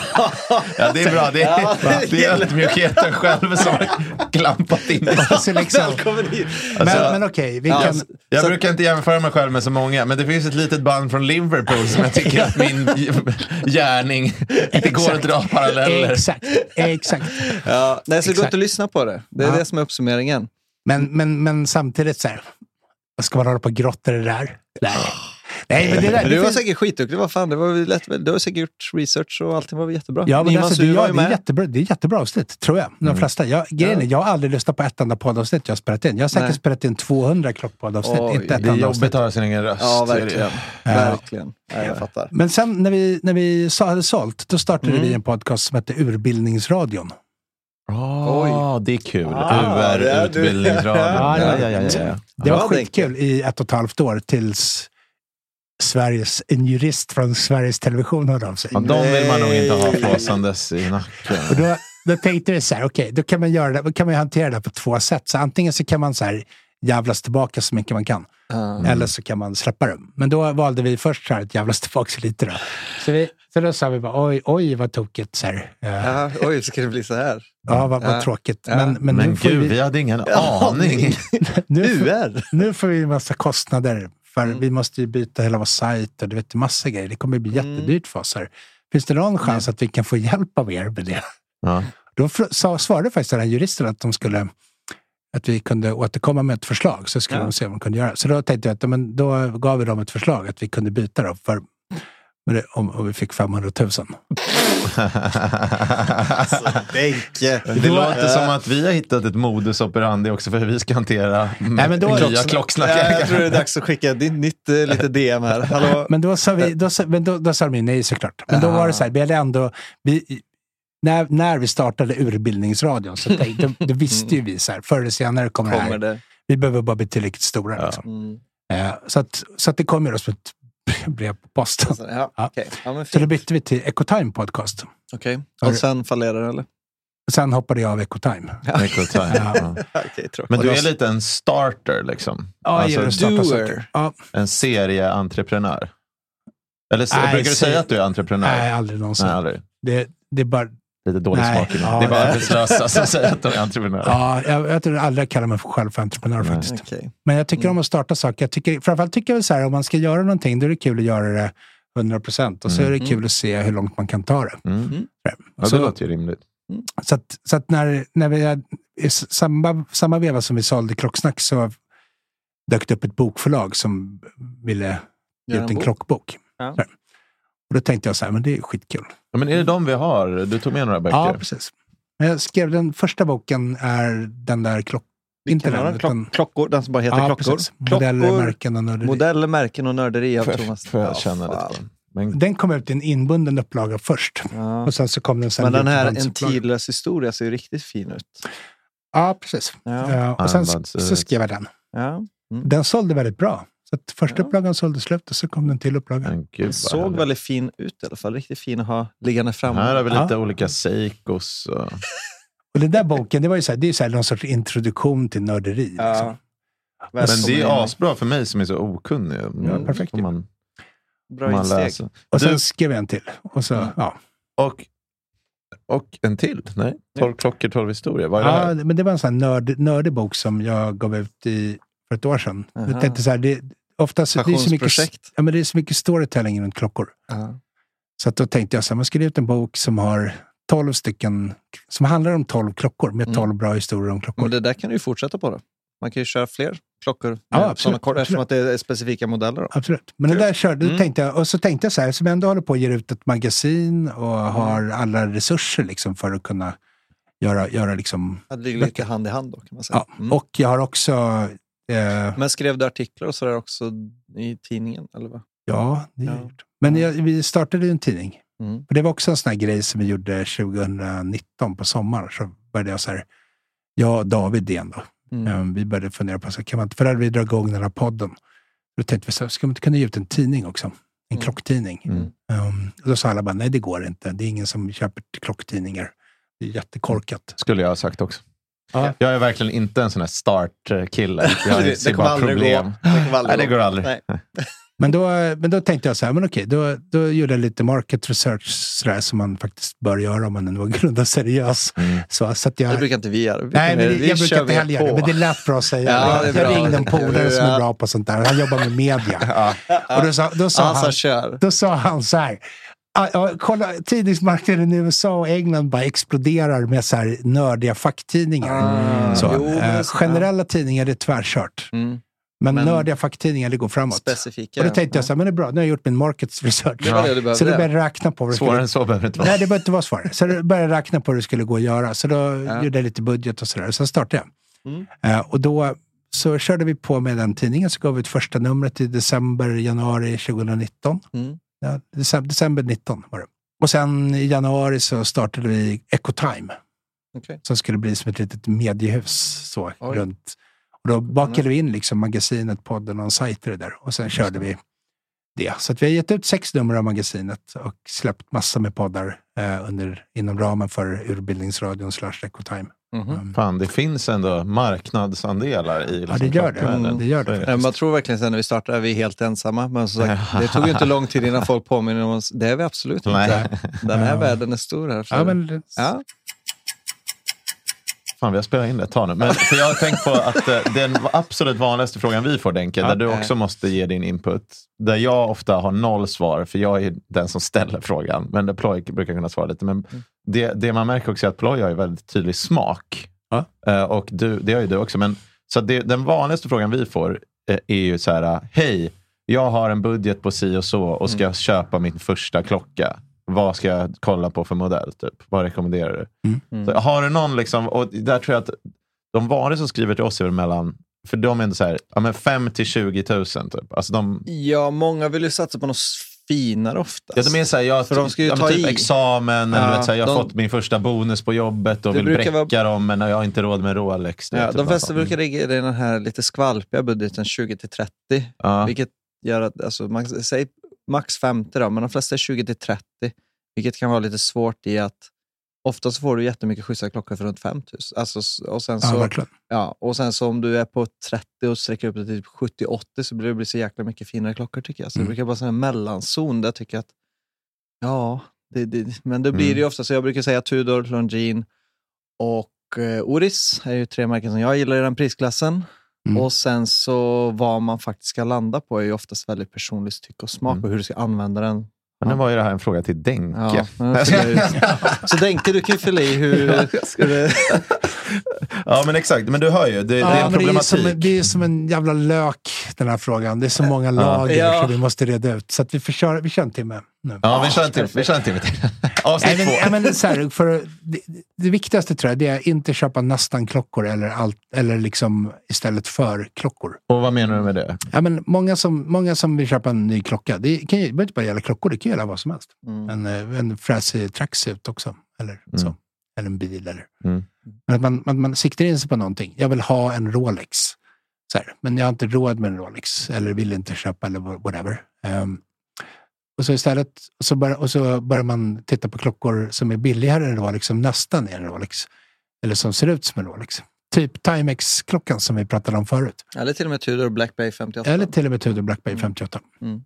C: Ja, det är bra. Det
B: Ja,
C: är, det är ödmjukheten själv som har klampat in det.
D: Alltså, liksom.
B: Välkommen hit.
D: Men, men okej, vi
B: Ja,
D: kan...
B: alltså,
C: Jag
B: Så-
C: brukar inte jämföra mig själv med så många, men det finns ett litet band från Liverpool som jag tycker att min gärning, det går att dra paralleller.
D: Exakt, exakt.
B: Ja, nej, så det går
D: Exakt.
B: inte att lyssna på det. Det är
D: Ja.
B: det som är uppsummeringen.
D: Men, men, men samtidigt så här, vad ska man hålla på och grotta det där? Nej, Nej men det där...
B: Men
D: det
B: du var
D: finns-
B: säkert skitduktig. Vad fan, det var väl lätt, väl- du har säkert gjort research och allting var väl jättebra.
D: Ja, men
B: Nyman
D: alltså,
B: Sur
D: det,
B: var
D: ja,
B: ju
D: det, är
B: med.
D: jättebra, det är jättebra avsnitt, tror jag. De flesta. Jag, grejen är, jag har aldrig lyssnat på ett enda poddavsnitt jag har spelat in. Jag har säkert
B: Nej.
D: spelat in 200 klockpoddavsnitt,
B: Oj,
D: inte ett
C: Det är
D: enda
C: jobbigt
D: avsnitt.
C: att höra sin egen röst.
B: Ja,
C: det är det.
B: verkligen. Verkligen. Ja, jag fattar.
D: Men sen när vi, när vi sa, hade sålt, då startade vi en podcast som hette Urbildningsradion.
C: Ja, det är kul.
B: Ah,
C: UR,
B: det är du.
C: utbildningsradion.
B: Ja,
D: det är-
C: ja.
D: Det var
B: Ja, det är
D: skitkul i ett och ett halvt år tills Sveriges, en jurist från Sveriges Television hörde av sig.
C: Ja, de vill man nog inte ha
B: Nej.
C: flåsandes i nacken.
D: Och då, då tänkte vi så här, okej, då kan man göra det, då kan man ju hantera det här på två sätt. Så antingen så kan man så här, jävlas tillbaka så mycket man kan. Eller så kan man släppa dem. Men då valde vi först så här att jävlas tillbaka lite. Då. Så, vi, så då sa vi bara oj, oj vad tokigt. Så här. Eh, Ja,
B: Ja, oj, ska det bli så här?
D: vad, vad
B: Ja.
D: tråkigt.
B: Ja.
D: Men, men,
C: Men
D: nu, får
C: gud,
D: vi,
C: vi hade ingen aning.
D: nu, får,
B: UR?
D: nu får vi en massa kostnader. För vi måste ju byta hela vår sajt och du vet, massa grejer. Det kommer bli jättedyrt för oss. Här. Finns det någon chans att vi kan få hjälp av er med det?
C: Ja.
D: Då fr- sa, svarade faktiskt den här juristen att de skulle att vi kunde återkomma med ett förslag, så skulle
B: Ja.
D: de se vad de kunde göra. Så då tänkte jag att ja, men då gav vi dem ett förslag att vi kunde byta då för, men det, om, om vi fick 500 000.
B: Bänke.
C: Det låter som att vi har hittat ett modus operandi också för hur vi ska hantera
D: Nej, men då är det
C: nya
D: också-
C: klocksnackare.
B: Eh, jag tror det är dags att skicka ditt nytt eh, lite DM här. Hallå?
D: Men då sa, vi, då, sa- men då, då sa de ju nej såklart. Men då var det så här, vi hade ändå, vi, när, när vi startade Urbildningsradion så tänkte, då, då visste ju vi så här, förr eller senare kommer det
B: Kommer
D: här.
B: det?
D: Vi behöver bara bli tillräckligt stora. Liksom.
B: Mm.
D: Eh, så, att, så att det kom ju då som ett brev på posten.
B: Så, Ja,
D: Ja.
B: okej. Ja, men
D: Så då
B: Alltså, fint.
D: bytte vi till Ecotime Podcast.
B: Okej.
D: Har
B: Och
D: du-
B: sen fallerar det, eller?
D: Sen hoppade jag av Ecotime.
C: Equal time, ja.
B: Okej, tråkigt.
C: Men du är lite en starter liksom?
D: Ja, jag gillar att Alltså, starta
B: doer.
D: saker. Ja,
C: en serieentreprenör? Eller så,
D: Nej,
C: brukar du
D: se-
C: säga att du är entreprenör?
D: nej, aldrig någonsin.
C: Nej, aldrig.
D: Det, det är bara,
C: Lite dålig
D: Nej.
C: smak i munnen.
D: Ja,
C: Det är bara
D: nej.
C: arbetslösa som säger att de är entreprenörer.
D: ja, jag, jag tror aldrig jag kallar mig själv för entreprenör
C: Nej.
D: faktiskt.
B: Okej.
D: Men jag tycker
B: Mm.
D: om att starta saker. Jag tycker, framförallt tycker jag väl så här, om man ska göra någonting, då är det kul att göra det 100 procent. Och så
B: Mm.
D: är det kul att se hur långt man kan ta det.
C: Mm. Ja, det
D: Så,
C: låter ju rimligt.
D: så att, så att när, när vi, i samma, samma veva som vi sålde Klocksnack så dök det upp ett bokförlag som ville ge
B: Göra en
D: ut en
B: bok?
D: klockbok.
B: Ja.
D: Så här. Och då tänkte jag så här, men det är skitkul.
C: Ja, men är det de vi har? Du tog med några böcker?
D: Ja, precis. Men jag skrev den första boken är den där klock...
B: Vilken
D: den,
B: var den? Klock,
D: utan-
B: klockor? Den som bara heter
D: Ja,
B: klockor?
D: precis. Modeller,
B: Klockor,
D: märken och nörderi.
B: modeller, märken och nörderi av
C: Får jag,
B: Thomas.
C: får jag
B: Ja,
C: känna
B: fan.
C: lite? på den? Men,
D: Den kom ut i en inbunden upplaga först.
B: Ja.
D: Och sen så kom den sen
B: Men den här En
D: ljudbandsupplaga.
B: tidlös historia ser ju riktigt fin ut.
D: Ja, precis.
B: Ja.
D: Eh, och sen så,
C: Armbands-
D: så skrev jag den.
B: Ja.
D: Den sålde väldigt bra. Så att första upplagan sålde slut och så kom den till upplaga.
C: men gud
B: Den
C: vad
B: såg
C: härligt.
B: väldigt fin ut i alla fall. Riktigt fin att ha liggande framme.
C: Här har vi
D: Ja.
C: lite olika seikos. Och...
D: Och den där boken, det var ju så här, det är ju så här någon sorts introduktion till nörderi. Liksom.
B: ja.
C: Men
B: Väldigt
C: det är
B: bra-
C: asbra för mig som är så okunnig. Mm,
D: perfekt.
C: Får man,
B: Bra
C: får man
B: insteg.
C: läsa.
D: Och sen
C: Du-
D: skrev jag en till. Och så,
C: Mm.
D: ja.
C: Och, och en till? Nej? Tolv klockor, tolv historier. Vad är det
D: Ja,
B: Ah.
C: här?
D: men det var en sån här nörd, nördig bok som jag gav ut i, för ett år sedan.
B: Aha.
D: Jag tänkte så här, det, oftast, det, är så mycket,
B: Passionsprojekt.
D: ja, men det är så mycket storytelling runt klockor.
B: Ja.
D: Så att då tänkte jag så här, man skriver ut en bok som har 12 stycken, som handlar om 12 klockor, med
B: Mm.
D: 12 bra historier om klockor.
B: Men det där kan du ju fortsätta på då. Man kan ju köra fler klockor.
D: Ja,
B: med
D: absolut,
B: sådana kort,
D: absolut.
B: eftersom att det är specifika modeller. Då.
D: Absolut. Men det
B: Kul.
D: där körde,
B: Mm.
D: mm. tänkte jag, och så tänkte jag så här, som ändå håller på att ge ut ett magasin och
B: Mm.
D: har alla resurser liksom för att kunna göra, göra liksom,
B: Ja, Det ligger lite hand i hand då kan man säga.
D: ja.
B: Mm.
D: Och jag har också, eh,
B: Men skrev du artiklar och sådär också i tidningen? Eller vad?
D: ja, det har
B: Ja.
D: jag gjort. Men jag, vi startade ju en tidning.
B: Mm.
D: Och det var också en sån här grej som vi gjorde 2019 på sommaren. Så började jag så här, jag och David Dehn då,
B: Mm.
D: eh, vi började fundera på, så här, kan man inte, för då hade vi dragit igång den här podden. Då tänkte vi, så här, ska man inte kunna ge ut en tidning också? En
B: Mm.
D: klocktidning. Um, och då sa alla bara, nej det går inte. Det är ingen som köper t- klocktidningar. Det är jättekorkat.
C: Skulle jag ha sagt också.
D: Ja.
C: Jag är verkligen inte en sån här start-kille. Jag
B: Det- det
C: ser
B: kommer
C: bara
B: aldrig
C: problem.
B: gå. Det kommer aldrig
C: Nej, det
B: gå.
C: går aldrig.
B: Nej.
D: Men då, men då tänkte jag så här, men okej, då, då gjorde jag lite market research så där, som man faktiskt bör göra om man är någorlunda seriös. Så, så att
B: Det
D: jag,
B: Mm. brukar inte vi göra. Vi
D: nej, men
B: kommer-
D: det,
B: vi
D: jag brukar
B: kör
D: inte
B: vi
D: heller göra det,
B: på.
D: men det lät bra att säga.
B: Ja, det är
D: jag
B: bra.
D: ringde en polare som är bra på sånt där. Han jobbar med media. Och då sa,
B: Ja,
D: då sa
B: så
D: han,
B: Alltså, kör.
D: då sa han så här. "Ja, ja, Kolla, tidningsmarknaden i USA och England bara exploderar med så här nördiga facktidningar. Så,
B: Ah. Jo, men det
D: eh,
B: är så-
D: generella tidningar det är tvärkört.
B: Mm.
D: Men,
B: Men-
D: nördiga facktidningar det går framåt.
B: Specifika.
D: Och då tänkte jag så här, men det är bra, nu har jag gjort min market research.
B: eh, Det var det du behövde.
D: så då började jag räkna på vad det
C: Svårare
D: skulle...
C: än så behöver det inte vara.
D: Nej, det behöver inte vara svårare. Så då började jag räkna på hur det skulle gå att göra. Så då gjorde jag lite budget och sådär. Sen startade jag.
B: Mm.
D: Eh, och då så körde vi på med den tidningen, så gav vi ut första numret i december, januari 2019.
B: Mm.
D: Ja, december, december 19 var det. Och sen i januari så startade vi Ecotime.
B: Okej.
D: Som skulle bli som ett litet mediehus. Så,
B: Oj. Mm.
D: runt. Och då bakade vi in liksom magasinet, podden och en sajt i det där. Och sen körde vi det. Så att vi har gett ut sex nummer av magasinet och släppt massor med poddar eh, under, inom ramen för Urbildningsradion slash Ecotime.
B: Mhm.
C: Fan, det finns ändå marknadsandelar i liksom,
D: det gör det.
C: klockvärlden.
D: Mm, det gör det
C: Så är
B: Nej, Man tror verkligen sen när vi startade är vi helt ensamma. Men som sagt, det tog ju inte lång tid innan folk påminner om oss. Det är vi absolut
C: Nej.
B: inte. Den här världen är stor här. för-
D: Ja, men,
B: ja.
C: Fan, vi har spelat in det ett tag nu. Men, för jag har tänkt på att eh, den absolut vanligaste frågan vi får, Denke, där du också måste ge din input. Där jag ofta har noll svar, för jag är ju den som ställer frågan. Men där Ploy brukar kunna svara lite. Men det, det man märker också är att Ploy har ju väldigt tydlig smak.
D: Ja.
C: Eh, och du, det har ju du också. Men, så det, den vanligaste frågan vi får eh, är ju så här, hej, jag har en budget på si och så och ska köpa min första klocka. Vad ska jag kolla på för modell? Typ? Vad rekommenderar du?
B: Mm.
C: Så har du någon, liksom, och där tror jag att de vanliga som skriver till oss är väl mellan, för de är ändå så här, ja, men 5 till 20 000 typ. Alltså de,
B: ja, många vill ju satsa på något finare oftast.
C: ja, de är så här, jag,
B: För de ska ju
C: ja, men
B: ta
C: typ
B: i.
C: examen, eller
B: Ja,
C: du vet, så här, jag har
B: de-
C: fått min första bonus på jobbet och
B: Det
C: vill
B: brukar
C: bräcka
B: vara-
C: dem, men jag har inte råd med Rolex. du
B: Ja,
C: vet, typ
B: de
C: något
B: flesta
C: sånt.
B: brukar ligga i den här lite skvalpiga budgeten 20-30.
C: Ja.
B: Vilket gör att, alltså, man, säg max 50 då, men de flesta är 20-30. Vilket kan vara lite svårt i att ofta så får du jättemycket schyssta klockor för runt 5 000. Alltså, s- och, sen
D: ja,
B: så,
D: verkligen.
B: ja, och sen så om du är på 30 och sträcker upp det till 70-80 så blir det blir så jäkla mycket finare klockor tycker jag. Så
D: Mm.
B: det brukar vara sån här mellanzon där jag tycker att, ja, det, det, men det blir det
D: Mm.
B: ju ofta. Så jag brukar säga Tudor, Longines och eh, Oris är ju tre märken som jag gillar i den prisklassen.
D: Mm.
B: Och sen så vad man faktiskt ska landa på är ju oftast väldigt personligt tycke och smak
C: Mm.
B: och hur du ska använda den.
C: Men nu var ju det här en fråga till Denke.
B: Ja, men jag fyller ut. så Denke, du kan ju fylla i hur... hur det,
C: Ja, men exakt. Men du hör ju, det,
D: Ja,
C: det är en
D: men det, är som,
C: problematik.
D: en- det är som en jävla lök, den här frågan. Det är så många lager
B: Eh, Ja.
D: som vi måste reda ut. Så att vi, får köra, vi kör en timme nu.
C: Ja, vi kör en timme, vi kör en timme till. Avsnitt
D: Nej, men,
C: två.
D: nej, men det är så här, för det, det viktigaste tror jag det är att inte köpa nästan-klockor eller, allt, eller liksom istället för klockor.
C: Och vad menar du med det?
D: Ja, men många, som, många som vill köpa en ny klocka, det kan ju det behöver inte bara gälla klockor, det kan gälla vad som helst.
B: Mm.
D: En, eh, en fräsig tracksuit också, eller så. Eller en bil. Eller.
C: Mm.
D: Men att man, man, man siktar in sig på någonting. Jag vill ha en Rolex. Så här, men jag har inte råd med en Rolex, eller vill inte köpa, eller wha- whatever. Ehm, och så istället så bör, och så börjar man titta på klockor som är billigare än Rolex, som nästan är en Rolex. Eller som ser ut som en Rolex. Typ Timex-klockan som vi pratade om förut.
B: eller till och med Tudor och Black Bay 58.
D: Eller till och med Tudor Black Bay 58.
B: Mm.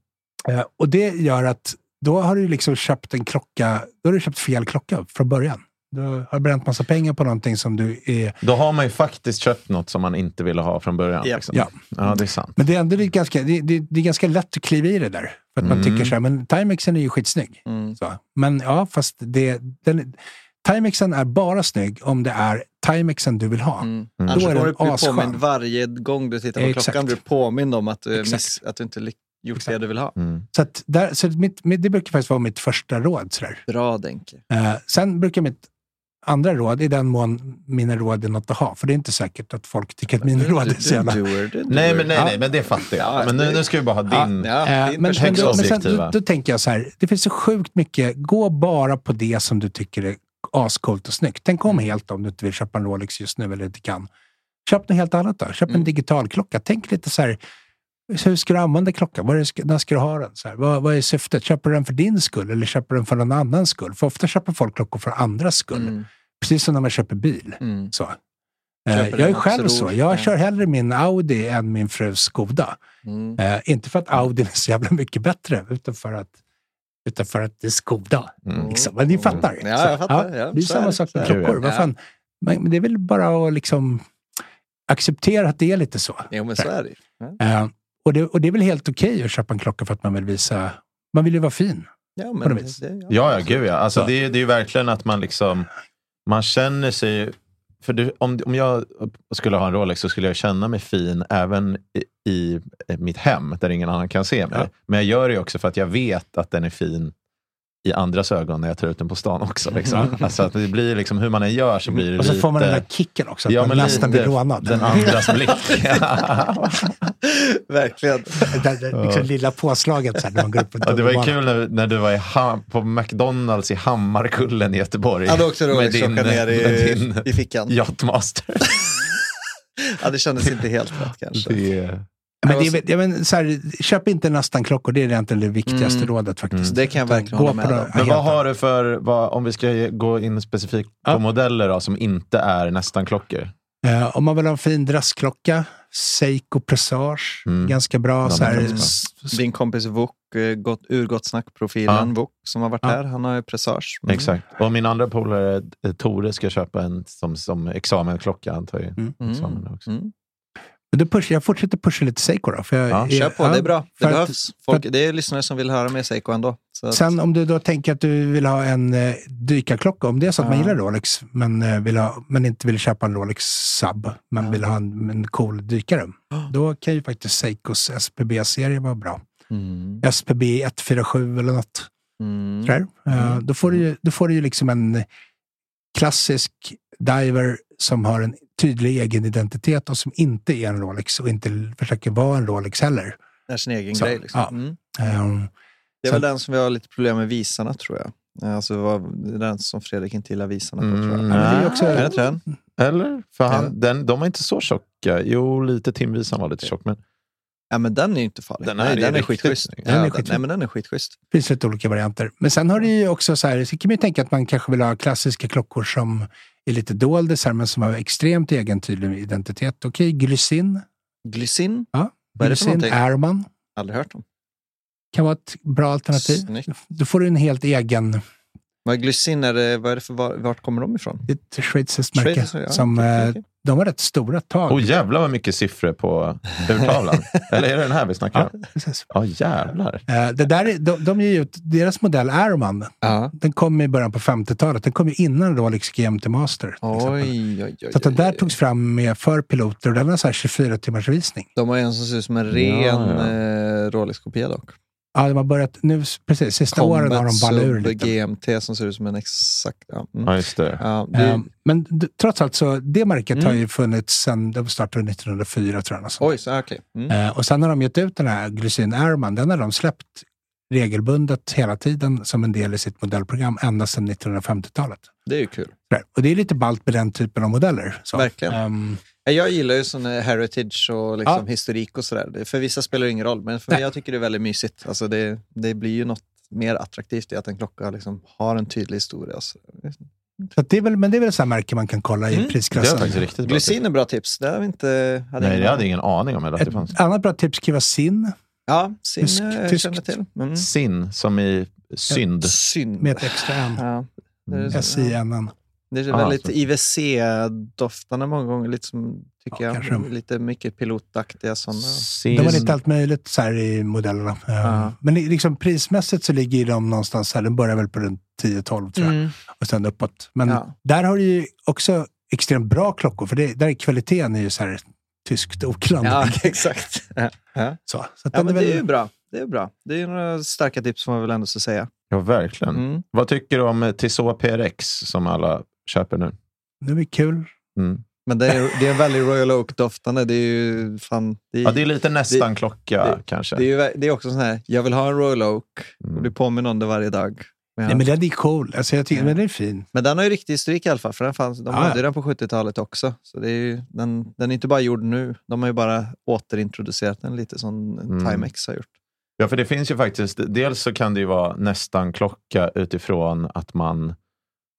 D: Eh, och det gör att då har du liksom köpt en klocka, då har du köpt fel klocka från början. Du har bränt massa pengar på någonting som du är...
C: Då har man ju faktiskt köpt något som man inte ville ha från början.
B: Ja.
C: Liksom.
D: Ja.
C: ja, det är sant.
D: Men det är ändå det är ganska, det, det, det är ganska lätt att kliva i det där. För att man tycker så här, men Timexen är ju skitsnygg.
B: Mm.
D: Så. Men ja, fast det... Den, Timexen är bara snygg om det är Timexen du vill ha.
B: Mm.
C: Mm.
B: Annars
D: Då är
B: kommer
D: den
B: du bli
D: asskön.
B: påmind varje gång du tittar på
D: Exakt.
B: klockan. blir Du påmind om att du,
D: Exakt.
B: miss, att du inte lyck- gjort det
D: Exakt.
B: du vill ha.
C: Mm.
D: Så, att där, så att mitt, mitt, det brukar faktiskt vara mitt första råd. Så där.
B: Bra Denke.
D: Eh, sen brukar mitt andra råd, i den mån mina råd är något att ha, för det är inte säkert att folk tycker att mina råd är så jävla...
B: Du- du- du- du-
C: Nej, men, nej,
D: Ja.
C: nej, men det fattar jag.
B: Ja,
C: Men nu,
B: det-
C: nu ska vi bara ha din.
B: Ja,
D: Eh,
B: din
D: men, men,
B: perspektiv.
D: då, men sen,
C: objektiva.
D: då, då tänker jag så här, det finns så sjukt mycket, gå bara på det som du tycker är ascoolt och snyggt. Tänk
B: Mm.
D: om helt om du inte vill köpa en Rolex just nu eller inte kan. Köp något helt annat då. Köp en
B: Mm.
D: digital klocka. Tänk lite så här, hur ska du använda klockan? Vad är det, ska- när ska du ha den? Så här, vad, vad är syftet? Köper du den för din skull eller köper du den för någon annans skull? För ofta köper folk klockor för andras skull.
B: Mm.
D: Precis som när man köper bil.
B: Mm.
D: Så. Eh,
B: Köper
D: Jag
B: den
D: är
B: man
D: själv
B: tror,
D: så. Jag
B: ja.
D: kör hellre min Audi än min frus Skoda.
B: Mm.
D: Eh, inte för att Audi är så jävla mycket bättre, utan för att, utan för att det är Skoda.
C: Mm.
D: Liksom. Men ni
B: Mm.
D: fattar.
B: Ja,
D: Så,
B: jag fattar. Ja,
D: det är
B: så
D: samma
B: är det.
D: sak med
C: Så är det.
D: klockor. Vad
B: Ja.
D: fan? Men men det är väl bara att liksom acceptera att det är lite så.
B: Jo, men så är det ju.
D: Eh, och, det, och det är väl helt okej att köpa en klocka för att man vill visa... Man vill ju vara fin.
B: Ja,
D: På
B: men,
D: något vis.
B: det-
C: Ja, ja, gud ja. Alltså,
D: Så.
C: det, är- det är ju verkligen att man liksom, man känner sig, för du, om, om jag skulle ha en Rolex så skulle jag känna mig fin även i, i mitt hem där ingen annan kan se mig.
D: Ja.
C: Men jag gör det ju också för att jag vet att den är fin i andras ögon när jag tar ut den på stan också. Liksom. Alltså att det blir liksom, hur man än gör så blir det
D: Mm. Och så
C: lite...
D: får man den där kicken också, att
C: Ja,
D: man
C: men
D: nästan blir
C: lite
D: rånad.
C: Den andras blick.
B: Verkligen.
D: det där liksom lilla påslaget så här, när man går upp på
C: Ja, det var ju
D: tunnelbanan.
C: kul när, när du var i ha- på McDonalds i Hammarkullen i Göteborg.
B: Jag hade också
C: med din-
B: Rolex-klockan ner i,
C: med din
B: i fickan.
C: Yachtmaster.
B: Ja, alltså- det kändes inte helt rätt kanske.
C: Det,
D: Men det, är väl- ja, men, så här, köp inte nästan-klockor, det är egentligen det viktigaste
B: Mm.
D: rådet faktiskt.
B: Det kan jag
D: Utan
B: verkligen
D: gå
B: hålla
D: på
B: med om.
D: det- ja,
C: Men
D: helt
C: vad har du för, vad, om vi ska ge- gå in specifikt på modeller då, som inte är nästan klockor?
B: Mm.
D: Eh, om man vill ha en fin dressklocka, Seiko Presage,
C: Mm.
D: ganska bra.
C: Ja,
D: så här,
C: men-
D: s- s-
B: Din kompis Vuk, eh, gott, urgott snack-profilen
C: Ja.
B: Vuk, som har varit
D: Ja.
B: här, han har ju Mm, pressage.
C: Exakt. Och min andra polare eh, Tore ska köpa en som, som examenklocka. Han tar ju
D: Mm.
B: Mm.
C: examen också.
B: Mm.
D: men då push, jag fortsätter pusha lite Seiko då. För jag,
C: Ja,
D: är-
B: Kör på,
D: Eh, ja,
B: det är bra. Det
D: för att-
B: behövs. Folk, det är lyssnare som vill höra med Seiko ändå. Så att,
D: Sen om du då tänker att du vill ha en eh, dykarklocka, om det är så att man
B: Ja.
D: gillar Rolex, men, eh, vill ha, men inte vill köpa en Rolex Sub, men vill ha en, en cool dykare, då kan ju faktiskt Seikos SPB-serie vara bra.
B: mm.
D: SPB 147 eller något.
B: Mm.
D: sådär. Eh,
B: Mm.
D: Då, får du ju, då får du ju liksom en klassisk diver som har en tydlig egen identitet och som inte är en Rolex och inte l- försöker vara en Rolex heller.
B: Det är sin egen
D: Så,
B: grej. Liksom.
D: ja.
B: Mm.
D: Ehm,
B: Det är
D: Sen-
B: väl den som vi har lite problem med visarna, tror jag. Eh, Alltså, det var den som Fredrik inte gillar visarna på, tror jag.
C: Mm,
D: men det är ju också-
B: Är det inte den?
C: Eller? För
B: Eller?
C: han, den, de är inte så tjocka. Jo, lite timvisan var lite tjock. Men
B: Ja, men den är ju inte farlig.
C: Den här
B: Nej,
C: är
B: den är
C: riktigt
B: skitschysst.
C: snygg.
B: Ja,
D: Den är
B: den-
D: skitschysst.
B: Nej, men den är skitschysst.
D: Det finns lite olika varianter. Men sen har du ju också så här, så kan man ju tänka att man kanske vill ha klassiska klockor som är lite doldisar men som har extremt egen tydlig identitet. Okej, Glycin.
B: Glycin,
D: Ja,
B: Vad är det för
D: Glycin
B: någonting?
D: Airman
B: aldrig hört om.
D: kan vara ett bra alternativ.
B: Snyggt.
D: Då får du en helt egen,
B: Vad glycin är det, vad är det för, var, vart kommer de ifrån?
D: ett schweiziskt märke.
B: Schweiz, ja,
D: som,
B: okej,
D: eh,
B: okej.
D: de var rätt stora tag.
C: oh, jävlar vad mycket siffror på urtavlan. Eller är det den här vi snackar
D: Ja,
C: om?
D: precis.
C: Ja, jävlar.
D: Eh, det där, är- de, de ger ut, deras modell Airman,
B: Ja.
D: den kom i början på 50-talet. Den kom ju innan liksom Rolex GMT Master. till exempel.
B: Oj, oj, oj.
D: Så att den där
B: oj, oj.
D: togs fram med för piloter och den har så här 24 timmars visning.
B: De har en som ser ut som en ren
C: Ja, ja.
B: eh, Rolex-kopia dock.
D: Ja, de har börjat nu, precis, sista åren har de ballat ur
B: Sub
D: lite.
B: GMT som ser ut som en exakt... Ja, mm.
C: Ja, just det.
B: ja, det,
D: Eh, Men d- trots allt så, det märket
B: Mm.
D: har ju funnits sedan de startade 1904 tror jag. något sånt.
B: Oj, så, ah, okej. Mm.
D: Eh, Och sen har de gett ut den här Glycin Airman, den har de släppt regelbundet hela tiden som en del i sitt modellprogram ända sedan 1950-talet.
B: Det är ju kul.
D: Sådär. Och det är lite ballt med den typen av modeller. Så.
B: Verkligen.
D: Ehm,
B: Ja, Jag gillar ju sån här heritage och liksom
D: Ja.
B: historik och sådär. Det- För vissa spelar det ingen roll, men för
D: Nej.
B: jag tycker det är väldigt mysigt. Alltså det, det blir ju något mer attraktivt i att en klocka liksom har en tydlig historia. Alltså.
D: så att det är väl, men det är väl så här märke man kan kolla i
B: Mm.
C: Det var
D: prisklassen.
C: faktiskt riktigt bra.
B: Glycin är bra tips. Det hade vi inte... Hade
C: Nej,
B: ingen
C: jag hade
B: aning.
C: ingen aning om att det fanns.
D: Ett annat bra tips kan vara sin
B: Ja, sin
D: Tysk-
B: jag
D: tysk-
B: känner till. Mm.
C: Sin, som i synd.
B: Synd.
D: med ett extra N.
B: Ja. Det
C: Mm.
B: är, så- ja.
D: S-I-N-N.
B: det är
C: Aha,
B: väldigt
C: så-
B: IVC-doftande många gånger, lite som, tycker
D: Ja, kanske.
B: jag. Lite mycket pilotaktiga sådana.
C: Sin.
D: Det var lite allt möjligt så här i modellerna. Ehm,
B: Ja.
D: Men i- liksom prismässigt så ligger ju de någonstans här, den börjar väl på runt 10-12 tror jag. Och sen uppåt. Men
B: Ja.
D: där har du ju också extremt bra klockor, för det, där är kvaliteten är ju så här tyskt oklandig.
B: Ja, exakt. Ja,
D: Så, så att
B: Ja,
D: den är
B: men
D: väl,
B: det är ju bra. Det är bra. Det är några starka tips får man väl ändå så säga.
C: Ja, verkligen.
B: Mm.
C: Vad tycker du om eh, Tissot PRX som alla köper nu?
D: det är väl kul.
C: Mm.
B: Men det är, det är en väldigt Royal Oak-doftande. Det är ju fan... Det är,
C: Ja, det är lite nästan klocka
B: det-
C: kanske.
B: det är, ju, ver- det är också sån här, jag vill ha en Royal Oak. Och
C: Mm.
B: du påminner om det varje dag. Men,
D: Nej, men den är cool. Alltså, jag tycker,
B: Ja.
D: men den är fin.
B: Men den har ju riktig historik i alla fall, för den fanns, de
D: Ja,
B: hade
D: ja.
B: den på 70-talet också. Så det är ju, den, den är inte bara gjord nu, de har ju bara återintroducerat den lite som
C: Mm.
B: Timex har gjort.
C: Ja, för det finns ju faktiskt, dels så kan det ju vara nästan klocka utifrån att man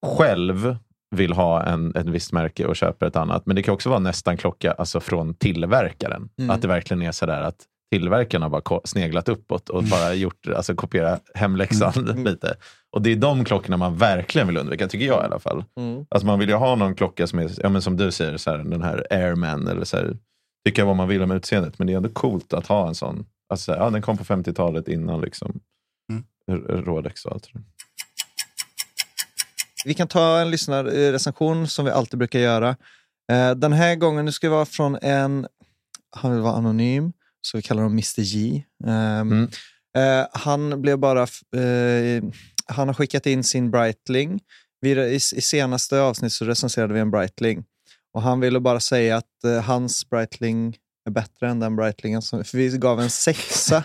C: själv vill ha en, ett visst märke och köper ett annat. Men det kan också vara nästan klocka alltså från tillverkaren.
B: Mm.
C: Att det verkligen är sådär att tillverkarna har bara ko- sneglat uppåt och bara gjort, alltså kopiera hemläxan lite. Och det är de klockorna man verkligen vill undvika, tycker jag i alla fall. Alltså man vill ju ha någon klocka som är, ja, men som du säger, så här, den här Airman. Eller så här, tycka vad man vill om utseendet, men det är ändå coolt att ha en sån. Alltså, så här, ja, den kom på 50-talet innan liksom, R- Rolex och allt. det där.
B: Vi kan ta en lyssnarrecension som vi alltid brukar göra. Eh, Den här gången, nu ska det vara från en, han vill vara anonym, så vi kallar honom Mr J. Ehm,
C: Mm.
B: eh, Han blev bara, f- eh, han har skickat in sin Breitling. Vi, re- I, s- I senaste avsnitt så recenserade vi en Breitling. Och han ville bara säga att eh, hans Breitling är bättre än den Breitlingen som, för vi gav en sexa.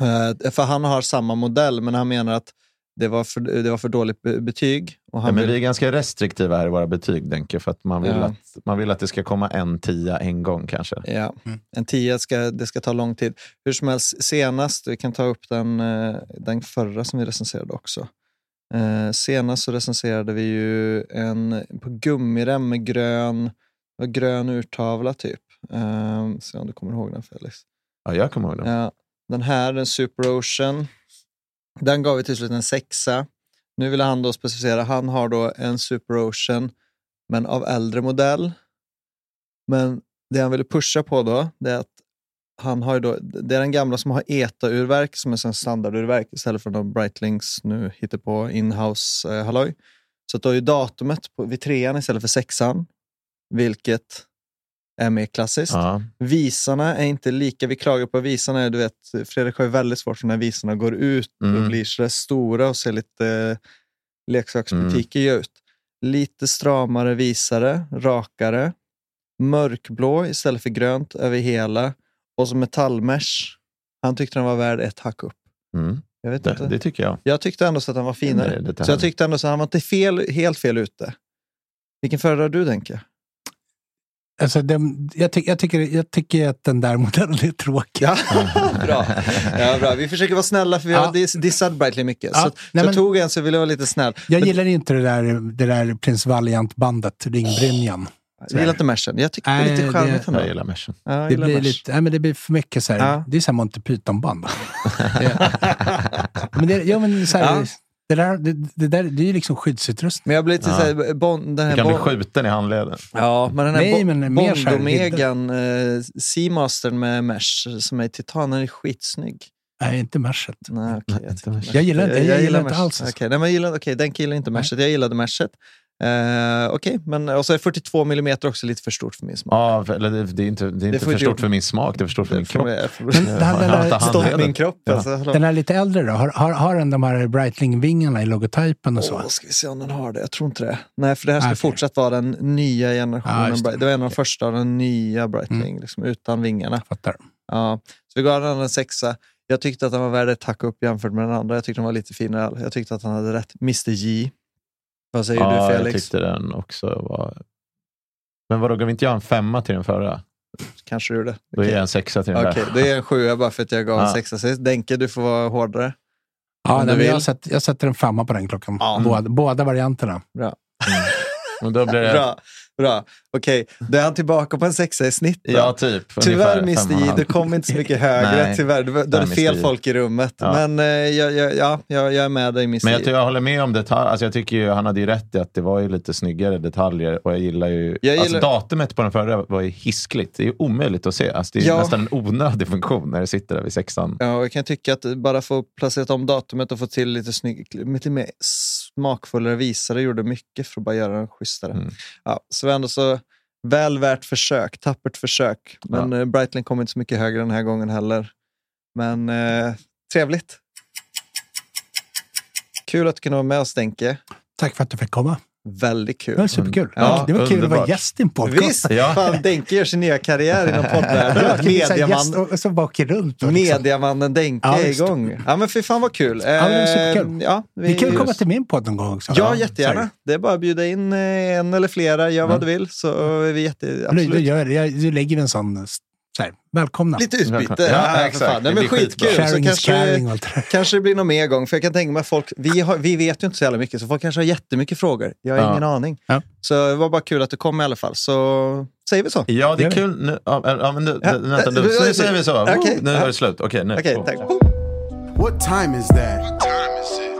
B: Eh, för han har samma modell, men han menar att det var för, det var för dåligt be- betyg. Och
C: Ja,
B: han
C: men vi
B: vill-
C: är ganska restriktiva här i våra betyg, Denke, för att man vill,
B: Ja.
C: att, man vill att det ska komma en tia en gång kanske.
B: Ja,
D: Mm.
B: en tia ska, det ska ta lång tid. Hur som helst, senast, vi kan ta upp den, eh, den förra som vi recenserade också. Eh, Senast så recenserade vi ju en på gummirem med grön, det var grön urtavla typ. Eh, Se om du kommer ihåg den Felix.
C: Ja, jag kommer ihåg det.
B: Ja, den här, den Super Ocean, den gav vi till slut en sexa. Nu vill han då specificera, han har då en Super Ocean, men av äldre modell. Men det han ville pusha på då, det är att han har ju då, det är den gamla som har ETA-urverk som är sån standardurverk istället för de Breitlinks nu hittar på inhouse eh, halloj. Så att då är ju datumet på, vid trean istället för sexan, vilket är mer klassiskt.
C: Ja.
B: Visarna är inte lika. Vi klagar på visarna. Du vet, Fredrik har ju väldigt svårt för när visarna går ut och
C: Mm.
B: blir så där stora och ser lite eh, leksaksbutiker
C: Mm.
B: ut. Lite stramare visare, rakare. Mörkblå istället för grönt över hela. Och så metallmesh. Han tyckte den var värd ett hack upp.
C: Mm.
B: Jag, vet
C: Det,
B: inte.
C: det tycker jag.
B: jag tyckte ändå så att den var
C: Det är
B: finare.
C: lite
B: Så jag
C: härligt.
B: tyckte ändå så att han var inte fel, helt fel ute. Vilken föredrar du, Denke?
D: Alltså, den, jag, ty, jag, tycker, jag tycker att den där modellen är tråkig.
B: Ja, bra. Ja, bra. Vi försöker vara snälla för vi har
D: Ja.
B: dis- dissat Brightly mycket. Så
D: Ja,
B: att
D: nej,
B: jag
D: men-
B: tog en så ville jag vara lite snäll.
D: Jag
B: Men-
D: gillar inte det där, det där Prins Valiant-bandet, Ringbrynjan.
B: Jag gillar inte Mersen. Jag tycker det är
D: Nej,
B: lite
D: det-
B: charmigt ändå.
C: Jag gillar Mersen.
B: Ja, jag
D: Det
B: gillar
D: blir,
B: Mersen.
D: lite, nej, men det blir för mycket så här,
B: Ja.
D: det är så här Monty Python-band. men det, ja, men så här,
B: Ja.
D: det, där, det, det där det är ju liksom skyddsutrustning.
B: Men jag blir lite
C: Ja.
B: såhär, bon, den
C: Du
B: här
C: kan bli
B: bon,
C: skjuten i handleden.
B: Ja, men den här
D: Nej,
B: bon,
D: men mer så här
B: Bond-Omegan, eh, Seamastern med Mesh som är i titan, den är skitsnygg.
D: Nej, inte Merset.
B: Nej, okej,
C: Nej,
B: jag,
C: inte
B: tycker
C: Merset.
D: Jag gillar inte- jag gillar inte
B: Merset.
D: alls alltså.
B: Okej, nej, men jag gillar, okej, den killar inte Merset, jag gillade Merset. Eh, okej, men och så är 42 mm också lite för stort för min smak.
C: Ja, för- eller det, det är inte, det är inte
B: får
C: för
B: inte
C: stort
B: jag-
C: för min smak, det är för stort för min kropp.
D: Men den,
C: Ja,
D: den,
C: ja,
D: där,
C: ta
B: Stått
C: handleden.
B: min kropp.
C: Ja.
B: Alltså, hallå.
D: den där lite äldre då? Har, har, har den de här Breitling-vingarna i logotypen och så?
B: Åh, ska vi se om den har det? Jag tror inte det. Nej, för det här ska
D: Okej.
B: fortsatt vara den nya
D: Ja,
B: generationen.
D: just det.
B: Bright- det. var en av de första av den nya Breitling, liksom, utan vingarna.
D: Fattar.
B: Ja. Så vi gav den en sexa. Jag tyckte att den var värd ett tack upp jämfört med den andra. Jag tyckte den var lite finare. Jag tyckte att han hade rätt. Mr J. Vad säger
C: Ja,
B: du
C: jag
B: Felix?
C: tyckte den också var... Men vadå, gav inte jag en femma till den förra?
B: Kanske du gjorde.
C: Då ger
B: Okej.
C: jag en sexa till den
B: Okej,
C: där.
B: det är en sjua bara för att jag gav en
C: Ja.
B: sexa. Så Denke, du får vara hårdare.
D: Ja,
B: Om
D: nej,
B: du
D: men
B: vill.
D: jag, sätt, jag sätter en femma på den klockan.
B: Ja.
D: Båda, båda varianterna.
C: Och då blir det...
B: Bra, bra. Okej, då är han tillbaka på en sexa i snitt. då.
C: Ja, typ.
B: Tyvärr,
C: Ungefär
B: Mr.
C: fem och en
B: J,
C: halv.
B: du kom inte så mycket högre.
C: Nej.
B: tyvärr. Du, du
C: Nej,
B: hade fel
C: Mr. J.
B: folk i rummet.
C: Ja.
B: Men eh, jag, jag, ja, jag, jag är med dig, Mr.
C: Men jag,
B: J.
C: tror jag håller med om detaljer. Alltså jag tycker ju, han hade ju rätt i att det var ju lite snyggare detaljer. Och jag gillar ju...
B: Jag gillar-
C: Alltså datumet på den förra var ju hiskligt. Det är ju omöjligt att se. Alltså det är ju
B: Ja.
C: nästan en onödig funktion när det sitter där vid sexan.
B: Ja, och jag kan tycka att bara få placerat om datumet och få till lite, snygg, lite mer smakfullare visare gjorde mycket för att bara göra den schysstare.
C: Mm.
B: Ja, så det var ändå så väl värt försök, tappert försök. Men ja. Breitling kom inte så mycket högre den här gången heller. Men eh, trevligt. Kul att du kunde vara med oss, Denke.
D: Tack för att du fick komma.
B: Väldigt kul.
D: Det var superkul.
B: Ja,
D: det var kul att vara
C: underbart.
D: gäst i en podcast.
B: Visst!
C: Ja.
B: Fan, Denke gör sin nya karriär inom
D: Ja,
B: poddvärlden.
D: det är så här gäst
B: Mediaman,
D: och, och så bara åker runt. Och liksom.
B: mediamannen Denke
D: Ja,
B: är
D: just det.
B: igång. Ja, men fy fan vad kul.
D: det var superkul.
B: Eh, Ja, vi,
D: Ni kan ju komma till min podd någon gång också.
B: Ja, jättegärna.
D: Sorry.
B: Det är bara att bjuda in eh, en eller flera, gör vad du vill. Så är vi jätte,
D: Nu, nu,
B: absolut.
D: gör jag Mm. det. Jag, nu lägger vi en sån... Så här, välkomna.
B: Lite utbyte.
C: Ja,
B: för
C: exakt.
B: fan. Nej,
C: Det
B: men
C: blir skitbra.
B: skitkul. Så
D: Sharing is
B: kanske,
D: caring och allt det där.
B: kanske det blir någon mer gång. För jag kan tänka mig att folk, vi, har, vi vet ju inte så jävla mycket, så folk kanske har jättemycket frågor. Jag har
C: Ja.
B: ingen aning.
D: Ja.
B: Så det var bara kul att du kom i alla fall. Så säger vi så.
C: Ja, det
D: Gör
C: är
D: vi.
C: kul. Nu, ja, ja, men nu,
B: Ja.
C: Vänta, nu, nu säger vi så.
B: Okej.
C: Woo, Nu är det slut. Okej, nu.
B: Okej, tack.
A: What time is that?
H: What time is it?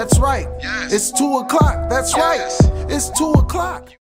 A: That's right.
H: Yes.
A: It's two o'clock. That's
H: Yes.
A: right. It's two o'clock.